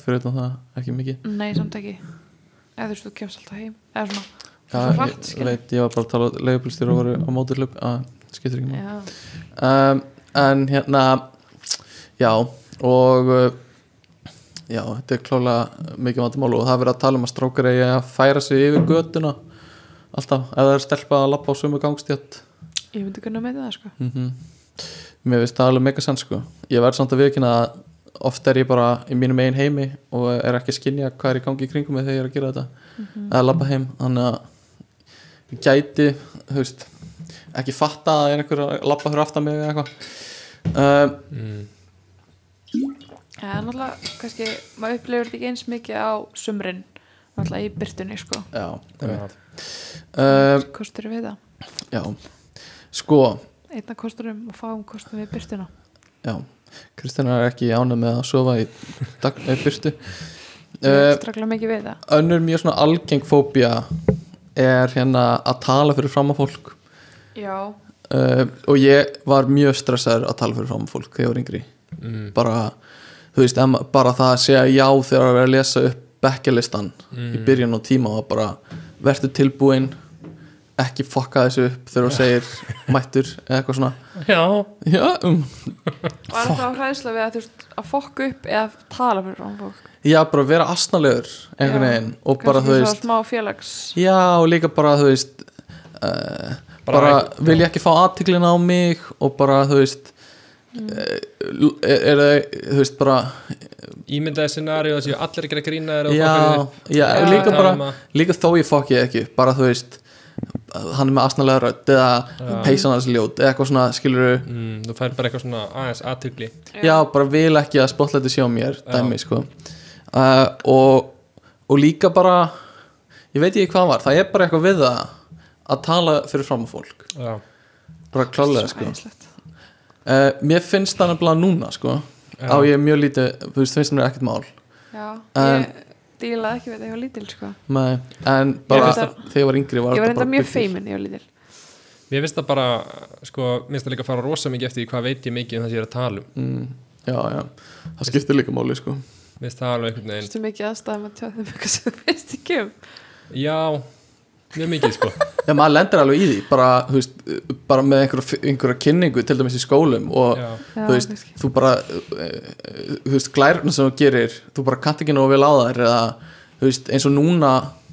fyrir utan það ekki mikið
Nei, samt ekki Eða þú veist, þú kemst alltaf heim Eða svona,
já,
svo hratt,
ég,
skilur.
leit, ég var bara að tala að leigubilstjórar voru á móturlöp að skiptir ekki máli.
já
um, en hérna já og uh, Já, þetta er klálega mikið vandamál og það er verið að tala um að strákar eigi að færa sig yfir götuna alltaf, ef það er stelpað að lappa á sömu gangstjátt
Ég myndi kunna að meita það sko
mm Mér finnst það alveg mega sann sko Ég verð samt að viðkynna að oft er ég bara í mínum einn heimi og er ekki að skynja hvað er í gangi í kringum mig þegar ég er að gera þetta eða labba heim, þannig að ég gæti, þú veist ekki fatta að það er einhver að labba fyrir aftan mig eða eitthvað um,
mm.
Það er náttúrulega, kannski, maður upplifir þetta ekki eins mikið á sumrin Náttúrulega í byrtunni sko
Já, það
Já.
veit um,
Kostur við það
Já, sko
Einna kosturum og fáum kostum við byrtuna
Já, Kristjana er ekki ánum með að sofa í dag, eh, byrtu
Ég
uh,
strakla mikið við það
Önnur mjög svona algeng fóbía er hérna að tala fyrir fram á fólk
Já,
uh, og ég var mjög stressaður að tala fyrir fram á fólk þegar ég var yngri
Mm.
bara, þú veist, em, bara það að segja já þegar að vera að lesa upp bekkjalistan
Mm.
í byrjun og tíma og bara verður tilbúin ekki fokka þessu upp þegar þú segir mættur eða eitthvað svona
Já
já, um,
var það á hræðsla við að þú veist að fokka upp eða tala fyrir frá fólk
já bara vera asnalegur einhvern
Já,
veginn og bara þú
Kannski
veist
svo smá félags
Já, og líka bara, þú veist uh, bara, vil ég ekki fá aðtiklina á mig og bara, þú veist mm. er, er það, þú veist, bara
Ímyndaði scenarió að séu allir ekki að grína þér og
já,
fokka
já,
Já.
líka
Tala um
bara
að-
líka þó ég fokk ég ekki, bara þú veist hann er með asnalega rödd eða
Já.
peysan hans er ljót, eða eitthvað svona skilur
þig. mm, Þú fær bara eitthvað svona aðeins aðtugli
já, bara vil ekki að spotlæti sjá mér
Já.
dæmi, sko uh, og, og líka bara ég veit ekki hvað var, það er bara eitthvað við það að tala fyrir fram á fólk
Já,
bara klálega
Svo
sko
æðislegt.
uh, mér finnst það nefnilega núna sko á ég mjög lítið, þú veist, finnst mér ekkert mál
Já,
En-
ég dílaði ekki við það, ég var lítil sko
Nei, en bara
Ég reyndar-
þegar ég var yngri var þetta
Ég var enda
bara
mjög
bullur.
feimin, ég var lítil
mér finnst það bara sko, mér finnst það líka að fara rosa mikið eftir því hvað veit ég mikið um það sem ég er að tala um
mm, já, já, það skiptir líka máli sko
Mér finnst það alveg einhvern veginn
Vistu mikið aðstæðum að tjóða þeim eitthvað sem þú veist ekki um
Já, mjög mikið sko
já, maður lendir alveg í því, bara, þú veist eh, bara með einhverja, einhverja kynningu til dæmis í skólum og
Já,
Já,
þú veist,
kannski.
þú bara eh, eh, þú veist, glærna sem þú gerir þú bara kannt ekki nógu vel á þær eða, þú veist, eins og núna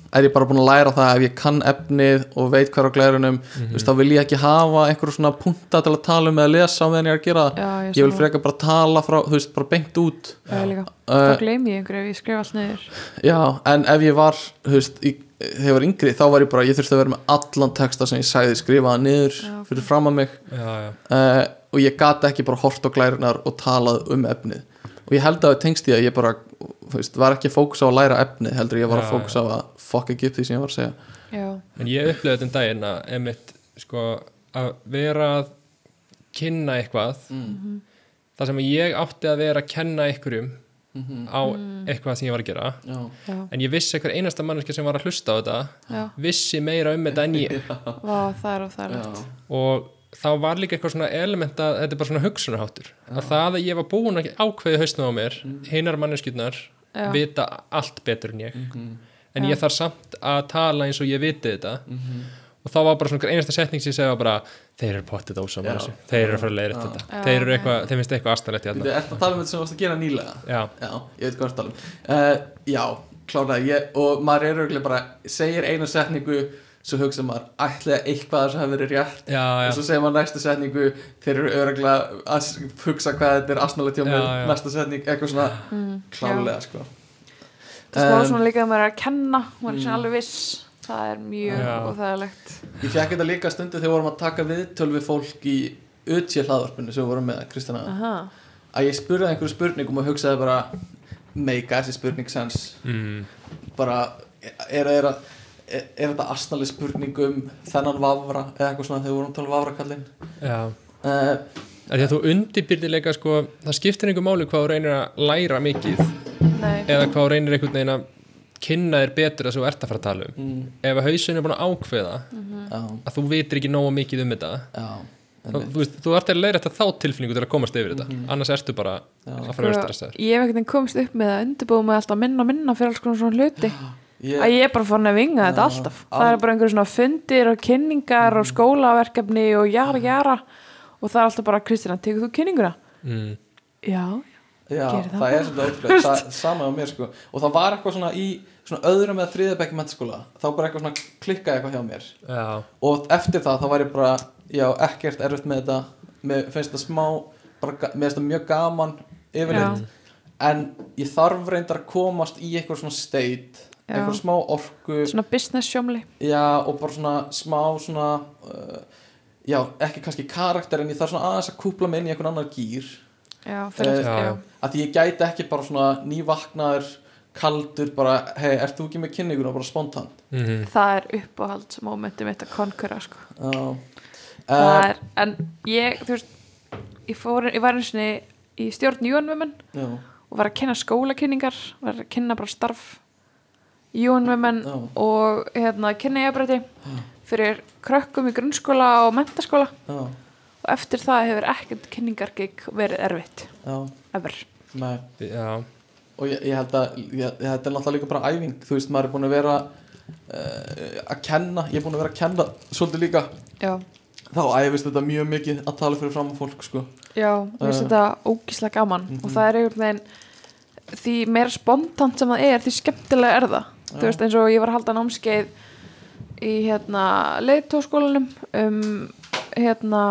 er ég bara búin að læra það ef ég kann efnið og veit hvað er á glærunum þú veist, þá vil ég ekki hafa einhverjum svona punta til að tala um eða lesa á meðan ég er að gera það
Já, ég,
ég vil frekar bara tala frá, þú veist, bara beint út
frekja
uh,
Þá gleymi ég einhverju ef ég skrifa allt niður
já, en ef ég var þú veist, í, þegar ég var yngri, þá var ég bara ég þurfti að vera með allan texta sem ég sagði skrifaða niður
Já, ok.
fyrir fram að mig
já, já
uh, og ég gata ekki bara hort á glærunar og talað um efnið og ég held að það tengst í að ég bara þú veist, var ekki að fókusa á að læra efnið heldur ég var
Já,
að fókusa á að fokka ekki upp því sem ég var að segja
Já,
En ég upplöði þetta um daginn að emitt, sko, að vera að kynna eitthvað þar sem ég átti að vera að kenna einhverjum á eitthvað sem ég var að gera
já,
já,
en ég vissi hver einasta manneskja sem var að hlusta á þetta
já
vissi meira um þetta en ég
Vá, það er og það er lett
og þá var líka eitthvað svona element að þetta er bara svona hugsunarháttur að það að ég var búin að ákveði hausnum á mér hinnar manneskjurnar
Já.
vita allt betur en ég
Mhm,
en ég þarf samt að tala eins og ég viti þetta
mhm.
og þá var bara svona einasta setning sem ég segja var bara þeir eru pottið
Já.
ósamála þeir eru að fara að leiðrétta
Já.
þetta
Já,
þeir eru
já.
eitthvað, þeim finnst eitthvað aðstæðlegt í
Þetta
þarna
er eftir að tala um þetta sem þú varst að gera nýlega
já,
Já, ég veit hvað það er að tala um uh, Já, klárlega ég, og maður er auðvitað bara segir eina setningu svo hugsa maður ætlaði eitthvað sem hefur verið rétt
já, já,
og svo segir maður næsta setningu þeir eru auðvitað að s- hugsa hvað þetta er asnalegt hjá
Já,
mér
já.
næsta setning, eitthvað svona
mm,
klárlega sko
Það er smá
Um,
svona líka að maður er að kenna maður er svona
Mm.
alveg viss Það er mjög
Já.
og það er lett
Ég fekk þetta líka stundu þegar við vorum að taka viðtöl við fólk í ötsi hlaðvarpinu sem við vorum með Kristjana
Aha,
að ég spurði einhverju spurningum og hugsaði bara make þessi spurning sense
mm,
bara er, er, að- er, er þetta astnali spurning um þennan vafra eða eitthvað svona þegar við vorum að tala um vafrakallin
já.
uh,
Af Því að þú undirbyrðilega sko, það skiptir einhver máli hvað þú reynir að læra mikið
nei
eða hvað þú reynir einhvern veginn að kynna þér betur þess að þú ert að fara að tala um
mm,
ef að hausin er búin að ákveða
já,
að þú vitir ekki nógu mikið um þetta
já,
þá, þú, veist, þú ert að leira þetta þá tilfinningu til að komast yfir þetta
Mhm.
annars ertu bara að fara að
Sko-
vera stressaður
Ég hef ekkert einn komist upp með að undirbúið mig alltaf minna og minna fyrir alls konar svona hluti að
ég,
ég er bara fann að vinga
Já,
þetta
Mm.
alltaf
al-
það er bara einhverjum svona fundir og kynningar og skólaverkefni og jara jara og það er alltaf bara Kristina, tekur þú kynninguna?
mm.
Já,
Já,
Gerðu
það,
það
er svolítið ótrúlega Sa, sama á mér sko og það var eitthvað svona í svona öðrum eða þriðabæk mentaskóla þá bara eitthvað svona klikkaði eitthvað hjá mér
já,
og eftir það þá var ég bara já, ekkert erfitt með þetta mér finnst það smá, bara, ga- mér finnst það mjög gaman yfirleitt en ég þarf reyndar að komast í eitthvað svona state,
Já.
eitthvað smá orku
svona business sjómli
Já, og bara svona smá svona uh, Já, ekki kannski karakter en ég þarf svona aðeins að kúpla mig inn í einhvern annar gýr
já,
Eh,
fyrir,
já,
já.
já.
að því ég gæti ekki bara svona nývaknaður kaldur bara, hei, ert þú ekki með kynninguna bara spontant
mhm,
það er uppáhaldsmomentum mitt að konkura sko.
Já
það
uh,
er, en ég þú veist, ég, fór, ég var eins og í stjórn Jónvömmen
Já,
og var að kynna skólakynningar var að kynna bara starf Jónvömmen
Já.
og hérna, kynna ég fyrir krökkum í grunnskóla og mentaskóla
já,
og eftir það hefur ekkert kynningargig verið erfitt
já,
ever.
nei
já,
og ég, ég held að ég, ég, þetta er náttúrulega líka bara æfing þú veist, maður er búin að vera uh, að kenna, ég er búin að vera að kenna svolítið líka,
Já,
þá æfist þetta mjög mikið að tala fyrir fram fólk, sko
já, mér
Já.
finnst
Mhm.
þetta ógíslega gaman og það er einhvern veginn því meira spontant sem það er, því skemmtilega er það. Þú
Já.
veist eins og ég var að halda námskeið í hérna leiðtóskólanum um hérna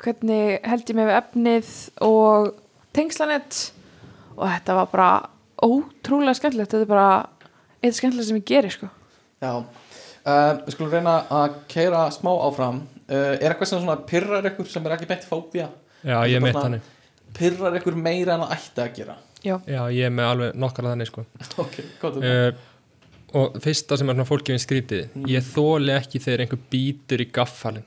hvernig held ég mig við efnið og tengslanett og þetta var bara ótrúlega skemmtilegt, þetta er bara eitt skemmtilegt sem ég geri sko.
Já, uh, við skulum reyna að keira smá áfram uh, Er eitthvað sem svona pyrrar ykkur sem er ekki beint fóbía?
já, ég er mitt þannig
Pyrrar ykkur meira en að ætti að gera?
Já,
já, ég er með alveg nokkara þannig sko
Ok, gott um
uh, og fyrsta sem er svona fólki við skrítið,
Mm.
ég þóli ekki þegar einhver býtur í gaffalinn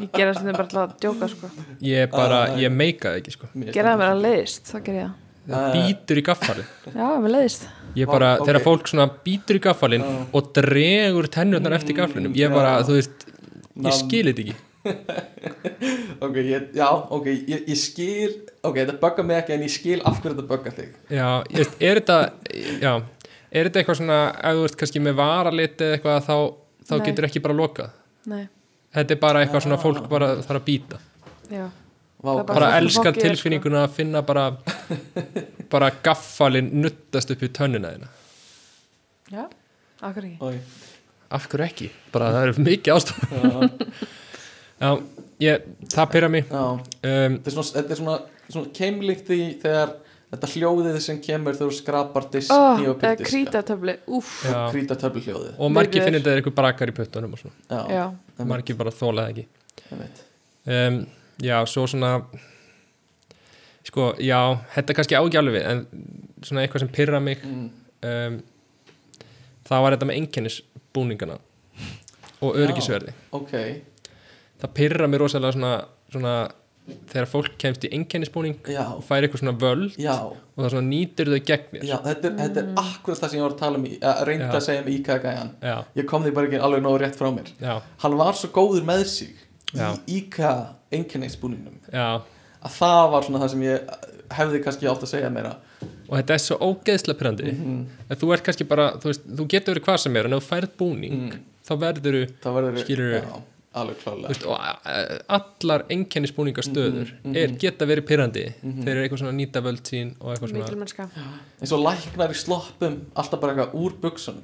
ég gera þetta bara til að djóka sko.
ég er bara,
Ah,
ég meika það ekki sko
Gerða það mér að leiðist, þá gerði ég það.
Ah.
býtur í gaffalinn,
Já, mér leiðist.
ég bara
Vá, ok.
þegar fólk svona býtur í gaffalinn
Ah.
og dregur tennurnar eftir gaffalinnum, ég
já.
bara, þú veist
Nam.
ég skil þetta ekki,
Ok, ég, já, ok, ég, ég skil Ok, þetta buggar mig ekki en ég skil af hverju þetta buggar þig
já, ég veist, er þetta já, er þetta eitthvað svona ef þú veist kannski með varalit eða eitthvað þá, þá
Nei.
getur ekki bara lokað
Nei,
þetta er bara eitthvað
Ah.
svona fólk bara þarf að býta
já.
Vá,
Það er
bara
það sem
elska
fólk gerir,
tilfinninguna að finna bara bara gaffalinn nuttast upp í tönnina þína
Já, akkur ekki.
Oj,
af hverju ekki, bara það eru mikið ástof
já,
já, ég, það pyrra mig
já.
um,
Þetta er svona, þetta er svona, svona keimlíkt í þegar þetta hljóðið sem kemur þegar þú skrapar disk
Ó,
hníf og
eða
pyrrdiska.
krítatöfli, úff.
Já.
Kríta töfluhljóðið
og margir
Mikið
finnir
er.
þetta er eitthvað brakar í puttunum og svona,
Já,
Já,
einmitt,
margir bara þóla það ekki
einmitt.
um, já, svo svona sko, já þetta er kannski ágjálfi við en svona eitthvað sem pyrra mig
Mm.
um, það var þetta með einkennisbúningana og öryggisverði
Ok,
það pyrra mér rosalega svona, svona þegar fólk kemst í einkennisbúning
já,
og fær eitthvað svona völd
já,
og það svona nýtur þau gegn mér
já þetta, er, þetta
Mm.
er akkurat það sem ég var að tala um í- að reynda
Já.
að segja um IKEA-gæjan
já,
ég kom því bara ekki alveg nógu rétt frá mér
já,
hann var svo góður með sig
Já.
í IKEA-einkenningsbúningnum
já.
að það var svona það sem ég hefði kannski átt að segja meira
og þetta er svo ógeðslega pyrrandi mm
Mhm.
þú ert kannski bara, þú, veist, þú getur verið hvað sem er en ef þú færð búning
Mm.
þá verður þú
það verður
Skilurðu?
já, alveg klálega
veist, og a- a- allar einkennisbúningastöður
Mhm,
er, geta verið pyrrandi þeir eru eitthvað svona að nýta völd sín og eitthvað svona
mikilmennska.
eins og læknar í sloppum alltaf bara eitthvað úr buksunum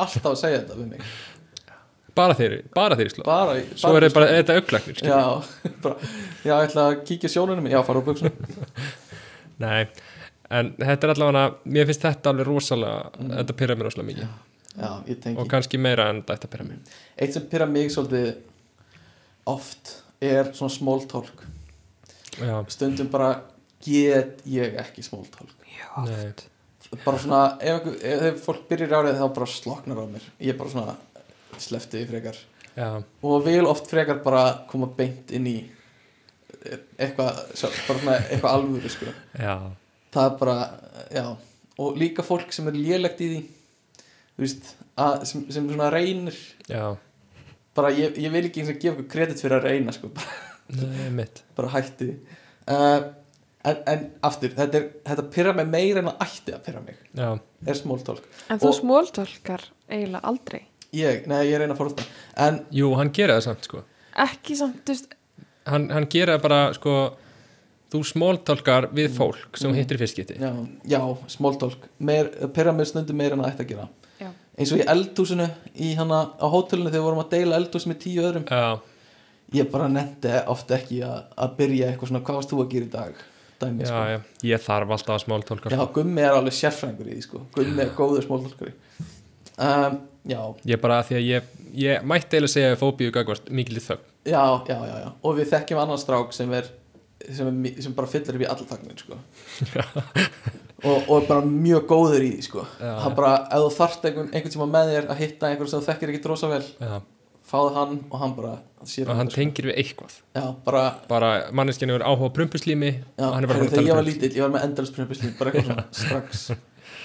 alltaf að segja þetta við mig
bara þeir, bara þeir í sló
bara, í-
svo er þetta bara, er þetta auklagnir skilur.
Já, bara, já, ég ætla að kíkja sjónunum Já, fara úr buksunum
nei, en þetta er allavega mér finnst þetta alveg rosalega
Mm.
þetta pyrra mér rosalega mikið
Já, ég tengi
og kannski meira en þetta pyrra mér
Eitt sem pyrra mig svolítið oft er svona smóltólk
já,
stundum bara get ég ekki smóltólk
nei,
bara svona, ef, einhver, ef- ef fólk byrjar árið þá bara sloknar á mér ég bara svona slefti því frekar
já,
og vil oft frekar bara koma beint inn í eitthvað sjá- bara svona eitthvað alvöru sko
já
það er bara, já og líka fólk sem er lélegt í því þú veist, að, sem, sem svona reynir
já,
bara ég, ég vil ekki eins og gefa ykkur kredit fyrir að reyna sko, bara,
nei, mitt
bara hætti uh, en, en aftur þetta, er, þetta pyrra mig meira en að ætti að pyrra mig
já,
er smóltólk
En þú
Og-
smóltölkar eiginlega aldrei.
ég, nei ég reyna að fórna en
jú, hann gera það samt sko
Ekki samt, þú veist,
hann, hann gera það bara sko þú smóltálkar við fólk sem
Mm.
mm. hittir fiskiti
já, já smóltólk perra mér stundum meira en það ætti að gera
Já.
eins og í eldhúsinu í hana, á hótelinu þegar við vorum að deila eldhús með tíu öðrum
já,
ég bara nefndi oft ekki að, að byrja eitthvað svona hvað varst þú að gera í dag dæmi,
já,
sko.
já, ég þarf alltaf að smóltálka
já,
sko.
gummi er alveg sérfræðingur í því sko. gummi er góður smóltólkur um, já,
ég bara af því að ég, ég mætti eiginlega segja fóbíu gagvart mikil í þögn
já, já, já, já og við þekkjum annan strák sem er sem, er, mi- sem bara fyllir upp í allataknin sko. og, og er bara mjög góður í því sko.
Já,
það
já.
bara, ef þú þarft einhvern, einhvern tíma með þér að hitta einhvern sem þú þekkir ekki drosa vel
já,
fáðu hann og hann bara sér
og
um
hann
þetta,
tengir við eitthvað
sko. já, bara
bara manneskinu er áhuga á prumpuslými
Já,
og hann er bara
heyrðu,
búinn
þegar ég
um
var lítill, ég var með endalist prumpuslím bara eitthvað svona strax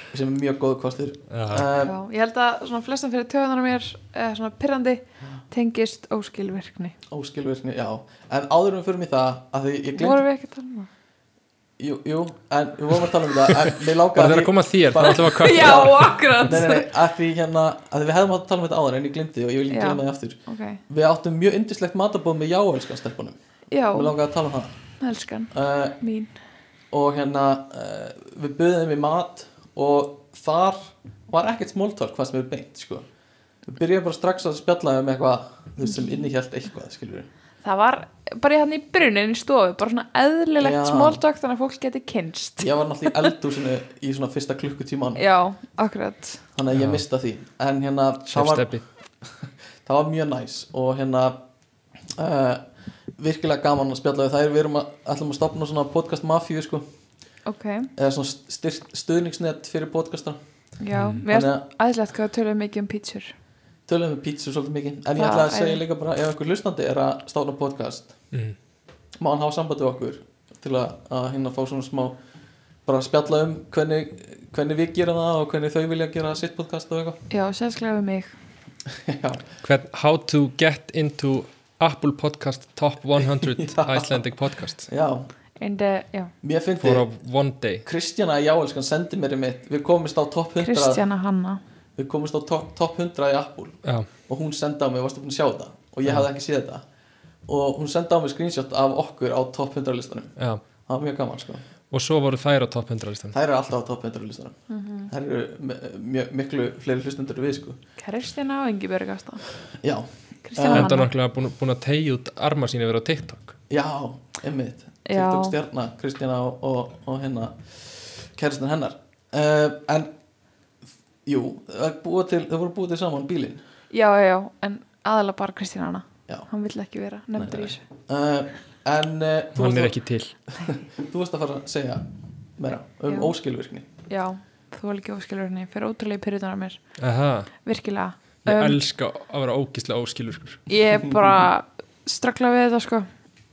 sem er mjög góð kostur
prumpuslím. já,
um,
Já, ég held að svona flestan fyrir töðunar mér eh, svona pyrrandi tengist óskilvirkni
óskilvirkni, já en áður en við förum í það, að því ég glemt
vorum við ekki að tala um það?
jú, jú, en við vorum að tala um það en við lákaði
bara þegar að koma að þér,
bara-
þá ætlum við að köpa
Já,
nei,
akkurat
nei, nei, að því hérna, að því við hefðum átt að tala um þetta áður en ég glemti og ég vil ekki
Já.
glemma því aftur
Ok,
við áttum mjög yndislegt matabóð með jáelskan stelpunum,
já,
við lákaði að tala um það
elskan
uh,
mín
og hérna uh, við buðum í mat og þar var ekkert smóltólk hvað sem er beint sko. við byrjum bara strax að spjalla um eitthvað þú veist, sem innihjælt eitthvað skilur
Það var bara hann í brunin í stofu bara svona eðlilegt
Já.
smáltök þannig að fólk geti kynst
ég var náttúrulega í eldúsinu í svona fyrsta klukkutíman
Já, akkurat
þannig að ég
Já.
mista því en hérna það var,
Sjálfsteppi
það var mjög næs og hérna uh, virkilega gaman að spjalla við þær við erum að, ætlum að stopna svona podcast mafíu sko,
Ok,
eða svona styr, stuðningsnett fyrir podcastar
já,
Mm.
Þannig
mér erst aðeinslegt hvað við tölum mikið um pítsur
tölum við pítsu svolítið mikið en ég
Það
ætla að
er-
segja líka bara ef einhver hlustandi er að stána podcast
Mm.
má hann hafa samband við okkur til að, að hérna fá svona smá bara spjalla um hvernig, hvernig við gerum það og hvernig þau vilja gera sitt podcast og
Já, sérsklega við mig
eitthvað Já,
Hvern, How to get into Apple Podcast Top 100
Já.
Icelandic Podcast
já,
En það, já,
mér fyndi
for a one day
Kristjana Jáelskan sendi mér í mitt við komumst á topp 100
Kristjana Hanna
við komumst á topp top 100 í Apple
Já,
og hún sendi á mig, varstu búin að sjá þetta og ég hafði ekki séð þetta og hún sendi á mig screenshot af okkur á topp 100 listanum
já
það var mjög gaman sko
Og svo voru þær á top 100 listan
Þær eru alltaf á top 100 listanum Þær eru me- mjög- miklu fleiri hlustendur en við sko
Kristina og Ingibjörg Ásta
Já,
Kristjana
Eh,
Enda
Hanna
náttúrulega búin, búin að tegja út arma sína verið á TikTok
já, einmitt
Já.
TikTok stjarnar, Kristjana og, og, og hérna kæristin hennar uh, En, jú, það búa til, þau voru búið til saman bílinn
Já, já, já, en aðalega bara Kristín Anna
Já.
Hann vill ekki vera
Nei,
nefndur í
nei.
þessu
uh, En uh, þú,
Hann
varst
er
að-
ekki til
þú varst að fara að segja meira um
Já.
óskilvirkni
Já, þú er ekki óskilur henni Fyrir ótrúlega pyrirðan af mér,
Aha,
virkilega
Ég
Um,
elska að vera ógislega óskilur sko.
Ég bara strakla við þetta sko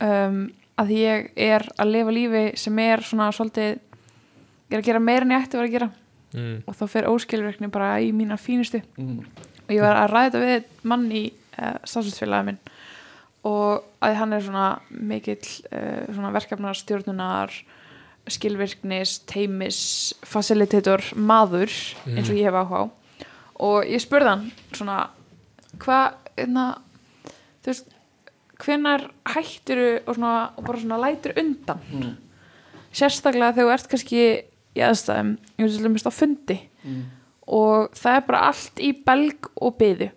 um, að því ég er að lifa lífi sem er svona svolítið ég er að gera meira en ég ætti að vera að gera
mm.
og þá fer óskilvirkni bara í mína fínustu
mm.
og ég var að ræða þetta við mann í uh, stafsvöldsfélagi minn og að hann er svona mikill uh, svona verkefnar, stjórnunar skilvirknis, teimis facilitator, maður eins og ég hef áhuga á og ég spurði hann svona hvað, hérna þú veist, hvenær hættiru og svona, og bara svona lætur undan
Mm.
sérstaklega þegar þú ert kannski í aðstæðum, ég veist til dæmis á fundi
Mm.
og það er bara allt í belg og byðu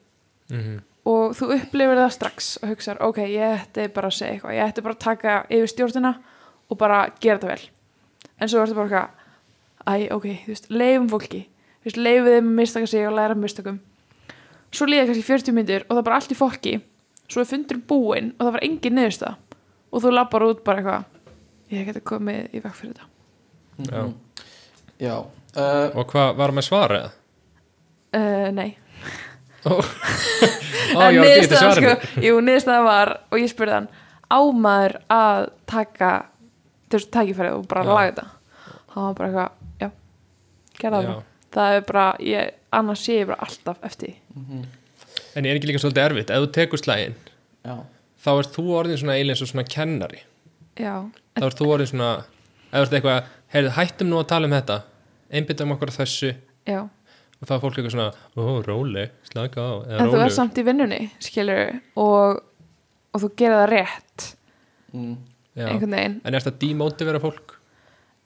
Mm
og þú upplifir það strax og hugsar, ok, ég ætti bara að segja eitthvað ég ætti bara að taka yfir stjórnina og bara gera það vel en svo ertu bara eitthvað, æ, ok þú veist, leifum fólki, þú veist, leifum þeim að mistaka sig og læra af mistökum svo líða kannski 40 myndir og það er bara allt í fólki svo er fundur búinn og það var engin niðursta og þú lappar út bara eitthvað ég geti komið í vekk fyrir þetta
Já.
Mm. Já uh,
Og hvað var með svara?
uh, nei
Ó, Ó
en
ég var að býta til
niðurstaðan
svarinu
sko, jú, niðurstaðan var og ég spurði hann, ámaður að taka þessu tækifærið og bara
Já.
laga þetta hann var bara eitthvað, já, gerða það
Já.
bara. það er bara, ég, annars sé ég bara alltaf eftir því.
En ég er ekki líka svolítið erfitt Ef þú tekur slægin,
Já,
þá ert þú orðin svona eiginlega eins og svona kennari
já,
þá ert þú orðin svona ef þú ert eitthvað, heyrðu hættum nú að tala um þetta einbyttum okkur að þessu
já
og þá er fólk eitthvað svona, ó, róli slaka á, eða
en þú er
róli
samt í vinnunni, skilur og, og þú gera það rétt
mm.
Já.
einhvern veginn
en er þetta demotivera fólk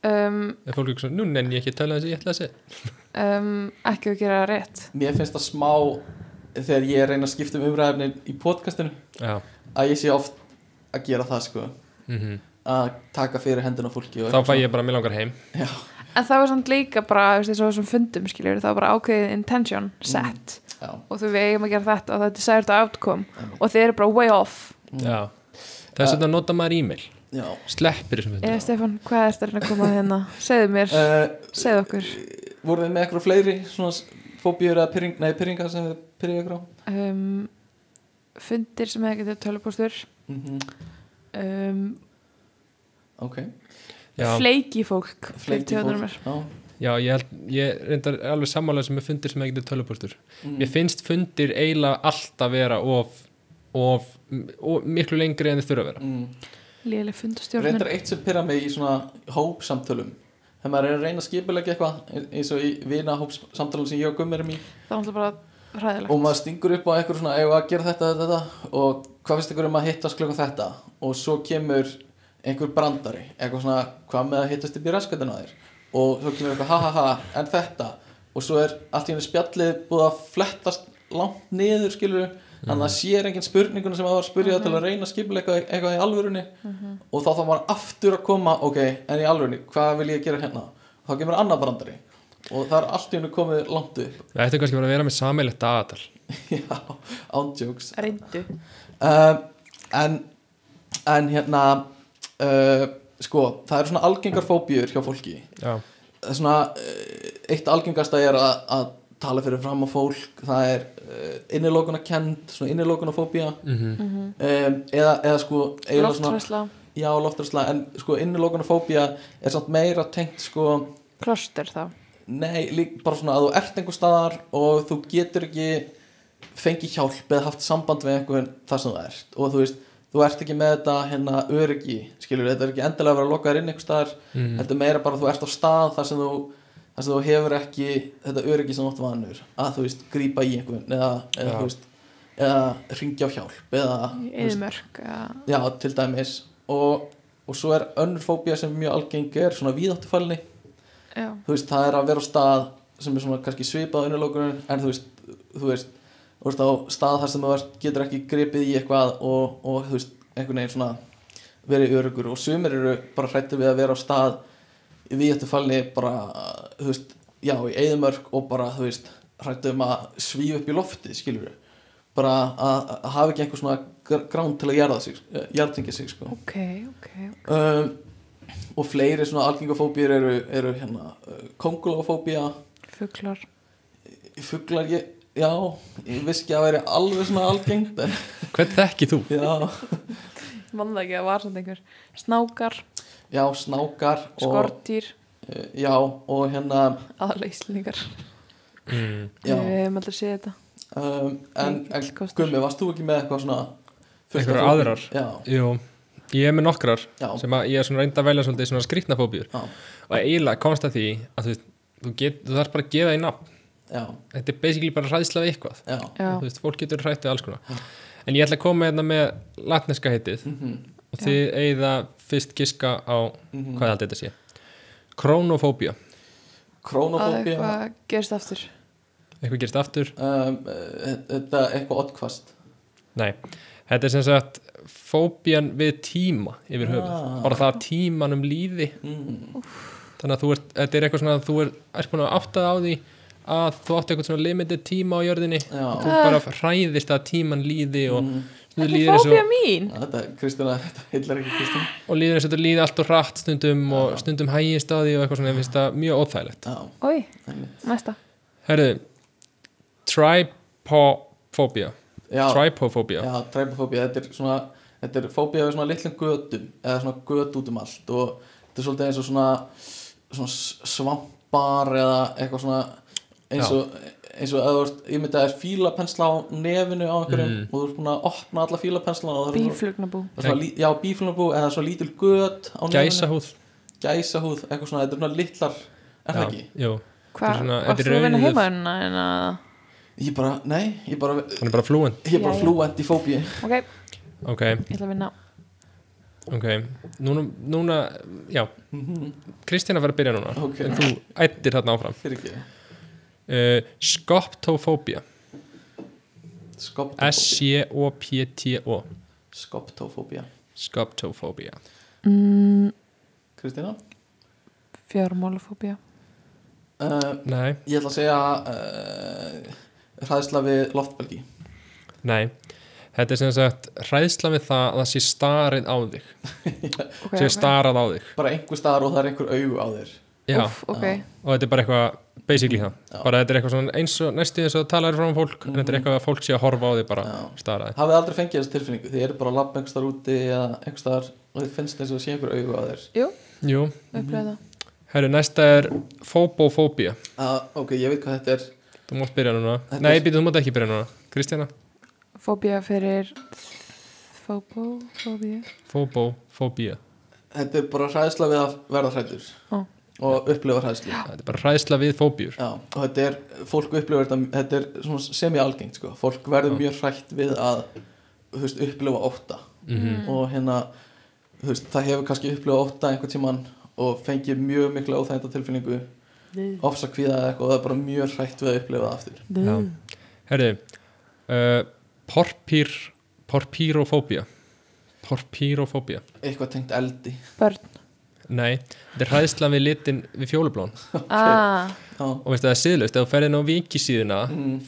um,
ef fólk er svona, nú nenni ég ekki að tala þessi ég ætla að segja
um, ekki að gera það rétt
Mér finnst það smá þegar ég reyna að skipta um umræðefnin í podcastinu
já,
að ég sé oft að gera það sko
mm
að taka fyrir hendina á fólki og
þá
eitthvað
fæ ég bara mér langar heim
svona. Já,
en það var samt líka bara þú veist, eins og þessum fundum skiljur það var bara ákveðið intention set
já,
og þú við eigum að gera þetta og það er desired outcome
Einmitt.
og þið eru bara way off
Mm.
já, þess vegna nota maður e-mail
já.
sleppir þessum fundum
eða Stefan, Eh, hvað er þetta að koma að hérna segðu mér,
Uh,
segðu okkur
voruð þið með eitthvað fleiri svona fóbíur eða pyrring, nei, pyrringa sem þið pyrringa ykkur á
um, fundir sem hefði getið tölupóstur
mm
um,
ok,
já,
fleiki fólk
Fleiti fólk.
fólk.
já,
Já.
ég, held, ég reyndar er alveg sammálega sem er fundir sem ekki er tölupústur
Mm.
mér finnst fundir eiginlega alltaf vera of, of, of miklu lengri en þið þurfa að vera
mm.
léleg fundastjórnir
reyndar eitt sem pyrra mig í svona hópsamtölum þegar maður er að reyna að skipulegja eitthvað eins og í vina hópsamtölum sem ég og Gummir er í
það var alltaf bara hræðilegt
og maður stingur upp á eitthvað svona eigum við að gera þetta, þetta, þetta og hvað finnst ykkur um að hittast klukkan þetta og svo kemur einhver brandari eitthvað svona hvað með að hittast upp í raskatina þér og svo kemur eitthvað ha ha ha en þetta og svo er allt í henni spjallið búið að flettast langt niður skilur þannig að það sér engin spurninguna sem það var að spyrja til að reyna að skipla eitthvað, eitthvað í alvörunni og þá þá maður aftur að koma ok, en í alvörunni, hvað vil ég gera hérna þá kemur annar brandari og það er allt í henni komið langt upp
við ættum kannski bara að vera með sammeilegt dagatal
Já, ándjóks
reyndu
uh, en, en hérna uh, sko, það eru svona algengar fóbíur hjá fólki
já,
Það er svona, uh, eitt algengasta er að, að tala fyrir fram á fólk það er uh, innilokuna svona innilokuna fóbía
mm
eða, eða sko eiginlega svona-
loftræsla,
já, loftræsla, en sko innilokuna er samt meira tengt sko
klostur þá
Nei, lík, bara svona að þú ert einhver staðar og þú getur ekki fengið hjálp eða haft samband við einhvern þar sem þú ert og þú veist, þú ert ekki með þetta hérna öryggi, skilur, þetta er ekki endilega að vera að loka þér inn einhver staðar,
Mhm.
þetta er meira bara að þú ert á stað þar sem þú þar sem þú hefur ekki þetta öryggi sem þú átt vanur að þú veist, grípa í einhvern eða, eða
Já.
þú veist, eða ringja á hjálp eða, þú veist,
yðmörk að-
já, til dæmis og, og svo er önnur fóbía sem er mjög algengi er svona víðáttufælni
eh, já,
þú veist, það er að vera á stað sem er svona kannski svipað unnulokunum en þú veist, þú veist, þú veist á stað þar sem þú ert, getur ekki gripið í eitthvað og, og þú veist, einhvern veginn svona verið örugur og sumir eru bara hrættir við að vera á stað við þetta falni bara, þú veist, já, í eðumörk og bara, þú veist, hrættir um að svífa upp í lofti, skilur við bara að, að hafa ekki einhver svona gr- grán til að jarða sig, jarðtingja sig, sko
ok, ok
um, og fleiri svona algengafóbíur eru, eru hérna uh, kongulofóbía
fuglar,
fuglar ég, já ég viss ekki að veri alveg svona algengt en,
hvern þekki þú?
já,
mann það ekki að var samt einhver snákar,
já, snákar og,
skortýr
uh, já, og hérna
aðalega íslendingar
Mm.
já,
við hefum alltaf séð þetta
um, en, en
Mikill kostur.
Gummi, varst þú ekki með eitthvað svona fullt af
Einhverjar
fóbíum?
aðrar? Jú, ég er með nokkrar
Já, já,
sem að ég er svona reynd að velja svolítið svona skrýtna fóbíur
já,
og eiginlega komst að því að þú, veist, þú, get, þú þarf bara að gefa því nafn
já,
þetta er basically bara hræðsla við eitthvað
já.
já,
þú veist, fólk getur hrætt við alls konar en ég ætla að koma hérna með latneska heitið
Mm -hmm,
og þið eigið að fyrst giska á
mhm.
hvað allt þetta sé Krónofóbía,
að
Krónofóbía
eitthvað gerist aftur
eitthvað gerist aftur
um, eh, Þetta er eitthvað oddkvast
nei, þetta er sem sagt fóbían við tíma yfir höfuð,
Ah.
bara það að tímanum líði
mm,
þannig að þú ert, þetta er eitthvað svona að þú ert, ert búin að áttað á því að þú átt eitthvað svona limited tíma á jörðinni
Já,
þú bara hræðist að tíman líði og,
Mm.
þú
Ah. þetta
líður
er
eins
fóbia
og,
mín
þetta, Kristina, þetta heillar ekki Kristina
og líður eins og þetta líði allt og hratt stundum
Ah.
og stundum hægist á því og eitthvað svona, ég finnst það mjög óþægilegt
Já,
oi,
einmitt.
næsta
Herðu, tripofóbía
já,
tripofóbía,
já træpafóbía þetta er svona, þetta er fóbía við svona litlum götum eða svona göt út um allt og þetta er svolítið eins og svona, svona s- svampar eða eitthvað svona eins
Já.
og eins og að þú ert, ég myndi að það er fílapensla á nefinu á einhverjum
Mm.
og þú ert búin að opna alla fílapensla og það er svona,
bíflugnabú
það er svona lí- já, bíflunabú eða svona lítil göt á nefinu
gæsahúð
gæsahúð, eitthvað svona, þetta er svona litlar er það
Já,
ekki?
jú. Þetta er
hvað,
svona- þetta
varst
er
þú að vinna
raunuð-
heimaðunna en að
Ég bara, nei, ég bara
hann er bara flúin
ég er bara
Jæja.
flúent í fóbíu
ok, ég
ok,
ætla að vinna
ok, núna, núna já, Kristína var að byrja núna
Ok.
en þú ættir þarna áfram
fyrir ekki
uh, skoptofóbía
skoptofóbía
S-J-O-P-T-O
skoptofóbía
skoptofóbía
mm,
Kristina
fjármálafóbía
uh,
nei,
ég ætla að segja uh, hræðsla við loftbelgi
nei þetta er sem sagt hræðsla við það að það sé starið á þig
okay,
sé starað á þig
bara einhver staðar og það er einhver augu á þér
já,
Úff, ok,
og þetta er bara eitthvað basically það,
Já. Mhm.
bara þetta er eitthvað svona eins og næstu eins og talaður frá fólk, en þetta er eitthvað að fólk sé að horfa á þig bara
Já.
staraði
hafið aldrei fengið þessu tilfinningu þið eru bara að labba einhver staðar úti eða einhver staðar og þið finnst eins og sé einhver augu á þér
jú,
jú,
upplega það
herru, næsta er fóbofóbía,
uh, ok, ég veit hvað þetta er
þú mátt byrja núna
Þetta
nei,
er-
býtu, þú mátt ekki byrja núna, Kristjana
fóbía fyrir fóbó, fóbía
fóbofóbía,
þetta er bara hræðsla við að verða hrættur
Ó.
og upplifa hræðslu
þetta er bara hræðsla við fóbíur
Já, og þetta er, fólk upplifir þetta, þetta er svona semi-algengt sko, fólk verður mjög hrætt við að, þú veist, upplifa ótta
Mm.
og hérna, þú veist, það hefur kannski upplifað ótta einhvern tímann og fengið mjög mikla óþænda tilfinningu, ofsa kvíða eða eitthvað og það er bara mjög hrætt við að upplifa það aftur.
Já. Herri, uh, porpír, porpírofóbía. Porpírofóbía.
Eitthvað tengt eldi.
börn
Nei, þetta er hræðslan við litin við fjólublón.
ah,
Já, Mhm.
Og veistu það er siðlaust, ef þú ferðin á vikisíðuna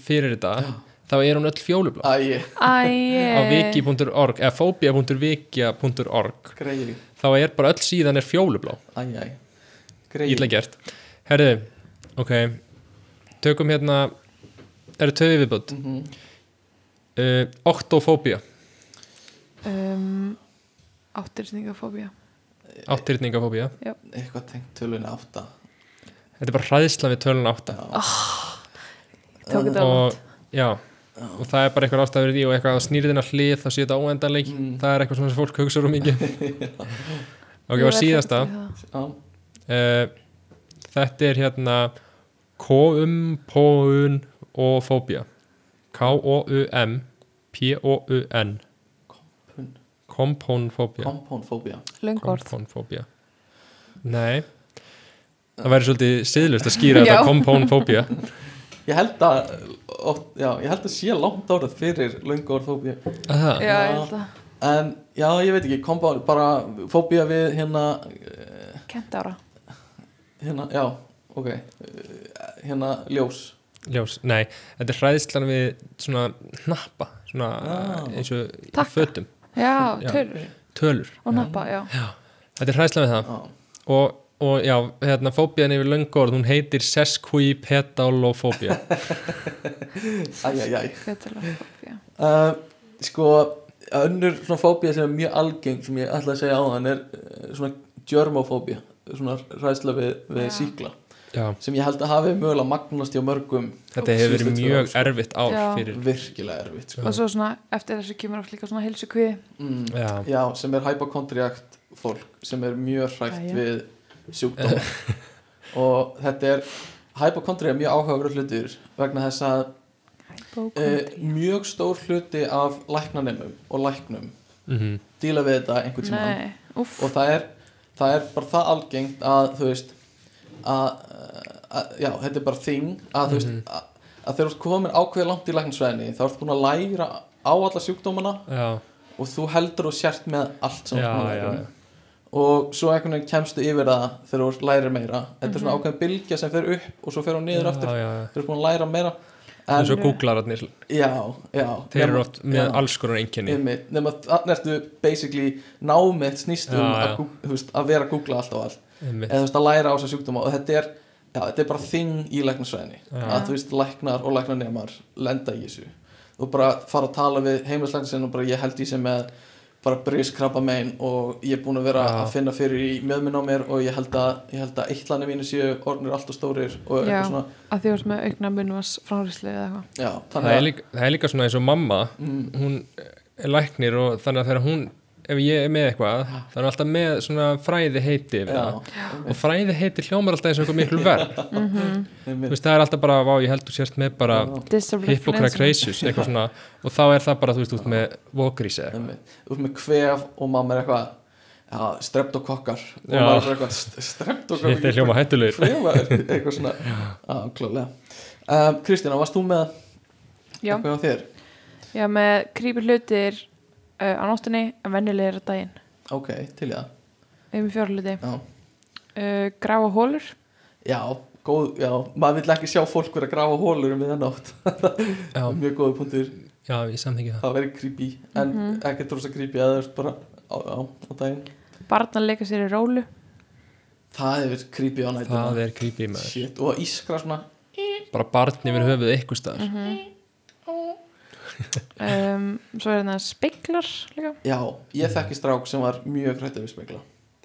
fyrir þetta, þá er hún öll fjólublón.
æg,
Á
æj
viki.org, eða fóbia.vikia.org,
greið,
þá er bara öll síðan er fjólublón.
æg, æg,
Ítla
greið.
gert. Herri, ok, tökum hérna, eru töfið viðbútt.
Mm -hmm.
Uh, oktofóbía,
um, áttirningafóbía
áttýrningafóbía.
Eitthvað tengt tölunni átta.
Þetta er bara hræðslan við tölun átta.
Ah. tók þetta
og,
langt.
já, og það er bara eitthvað ástæður í því og eitthvað að snýrðina hlið þá sé þetta óendanleik
Mm.
það er eitthvað svona sem fólk hugsa um mikið ok, var
Ég verð
síðasta
hrædd við það.
Já,
uh, þetta er hérna K-U-M-P-O-U-N og fóbía K-O-U-M-P-O-U-N
kompun,
kompónfóbía
kompónfóbía.
löngorð
kompónfóbía nei það væri svolítið siðlust að skýra þetta
Já.
kompónfóbía
Ég held að oft, já, ég held að sé langt orð fyrir löngu orð fóbíu
já,
Aha.
ég held að
en já, ég veit ekki, kom bara, bara fóbía við hérna eh,
kent ára
hérna, já, ok eh, hérna ljós
Ljós, nei, þetta er hræðslan við svona hnappa svona
Já.
eins og í
Takka.
fötum,
já,
Já.
tölur
tölur
og nappa, já
þetta er hræðslan við það
já,
og, og já, hérna, fóbían yfir löngorð hún heitir sesquipedalofóbía
æjæjæj
fetilafóbía
uh, sko, önnur svona fóbía sem er mjög algeng sem ég ætla að segja á þann er eh, svona djörmofóbía svona ræðsla við, við
Já.
síkla
já,
sem ég held að hafi mögulega magnast hjá mörgum
þetta hefur verið
Síðustu tvö ár,
mjög
sko.
erfitt ár
Já.
fyrir
virkilega erfitt sko.
og svo svona, eftir þessu kemur oft líka svona heilsu
mm.
já,
Já, sem er hypochondriakt fólk sem er mjög hrætt
Jæja.
við sjúkdóma og þetta er hypochondri er mjög áhugaverð hlutur vegna þess að e, mjög stór hluti af læknanemum og læknum
mm
díla við þetta einhvern tímann
nei, uff
og það er, það er bara það algengt að þú veist að, að já, þetta er bara þing að þú veist
Mhm.
að, að þegar þú ert komin ákveðið langt í læknisveðinni þá ertu búin að læra á alla sjúkdómana
já,
og þú heldur og sért með allt sem
já,
þú ert búin að
já,
læra um
já.
og svo einhvern veginn kemstu yfir það þegar þú lærir meira þetta er svona ákveðin bylgja sem fer upp og svo fer hún niður aftur
já, já, já.
þú er búin að læra meira
En
en,
svo googlararnir,
já, já
þeir eru oft með
já.
alls konar einkenni
einmitt, nema þannig ertu basically námiðt snýst um
Já,
að,
já.
gú- þú veist, að vera að googla allt og allt
einmitt.
eða þú veist að læra á þessa sjúkdóma og þetta er, já, þetta er bara þing í læknisfræðinni
Já.
að þú veist læknar og læknarnemar lenda í þessu og bara fara að tala við heimilislæknisinn og bara ég held í sem með bara bryskrabba mein og ég er búin að vera
Já.
að finna fyrir í mjöðminn á mér og ég held að, ég held að eittlani mínu séu orðnir allt og stórir og
Já.
eitthvað svona
að því varst með aukna munvans frárisli eða eitthvað
já,
það er,
þannig að Mm.
líka, það er líka svona eins og mamma hún er læknir og þannig að þegar hún ef ég er með eitthvað, það er alltaf með svona fræði heiti yfir það
já,
og fræði heiti hljómar alltaf eins og eitthvað miklu verð
einmitt.
Þú veist, það er alltaf bara, vá, ég held þú sért með bara
Disable influenza.
hippokracracius, eitthvað svona og þá er það bara, þú veist, út með vokrísi
Einmitt. Þú ert með kvef og mamma er eitthvað ja, streptokokkar og
Já.
maður er bara eitthvað streptokokkar
Þetta er hljóma hættulegur
hljóma eitthvað svona á, klálega um, Kristina, varst þú með
já,
eitthvað á þér?
já með krýpur hlutir uh, á nóttinni en venjulegir á daginn
ok, til í það
við erum fjóra hluti
já,
uh, grafa hólur
já, góð, já maður vill ekki sjá fólk vera að grafa hólur um það nátt
Já.
mjög góða punktur,
Já, ég samþykja það
það verið creepy en ekkert rosa creepy að það er bara á, á, á daginn
barnan leika sér í rólu
það hefur verið creepy á nættina
Það er creepy maður
Shit, og ískra svona
Bara barn yfir höfuð eitthvað staðar
um, svo er þetta speiklar líka
Já, ég þekki strák sem var mjög hrættur við spekla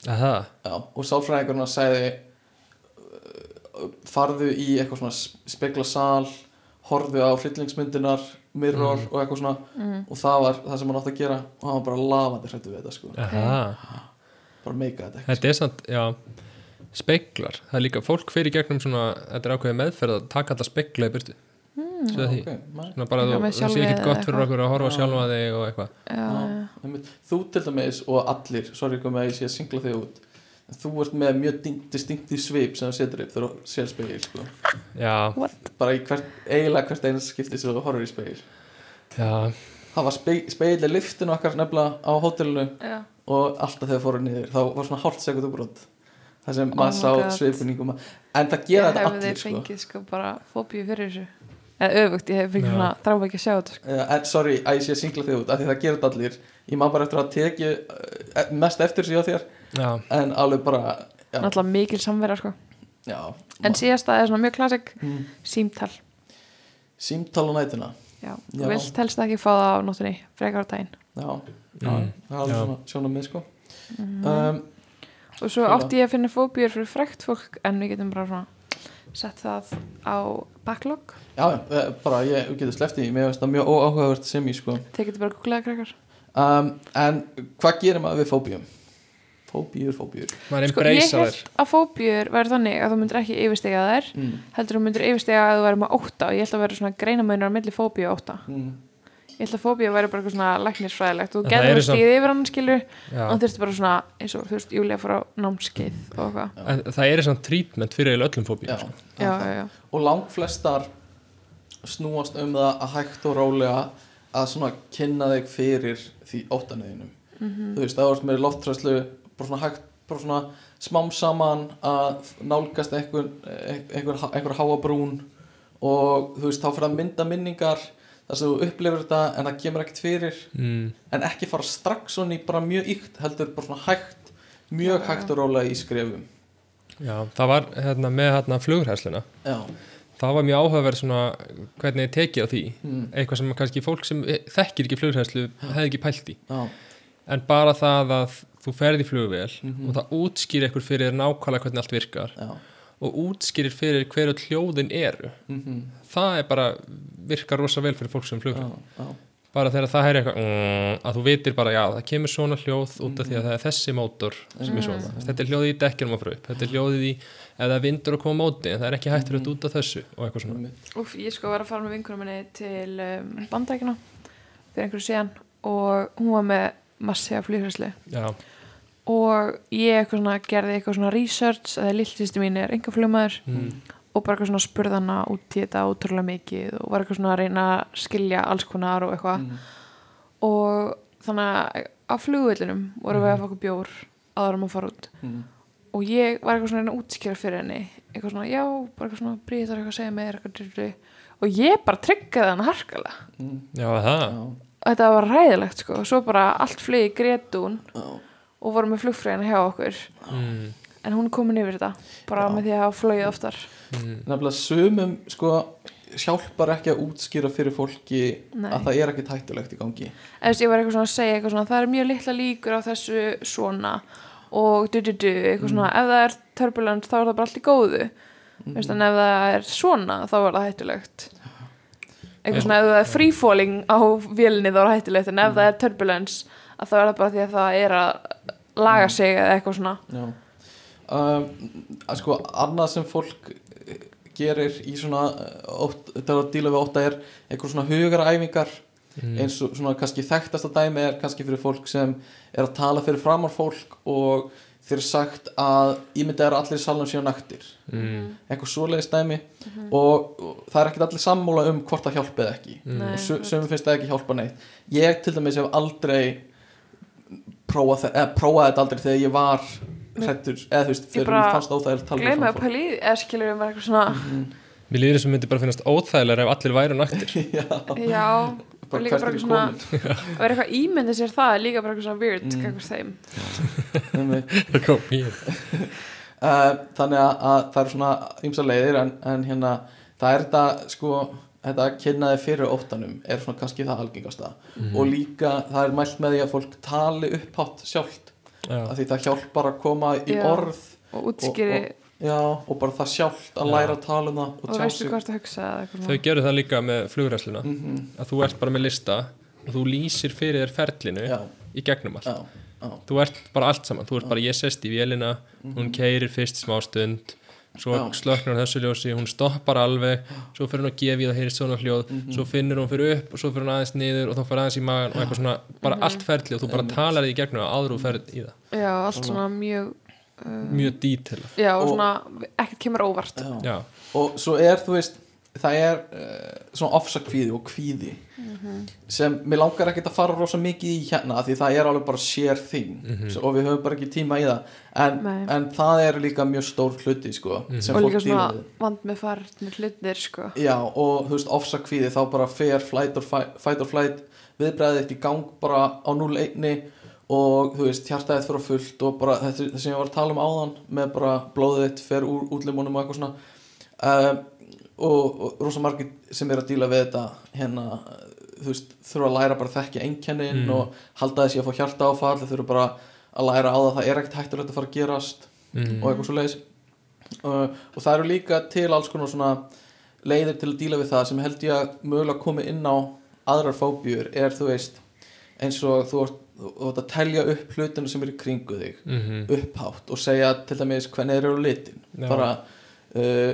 Aha,
Já, og sálfræðingurna sagði uh, farðu í eitthvað svona speklasal horfðu á hryllingsmyndinar mirror
Mhm.
og eitthvað svona
Mm.
og það var það sem hann átti að gera og hann var bara lafandi hrættur við þetta sko
aha
bara meika þetta ekki sko.
Þetta er samt, já Speiklar, það er líka fólk fyrir gegnum svona Þetta er ákveðið meðferð að taka alltaf speikla í byrtu mm, Svo því
okay, maður-
Svona bara þú,
Já, Hmm. með
það sé
sjálfið
ekkert
eða
gott fyrir
eitthvað.
okkur að horfa á
Já.
sjálfa þig og eitthvað
já,
Já, einmitt. þú til dæmis og allir sorry komið að ég sé að singla þig út en þú ert með mjög distinkti svip sem þú setur upp þegar þú sér spegil sko.
Já,
what
bara í hvert, eiginlega hvert einu skipti sem þú horfur í spegil
já,
það var spe, spegil í lyftinu okkar nefnilega á hótelinu
já,
og alltaf þegar fóru niður þá var svona hálft sekund uppbrot það sem
Oh my
maður
God.
sá sveipuningum en það
ég
gera
hefði
þetta allir sko.
fengið sko bara fóbíu fyrir þessu eða öfugt, ég hefði fengið
Já.
svona þráfa ekki að sjá þetta sko.
Eh, en sorry að ég sé að singla þig út af því það gera þetta allir ég má bara eftir að teki eh, mest eftir sig á þér
já
en alveg bara já,
náttúrulega mikil samverja sko.
já,
en síðasta er svona mjög klassik
Mm.
símtal
símtal á nætina
já.
Já.
vilt helst ekki fá það á nóttunni frekar á daginn
já,
Mm.
það er alveg
Já.
svona sjónum með sko um,
og svo
Fíla.
átti ég að finna fóbíur fyrir frekt fólk en við getum bara svona sett það á backlog
já, eh, bara ég getur sleftið í mér finnst það mjög óáhugavert sem ég sko
þeir getur bara að googlaða krakkar
um, en hvað gerir maður við fóbíum fóbíur, fóbíur
Maður
sko, ég
embracea þær
held að fóbíur væri þannig að þú myndir ekki yfirstega þær
mm.
heldur þú myndir yfirstega að þú væri með óta og ég held að vera svona greinamöðunar milli fóbíu og óta
Mm.
ég held að fóbíu væri bara eitthvað svona læknisfræðilegt þú
En það
getur
eru
að stíði yfir hann skilur
Já.
og þurfti bara svona eins og þú veist Júlia fór á námskeið og hvað
En það er svona treatment fyrir eiginlega öllum fóbíum
já,
sko.
já, já, já,
og langflestar snúast um það að hægt og rólega að svona kynna þig fyrir því óttanöðinum þú veist, það varst með loftræslu bara svona hægt, bara svona smám saman að nálgast einhver, einhver, einhver háabrún og þú veist, þá fyrir að mynda minningar þar sem þú upplifir þetta en það kemur ekkert fyrir
mm.
en ekki fara strax svona í bara mjög ykt heldur bara svona hægt, mjög
Já,
hægt og rólega í skrefum
Já, það var hérna, með hérna, flughræsluna
já,
það var mjög áhugaverð svona hvernig ég tekið á því
mm,
eitthvað sem kannski fólk sem eh, þekkir ekki flughræslu hefði ekki pælt í
já,
en bara það að þú ferði í flugvél
Mhm.
og það útskýrir eitthvað fyrir þér nákvæmlega hvernig allt virkar
Mm-hmm. já
og útskýrir fyrir hverju hljóðin eru
mhm
það er bara virkar rosa vel fyrir fólk sem flugur
já, já,
bara þegar það er eitthvað mm, að þú vitir bara já það kemur svona hljóð út af því
Mm.
að það er þessi mótor sem er svona þetta er hljóðið í dekkjum að fara upp þetta er hljóðið í ef það er vindur að koma á móti en það er ekki hættur
Mm.
út af þessu og eitthvað svona
einmitt.
Úf, ég sko var að fara með vinkunum minni til um, bandækina fyrir einhverju síðan og hún var með massi af flýhræsli
já,
og ég eitthvað svona, gerði eitthvað svona research að það lilltisti mín er enga flugmaður
Mm.
Mm.
og bara eitthvað svona spurðana út í þetta ótrúlega mikið og var eitthvað svona að reyna að skilja alls konar og eitthvað
Mhm.
og þannig að á flugvillinum vorum við að fá okkur bjór áður um að fara út
Mm.
og ég var eitthvað svona að reyna að útskýra fyrir henni eitthvað svona, já, bara eitthvað svona brýðar eitthvað að segja mér, eitthvað dyrri og ég bara tryggjaði hann harkalega
Mm.
já það
Já,
og þetta var ræðilegt sko og svo bara allt flög í gretun
já,
og voru með flugfræðina hjá okkur
mm,
en hún er komin yfir þetta, bara
Já.
með því að hafa flögið oftar
mm,
nefnilega sumum sko hjálpar ekki að útskýra fyrir fólki
Nei.
að það er ekki tættulegt í gangi
eða þú veist, ég var eitthvað svona að segja eitthvað svona það er mjög litla líkur á þessu svona og du du du, eitthvað svona ef það er turbulent þá er það bara allt í góðu mm. veist, en ef það er svona þá er það hættulegt
Já.
eitthvað svona ef það er freefalling á vélni þá er það hættulegt en ef það er turbulence að þá er það bara því að það er að laga sig eða eitthvað svona
Já um, að sko annað sem fólk eh, gerir í svona eh, ótt, til að díla við ótta er einhver svona hugaræfingar
Mm.
eins og svona kannski þekktasta dæmi er kannski fyrir fólk sem er að tala fyrir framar fólk og þeir er sagt að ímynda er allir í salnum síðan naktir
mm,
eitthvað svoleiðis dæmi og, og það er ekkert allir sammála um hvort það hjálpa eða ekki
mm,
Nei.
og sö- sumum finnst það ekki hjálpa neitt ég til dæmis hef aldrei prófað, þe- eða, prófað þetta aldrei þegar ég var hrættur eða þú veist,
Ég
þegar
bara
mér fannst óþægilegt tala um við
Gleima
framar
að
fólk.
pæli, í því, eða skilur við bara eitthvað svona
Mér líður eins og myndi bara finnast óþægilega ef allir væru naktir
Já,
Já, og
bara
líka
hvert er ég
bara eitthvað svona
komin
og er eitthvað ímyndið sér það er líka bara eitthvað svona weird
Mm.
mm. þeim
Einmitt.
Það kom mér.
Eh, þannig að, að það eru svona ymsa leiðir en, en hérna það er þetta sko þetta að kynna þið fyrir óttanum er svona kannski það algengasta og líka það er mælt með því að fólk tali upphátt sjálft
Já.
af því það hjálpar að koma í
Já.
orð
og útskýri og,
já, og bara það sjálft að
Já.
læra að tala um það og, tjá
veistu
sig
hvað það hugsa eða eitthvað
Þau
svona.
gerðu það líka með flugræsluna
mm -hmm.
að þú ert bara með lista og þú lýsir fyrir þér ferlinu
já,
í gegnum allt
já, já,
þú ert bara allt saman, þú ert bara ég sest í vélina hún keirir fyrst smá stund svo
Mhm. Já.
slöknar hún þessu ljósi hún stoppar alveg, svo fyrir hún að gefa í það heyri svona hljóð,
Mhm.
svo finnur hún fyrir upp og svo fyrir hún aðeins niður og þá fyrir aðeins í magan og eitthvað svona, bara
Mhm.
allt ferli og þú bara talar því í gegnum það áður og ferð í það
já, allt svona mjög uh,
mjög dítela
já, og
Og-
svona ekkert kemur óvart
Mhm. já.
Já,
og svo er þú veist það er uh, svona ofsakvíði og kvíði
Mhm.
sem mér langar ekkert að fara rosa mikið í hérna af því það er alveg bara sér þing og við höfum bara ekki tíma í það en,
Nei.
en það er líka mjög stór hluti sko, sem
og
fólk
líka
dýra
svona
við
vand með farnir hlutir sko
já og þú veist ofsakvíði þá bara fer flight or fight, fight, or flight viðbræðið eitt í gang bara á 0-1 og þú veist hjartaðið fyrir fullt og bara þetta þetta sem ég var að tala um áðan með bara blóðið þitt fer úr útlimunum og eitthvað svona um, og, og rosa margir sem er að díla við þetta hérna, þú veist, þurfa að læra bara að þekkja einkennin
Mm.
og halda þessi að fá hjarta áfall þau þurfa bara að læra á það að það er ekkert hættulegt að fara að gerast
Mm.
og eitthvað svo leiðis og það eru líka til alls konar svona leiðir til að díla við það sem held ég að mögulega komi inn á aðrar fóbjur er þú veist eins og þú ert, þú þú ert að telja upp hlutinu sem eru í kringu þig
mhm,
upphátt og segja til dæmis hvernig þeir eru á litin
Já.
bara uh,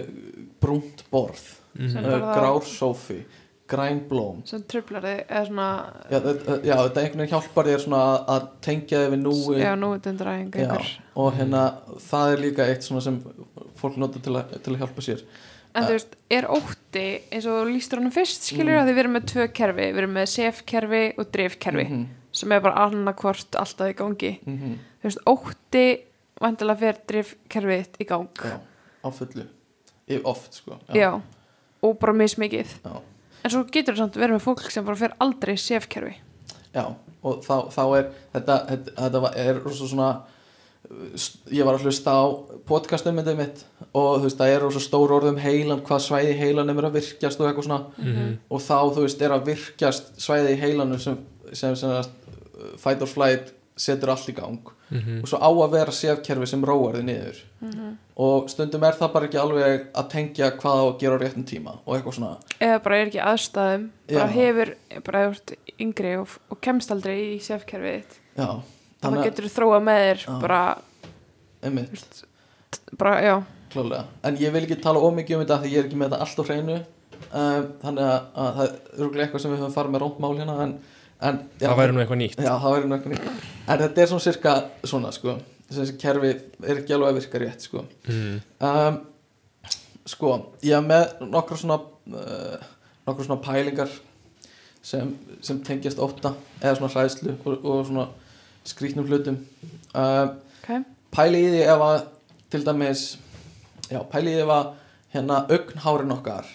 brúnt borð
mhm,
En
uh,
Mm. bara-
grár sófi græn blóm
sem trublar þig eða svona
já, þetta, já, þetta einhvern veginn hjálpar þér svona að, að tengja þig við núi
já, nú er þetta undræðing
Já,
ykkur
og hérna það er líka eitt svona sem fólk notar til, að- til að hjálpa sér
En þú veist, er ótti eins og þú lýstur honum fyrst, skilur mm. að við erum með tvö kerfi, við erum með sef-kerfi og dreif-kerfi
mm -hmm,
sem er bara annarkvort alltaf í gangi
mm
þú veist, ótti vandilega fer dreif-kerfið þitt í gang
já, á fullu Ég- oft sko
já. og bara mismikið
Já.
en svo getur þú samt verið með fólk sem bara fer aldrei í sef-kerfi
Já, og þá, þá er þetta, þetta, þetta var- er rosa svona uh, st- ég var að hlusta á podcastum myndið mitt og þú veist það er rosa stór orðum heilan hvað svæði í heilanum er að virkjast og eitthvað svona
mhm,
og þá þú veist er að virkjast svæði í heilanum sem, sem, sem, sem uh, fight or flight setur allt í gang
mhm.
og svo á að vera sefkerfi sem róar þið niður
Mhm.
og stundum er það bara ekki alveg að tengja hvað á að gera á réttum tíma og eitthvað svona
eða bara er ekki í aðstæðum bara
Já.
hefur, bara hefur yngri og, og kemst aldrei í sef-kerfið þitt
já,
þannig
þannig,
getur þú þróa með þér
Já.
bara,
einmitt
bara, já
Klálega, en ég vil ekki tala ómikið um þetta af því ég er ekki með þetta allt á hreinu um, þannig að, að það er rúglega eitthvað sem við höfum farið með róntmál hérna en, en, já,
Það væri nú eitthvað nýtt
Já, það væri nú eitthvað nýtt. En þetta er svona cirka svona sko, þessi kerfi er ekki alveg að virka rétt sko
Mhm,
um, Sko, ég er með nokkra svona uh, nokkra svona pælingar sem, sem tengjast óta eða svona hræðslu og, og svona skrýtnum hlutum um,
okay.
pæli í því ef að til dæmis já, pæli í því ef að hérna augnhárin okkar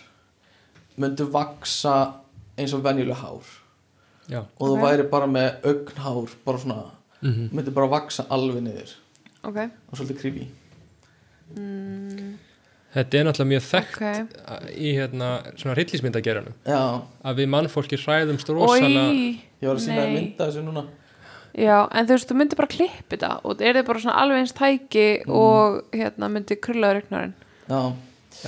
myndu vaksa eins og venjuleg hár
Já,
og þú
Ok.
væri bara með augnhár bara svona,
mhm.
myndu bara vaksa alveg niður
ok
og svolítið creepy
mm,
Þetta er náttúrulega mjög þekkt
ok
í hérna, svona rillismyndageranum
já,
að við mannfólki hræðumst rosalega
Ói,
ég var að sína að
Nei.
mynda þessu núna
já, en þú veist, þú myndir bara klippi þetta og það er þið bara svona alveg eins tæki
Mhm.
og hérna myndir krullaður regnarinn
já,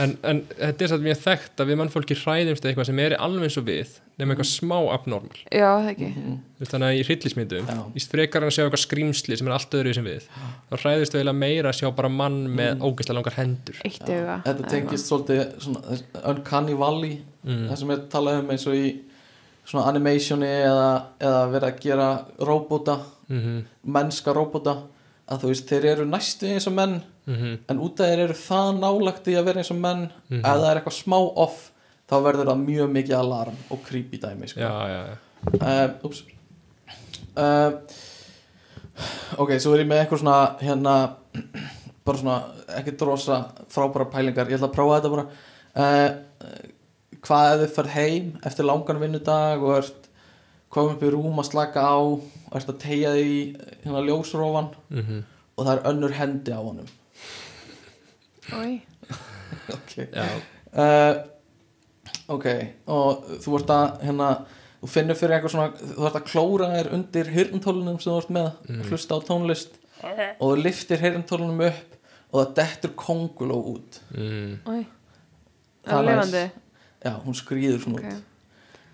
En, en þetta er satt mjög þekkt að við mannfólki hræðumst eitthvað sem er alveg eins og við nema eitthvað smá abnormal
Já, það ekki
Mhm.
Þú veist, þannig að í hryllismyndum
Já.
í frekar en að sjá eitthvað skrýmsli sem er allt öðru sem við þá hræðist þau eiginlega meira að sjá bara mann með mm. ógeðslega langar hendur
Eitt auga
þetta
eða
tengist svolítið svona, uncanny valley
mm.
það sem ég talaði um eins og í svona animationi eða, eða verið að gera róbóta,
mm -hmm.
mennska róbóta að þú veist, þeir eru næstu eins og menn en út af þeir eru það nálagt í að vera eins og menn
Mhm.
ef það er eitthvað smá off þá verður það mjög mikið alarm og creepy dæmi sko.
já, já, já
uh, ups uh, ok, svo er ég með eitthvað svona hérna bara svona, ekki drosa frábæra pælingar, ég ætla að prófa þetta bara uh, uh, hvað ef þið fyrir heim eftir langan vinnudag og ert komið upp í rúm að slaka á og ert að tegja því hérna ljósrófan
mm
og það er önnur hendi á honum
Oi.
ok
já,
uh, ok og þú ert að hérna þú finnur fyrir eitthvað svona þú ert að klóra þér undir hirntólunum sem þú ert með
Mm.
hlusta á tónlist og þú liftir hirntólunum upp og það dettur konguló út
mm,
Oi.
Það
Það
er
er levandi
já, hún skrýður svona
Ok.
út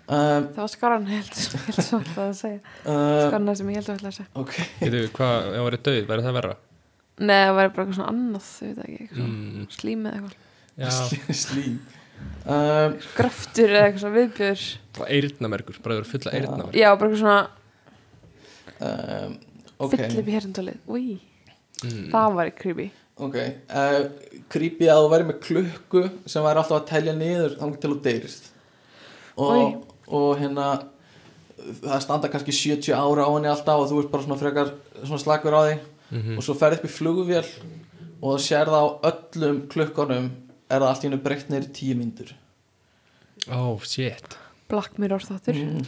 um,
Það var skaran held sem ég held svo alltaf að segja
uh,
Skaran sem ég held svo alltaf að segja
ok
getur við hvað, ef það væri döið, væri það verra
Nei, það væri bara eitthvað svona annað Þú veit ekki, eitthvað mm.
mm,
slímið eitthvað
já,
slím um,
Graftur eða eitthvað svona viðbjör
bara eyrnamergur, bara það eru fulla
Já.
eyrnamergur
Já, bara eitthvað svona
um,
okay.
ok
upp í herndólið Úi,
mm,
það var creepy
ok uh, creepy að þú væri með klukku sem væri alltaf að telja niður þannig til þú deyrist
Oj.
og, og hérna það standa kannski 70 ára á henni alltaf og þú ert bara svona frekar svona slakur á því
mhm.
og svo ferð upp í flugvél og þú sér það á öllum klukkanum er það allt í hennu breytt neyri 10 mínútur
oh shit
Black Mirror þáttur
mm.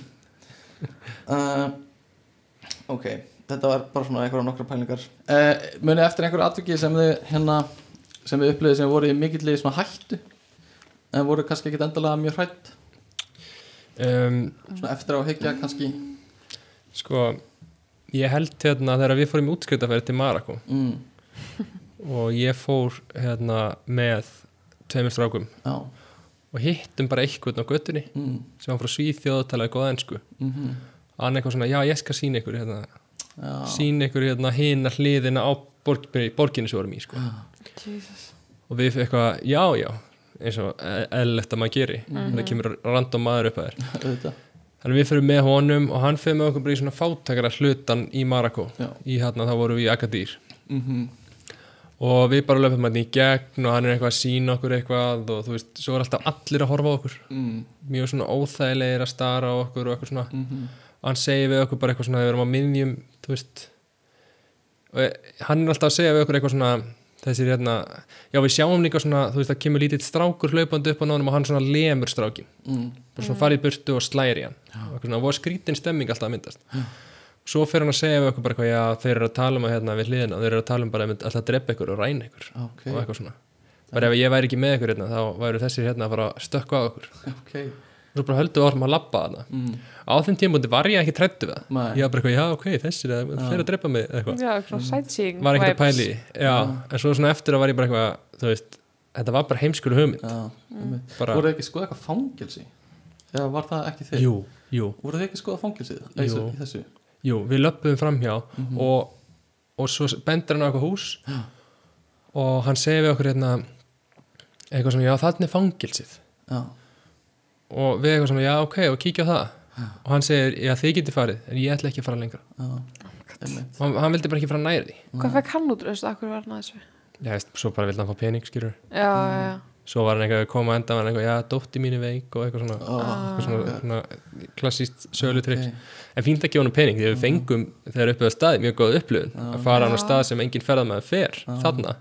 uh, ok þetta var bara svona einhverja nokkra pælingar uh, munið eftir einhverju atviki sem þið hérna, sem þið upplöðið sem voru í mikillig svona hættu en voru kannski ekkit endalega mjög hrætt
um,
svona eftir á að hyggja kannski
sko, ég held hérna þegar við fórum í útskriftafæri til Marako
mm,
og ég fór hérna með tveimur strákum
já
og hittum bara eitthvað á göttunni
mm,
sem var frá Svíþjóð og talaði góða ensku
mm -hmm,
hann eitthvað svona, já ég skal sína ykkur hérna,
já
sína ykkur hérna hina hliðina á borg, borginni sem við vorum í sko.
Jesus
og við eitthvað, já já eins og e, eðlilegt að maður geri það kemur random maður upp að þér
auðvitað
þannig við fyrir með honum og hann fyrir með okkur bara í svona fátakara hlutan í Marako
Já.
í hérna þá vorum við í Agadýr
mm
Mhm,
-hmm,
og við bara löpum hann í gegn og hann er eitthvað að sína okkur eitthvað og þú veist, svo er alltaf allir að horfa á okkur
mm,
mjög svona óþægilegir að stara á okkur og eitthvað svona
mm -hmm,
og hann segir við okkur bara eitthvað svona við erum á miðjum, þú veist og eh, hann er alltaf að segja við okkur eitthvað svona þessir hérna, já við sjáum líka svona þú veist, það kemur lítill strákur hlaupandi upp á nánum og hann svona lemur strákin
mm,
bara svona farið í burtu og slæri hann og eitthvað svona, og skrítin stemming alltaf að myndast svo fer hann að segja við okkur bara eitthvað já, þeir eru að tala um að hérna við hliðina þeir eru að tala um bara að alltaf að drepa ykkur og ræna ykkur
ok,
og eitthvað svona bara ef ég væri ekki með ykkur hérna þá væru þessir hérna að fara að stökka á okkur
ok
og svo bara höldum við orðum að labba þarna
mm,
á þeim tímabúndi var ég ekki trættu við það
Nei.
ég var bara eitthvað, já ok, þessir að- þeir eru að drepa mig eða eitthvað
Já, svona sightseeing
Mm. var ekkert að
vibes.
pæli já, en svo svona eftir að var ég bara eitthvað þú veist, þetta var bara heimskulu hugmynd
já mm.
bara,
voru þið ekki skoða eitthvað fangelsi eða var það ekki þið
jú, jú,
voru þið ekki skoða fangelsið í
Jú.
þessu- í þessu
jú, við löpum framhjá
Mhm.
og, og svo bendur hann á eitthvað hús og hann segir við okkur hérna eitthvað svona, já, þarna er fangilsið
já,
og við eitthvað svona, já, ok, og kíkja á það og hann segir, já, þið getið farið en ég ætla ekki að fara lengra
já, einmitt
og hann, hann vildi bara ekki fara nær því
Hvað fekk hann út, veistu, akkur var hann að þessu Já,
já, veist, svo bara vildi hann fá pening, skilur
já, já
svo var hann eitthvað að koma enda var hann eitthvað, já, dótti mín er veik og eitthvað svona,
Ah,
eitthvað svona, svona klassíst sölutrygg
ok. Mm.
en fínt að gefa hann pening, þegar við fengum þegar uppið á staði, mjög góð upplöfun
Ah,
að fara hann á stað sem engin ferðamaður fer þarna,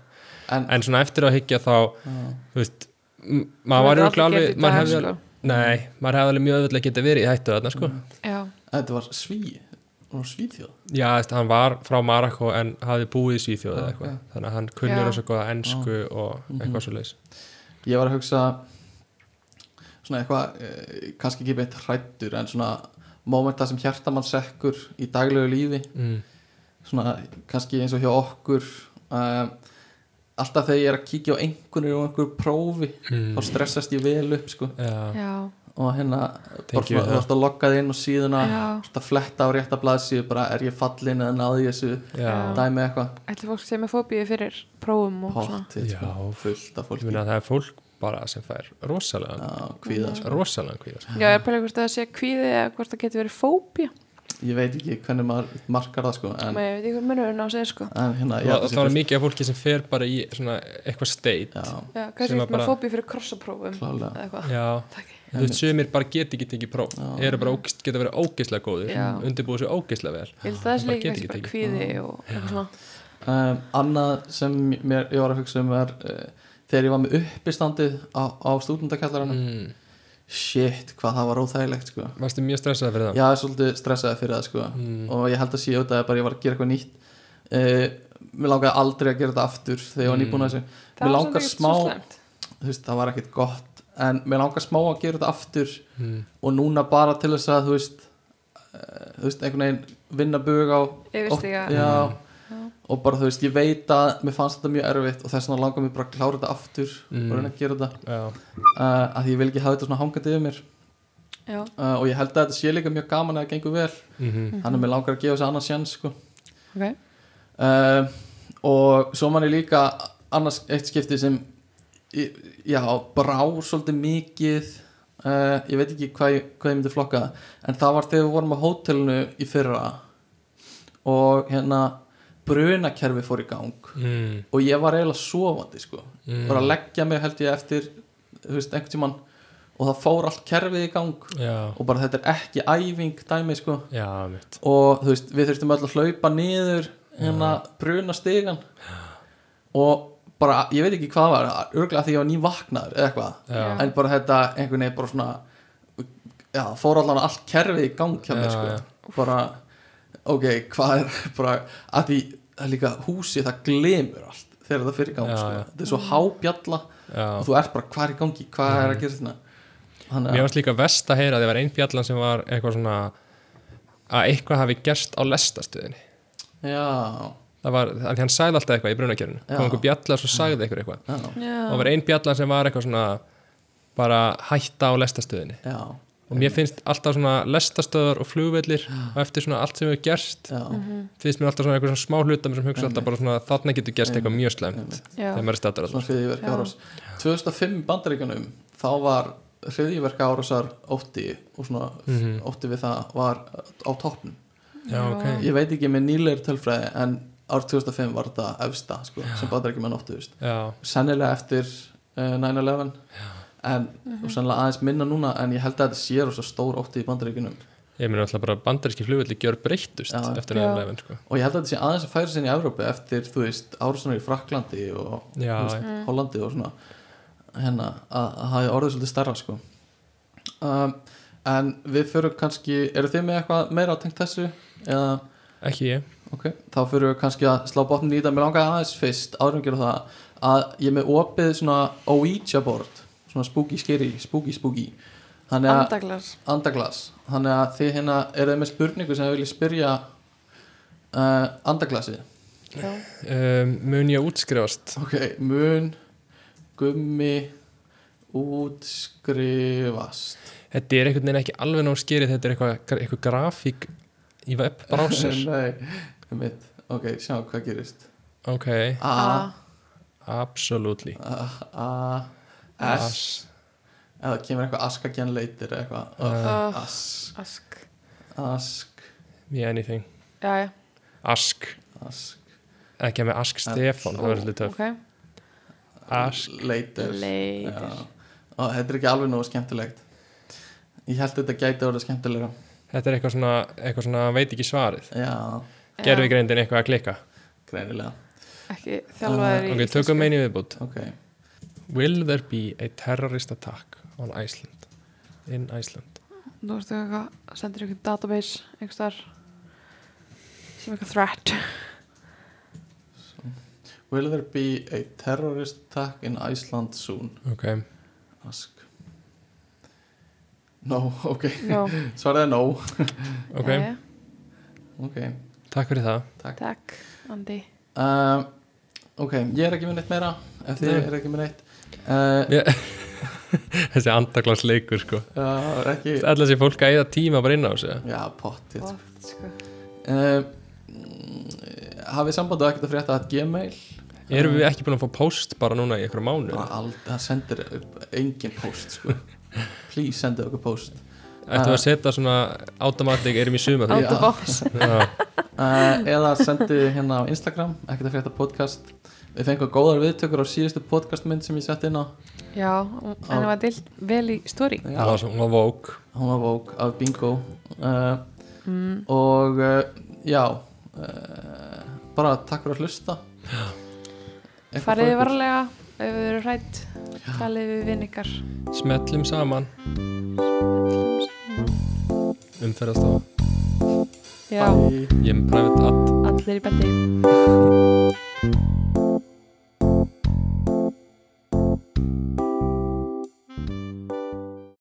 En,
en svona eftir að hyggja þá, þú veist m-
Það
maður var
myndi
örugglega
allir
alveg,
geta í
maður hefði
dag,
alveg nei, maður hefði alveg mjög öðvöldlega geta verið í hættu þarna, sko
Já,
þetta var sví Hún var svíþjóð
Já, þú veist, hann var frá Marako en hafði búið í Svíþjóð eða
Já,
eitthvað
já.
þannig að hann kunnur
Já.
þessu
Ah.
góða ennsku og
Mhm.
eitthvað svo leis
Ég var að hugsa Svona eitthvað eh, Kannski ekki beint hrættur En svona Mómenta sem hjartamann sekkur Í daglegu lífi
mm.
Svona kannski eins og hjá okkur uh, Alltaf þegar ég er að kíkja á einhvernir og einhver prófi
Mm.
Þá stressast ég vel upp sko
Já,
já,
Og hérna Bara
Tengi
svona
við
Þú
það.
ert að loggað inn og síðuna
já
Þú ert að fletta á rétta blaðsíðu Bara er ég fallin eða náði ég þessu
já,
Dæmi eitthvað
Ætli fólk sem er fóbíu fyrir prófum og svona
Pottþétt,
Já,
sko, fullt af
ég
fólki
meina að það er fólk bara sem fær rosalega
Já, kvíða sko.
rosalega kvíða sko.
Já, ég er pælega hvort það sé kvíði eða hvort það getur verið fóbía
Ég veit ekki hvernig maður markar það sko En,
Nei, ég veit ekki hvað munurinn á sig er, sko
en hérna ég held
og
að sé
það var
fyrst-
mikið af fólki sem fer bara í svona eitthvað state
Já,
Já, kannski
Sem
er
að bara-
bara... fóbía fyrir krossaprófum
Klárlega.
eða eitthvað.
já,
Takk.
þú veist, sumir bara geti ekki tekið próf
Já.
eru bara ógist, geta verið ógislega góðir
Já.
undirbúið sér ógislega vel
Ég held að það
Bara
sé líka
get
kannski
ekki
bara
tekið.
kvíði og eitthvað svona
um, Annað sem mér, ég var að hugsa um var uh, Þegar ég var með uppistandið á, á stúdendakallaranum
mm.
Shit, hvað það var óþægilegt sko
varstu mjög stressað fyrir það
Já, svolítið stressaði fyrir það sko
Mm.
Og ég held að sé auðvitað að bara ég var að gera eitthvað nýtt uh, Mér langaði aldrei að gera þetta aftur Þegar ég var
Mm.
nýbúin að þessu
Það
Mér
var
langar
samt ekkert
smá,
svo slæmt.
þú veist, það var ekkert gott En mér langar smá að gera þetta aftur
mm.
Og núna bara til þess að, þú veist uh, Þú veist, einhvern veginn vinna bug á
Ég veist ekki að
Já,
Já.
og bara þú veist, ég veit að Mér fannst þetta mjög erfitt og þess vegna langar mér bara að klára þetta aftur
Mm.
Og reyna að gera þetta
já,
uh, Að ég vil ekki hafa þetta svona hangandi yfir mér
Já,
uh, Og ég held að þetta sé líka mjög gaman að það gengur vel
mhm
hann er með langar að gefa sér annars sjans sko.
ok
uh, og svo mann er líka annars eitt skipti sem í- já, brá svolítið mikið uh, ég veit ekki hvað, ég- hvað ég myndi flokka það, en það var þegar við vorum á hótelinu í fyrra og hérna brunakerfi fór í gang
Mm,
og ég var eiginlega sofandi sko.
mm.
var að leggja mig held ég eftir þú veist, einhvern tímann og það fór allt kerfið í gang
já,
og bara þetta er ekki æfing dæmi sko
já, mitt
og þú veist, við þurftum öll að hlaupa niður hérna bruna stegan og bara, ég veit ekki hvað var örgulega því ég var ný vaknaður eða eitthvað
já,
en bara þetta, einhvern veginn bara svona já, fór allan allt kerfið í gang hjá mér
Já,
sko,
já.
bara ok, hvað er bara, að því það er líka húsið það glemur allt þegar það fyrir í gang
Já,
sko,
já.
þetta er svo hábjalla
já. Mhm.
og þú ert bara, hvað er í gangi, hvað er að gera þetta þannig
Mér
að,
varst líka vest að heyra að það var einn bjallan sem var eitthvað svona að eitthvað hafi gerst á lestastuðinni
já
það var, af því hann sagði alltaf eitthvað í brunakjörinu
Já.
kom einhver bjallar svo sagði eitthvað eitthvað
já,
og það var einn bjallan sem var eitthvað svona bara hætta á lestastuðinni
já
og mér finnst alltaf svona lestastöðar og flugvellir og eftir svona allt sem hefur gerst
Já,
finnst mér alltaf svona eitthvað svona smá hlutum sem hugsa alltaf bara svona þarna getur gerst eitthvað mjög slæmt
Já.
þegar maður er stættur
svona
alltaf
hriðiverka
Já.
árás 2005 í bandaríkanum þá var hriðiverka árásar ótti og svona
Mhm.
ótti við það var á toppn
Já, ok
Já.
ég veit ekki með nýleir tölfræði en ár 2005 var þetta efsta sko, sem bandaríkjumenn óttuðist
Já,
sennilega eftir uh, 9-11 en, og sennilega aðeins minna núna en ég held að þetta sé rosa stór ótti í bandaríkunum
ég meina alltaf bara bandaríski flugvelli gjör breyttust
Já.
eftir
Já.
nefnilegin sko.
og ég held að þetta sé aðeins að færa sinni í Evrópi eftir, þú veist, árásunar í Fraklandi og
Já,
Þú veist,
já.
Hollandi og svona hérna, að að það er orðið svolítið starra sko um, en við förum kannski eru þið með eitthvað meira tengt þessu eða,
ekki ég
ok, þá förum við kannski að slá botnum í þetta, mér langaði aðeins fyrst árum gera það, að ég er með opið svona Ouija board svona spooky scary, spooky spooky þannig að,
Andaglar
andaglas þannig að þið hérna eruð með spurningu sem þið viljið spyrja uh, andaglasið
Já,
um, mun ég að útskrifast
Ok, mun gummi útskrifast
þetta er einhvern veginn ekki alveg nóg skerið þetta er eitthvað, eitthvað grafík í webbrásir
Nei, mitt Ok, sjáum hvað gerist
ok,
A,
absolutely
A, A S Eða kemur eitthvað askagen leitir eitthvað
uh,
uh,
Ask,
Ask
ask,
yeah, anything
Já, já,
ask,
ask
ekki með ask Stefan það verður svolítið töf
ok
Ask.
Leitir
Leitir
Og þetta er ekki alveg nógu skemmtilegt Ég held þetta gæti að vera skemmtilega
þetta er eitthvað svona, eitthvað svona veit ekki svarið
Já,
Já,
gerfi greindin eitthvað að klikka
greinilega
Ekki þjálfaður í
Ah, ok, tökum einu viðbútt
Ok,
will there be a terrorist attack on Iceland in Iceland
Nú ertu eitthvað Sendir ykkur database Einhvers þar Sem eitthvað threat
will there be a terrorist attack in Iceland soon?
ok,
Ask No, ok
No
Svaraði no
ok,
Jæja,
Ok,
takk fyrir það
Takk, Andi
um, ok, ég er ekki með neitt meira Ef þið
Nei.
er ekki með neitt uh,
Mér- þessi andaglans leikur sko
uh, Ekki
alltaf sé fólk að eða tíma bara inn á þessu
Já, Um, pottið uh,
Oft, sko
mm, Hafið sambandu ekkert að frétta að gmail
erum við ekki búin að fá post bara núna í einhverja mánu
bara aldrei, það sendir engin post sko. please senda okkur post
ættum við að setja svona automatic erum í suma
Out
Já.
of box
uh, eða sendu hérna á Instagram ekkert að frétta podcast við fengum góðar viðtökur á síðustu podcastmynd sem ég sett inn á
Já, en það var deilt vel í stóri
hún var, svo- hún var vók
hún var vók af bingo uh,
Mm.
og uh, já uh, bara takk fyrir að hlusta Eitthvað
Fariði
frá ykkur?
varlega ef þið eru hrætt talið við vinn ykkar
smellum saman umferðast á
Já,
Bye.
ég er private app
allir í bendi
Bye.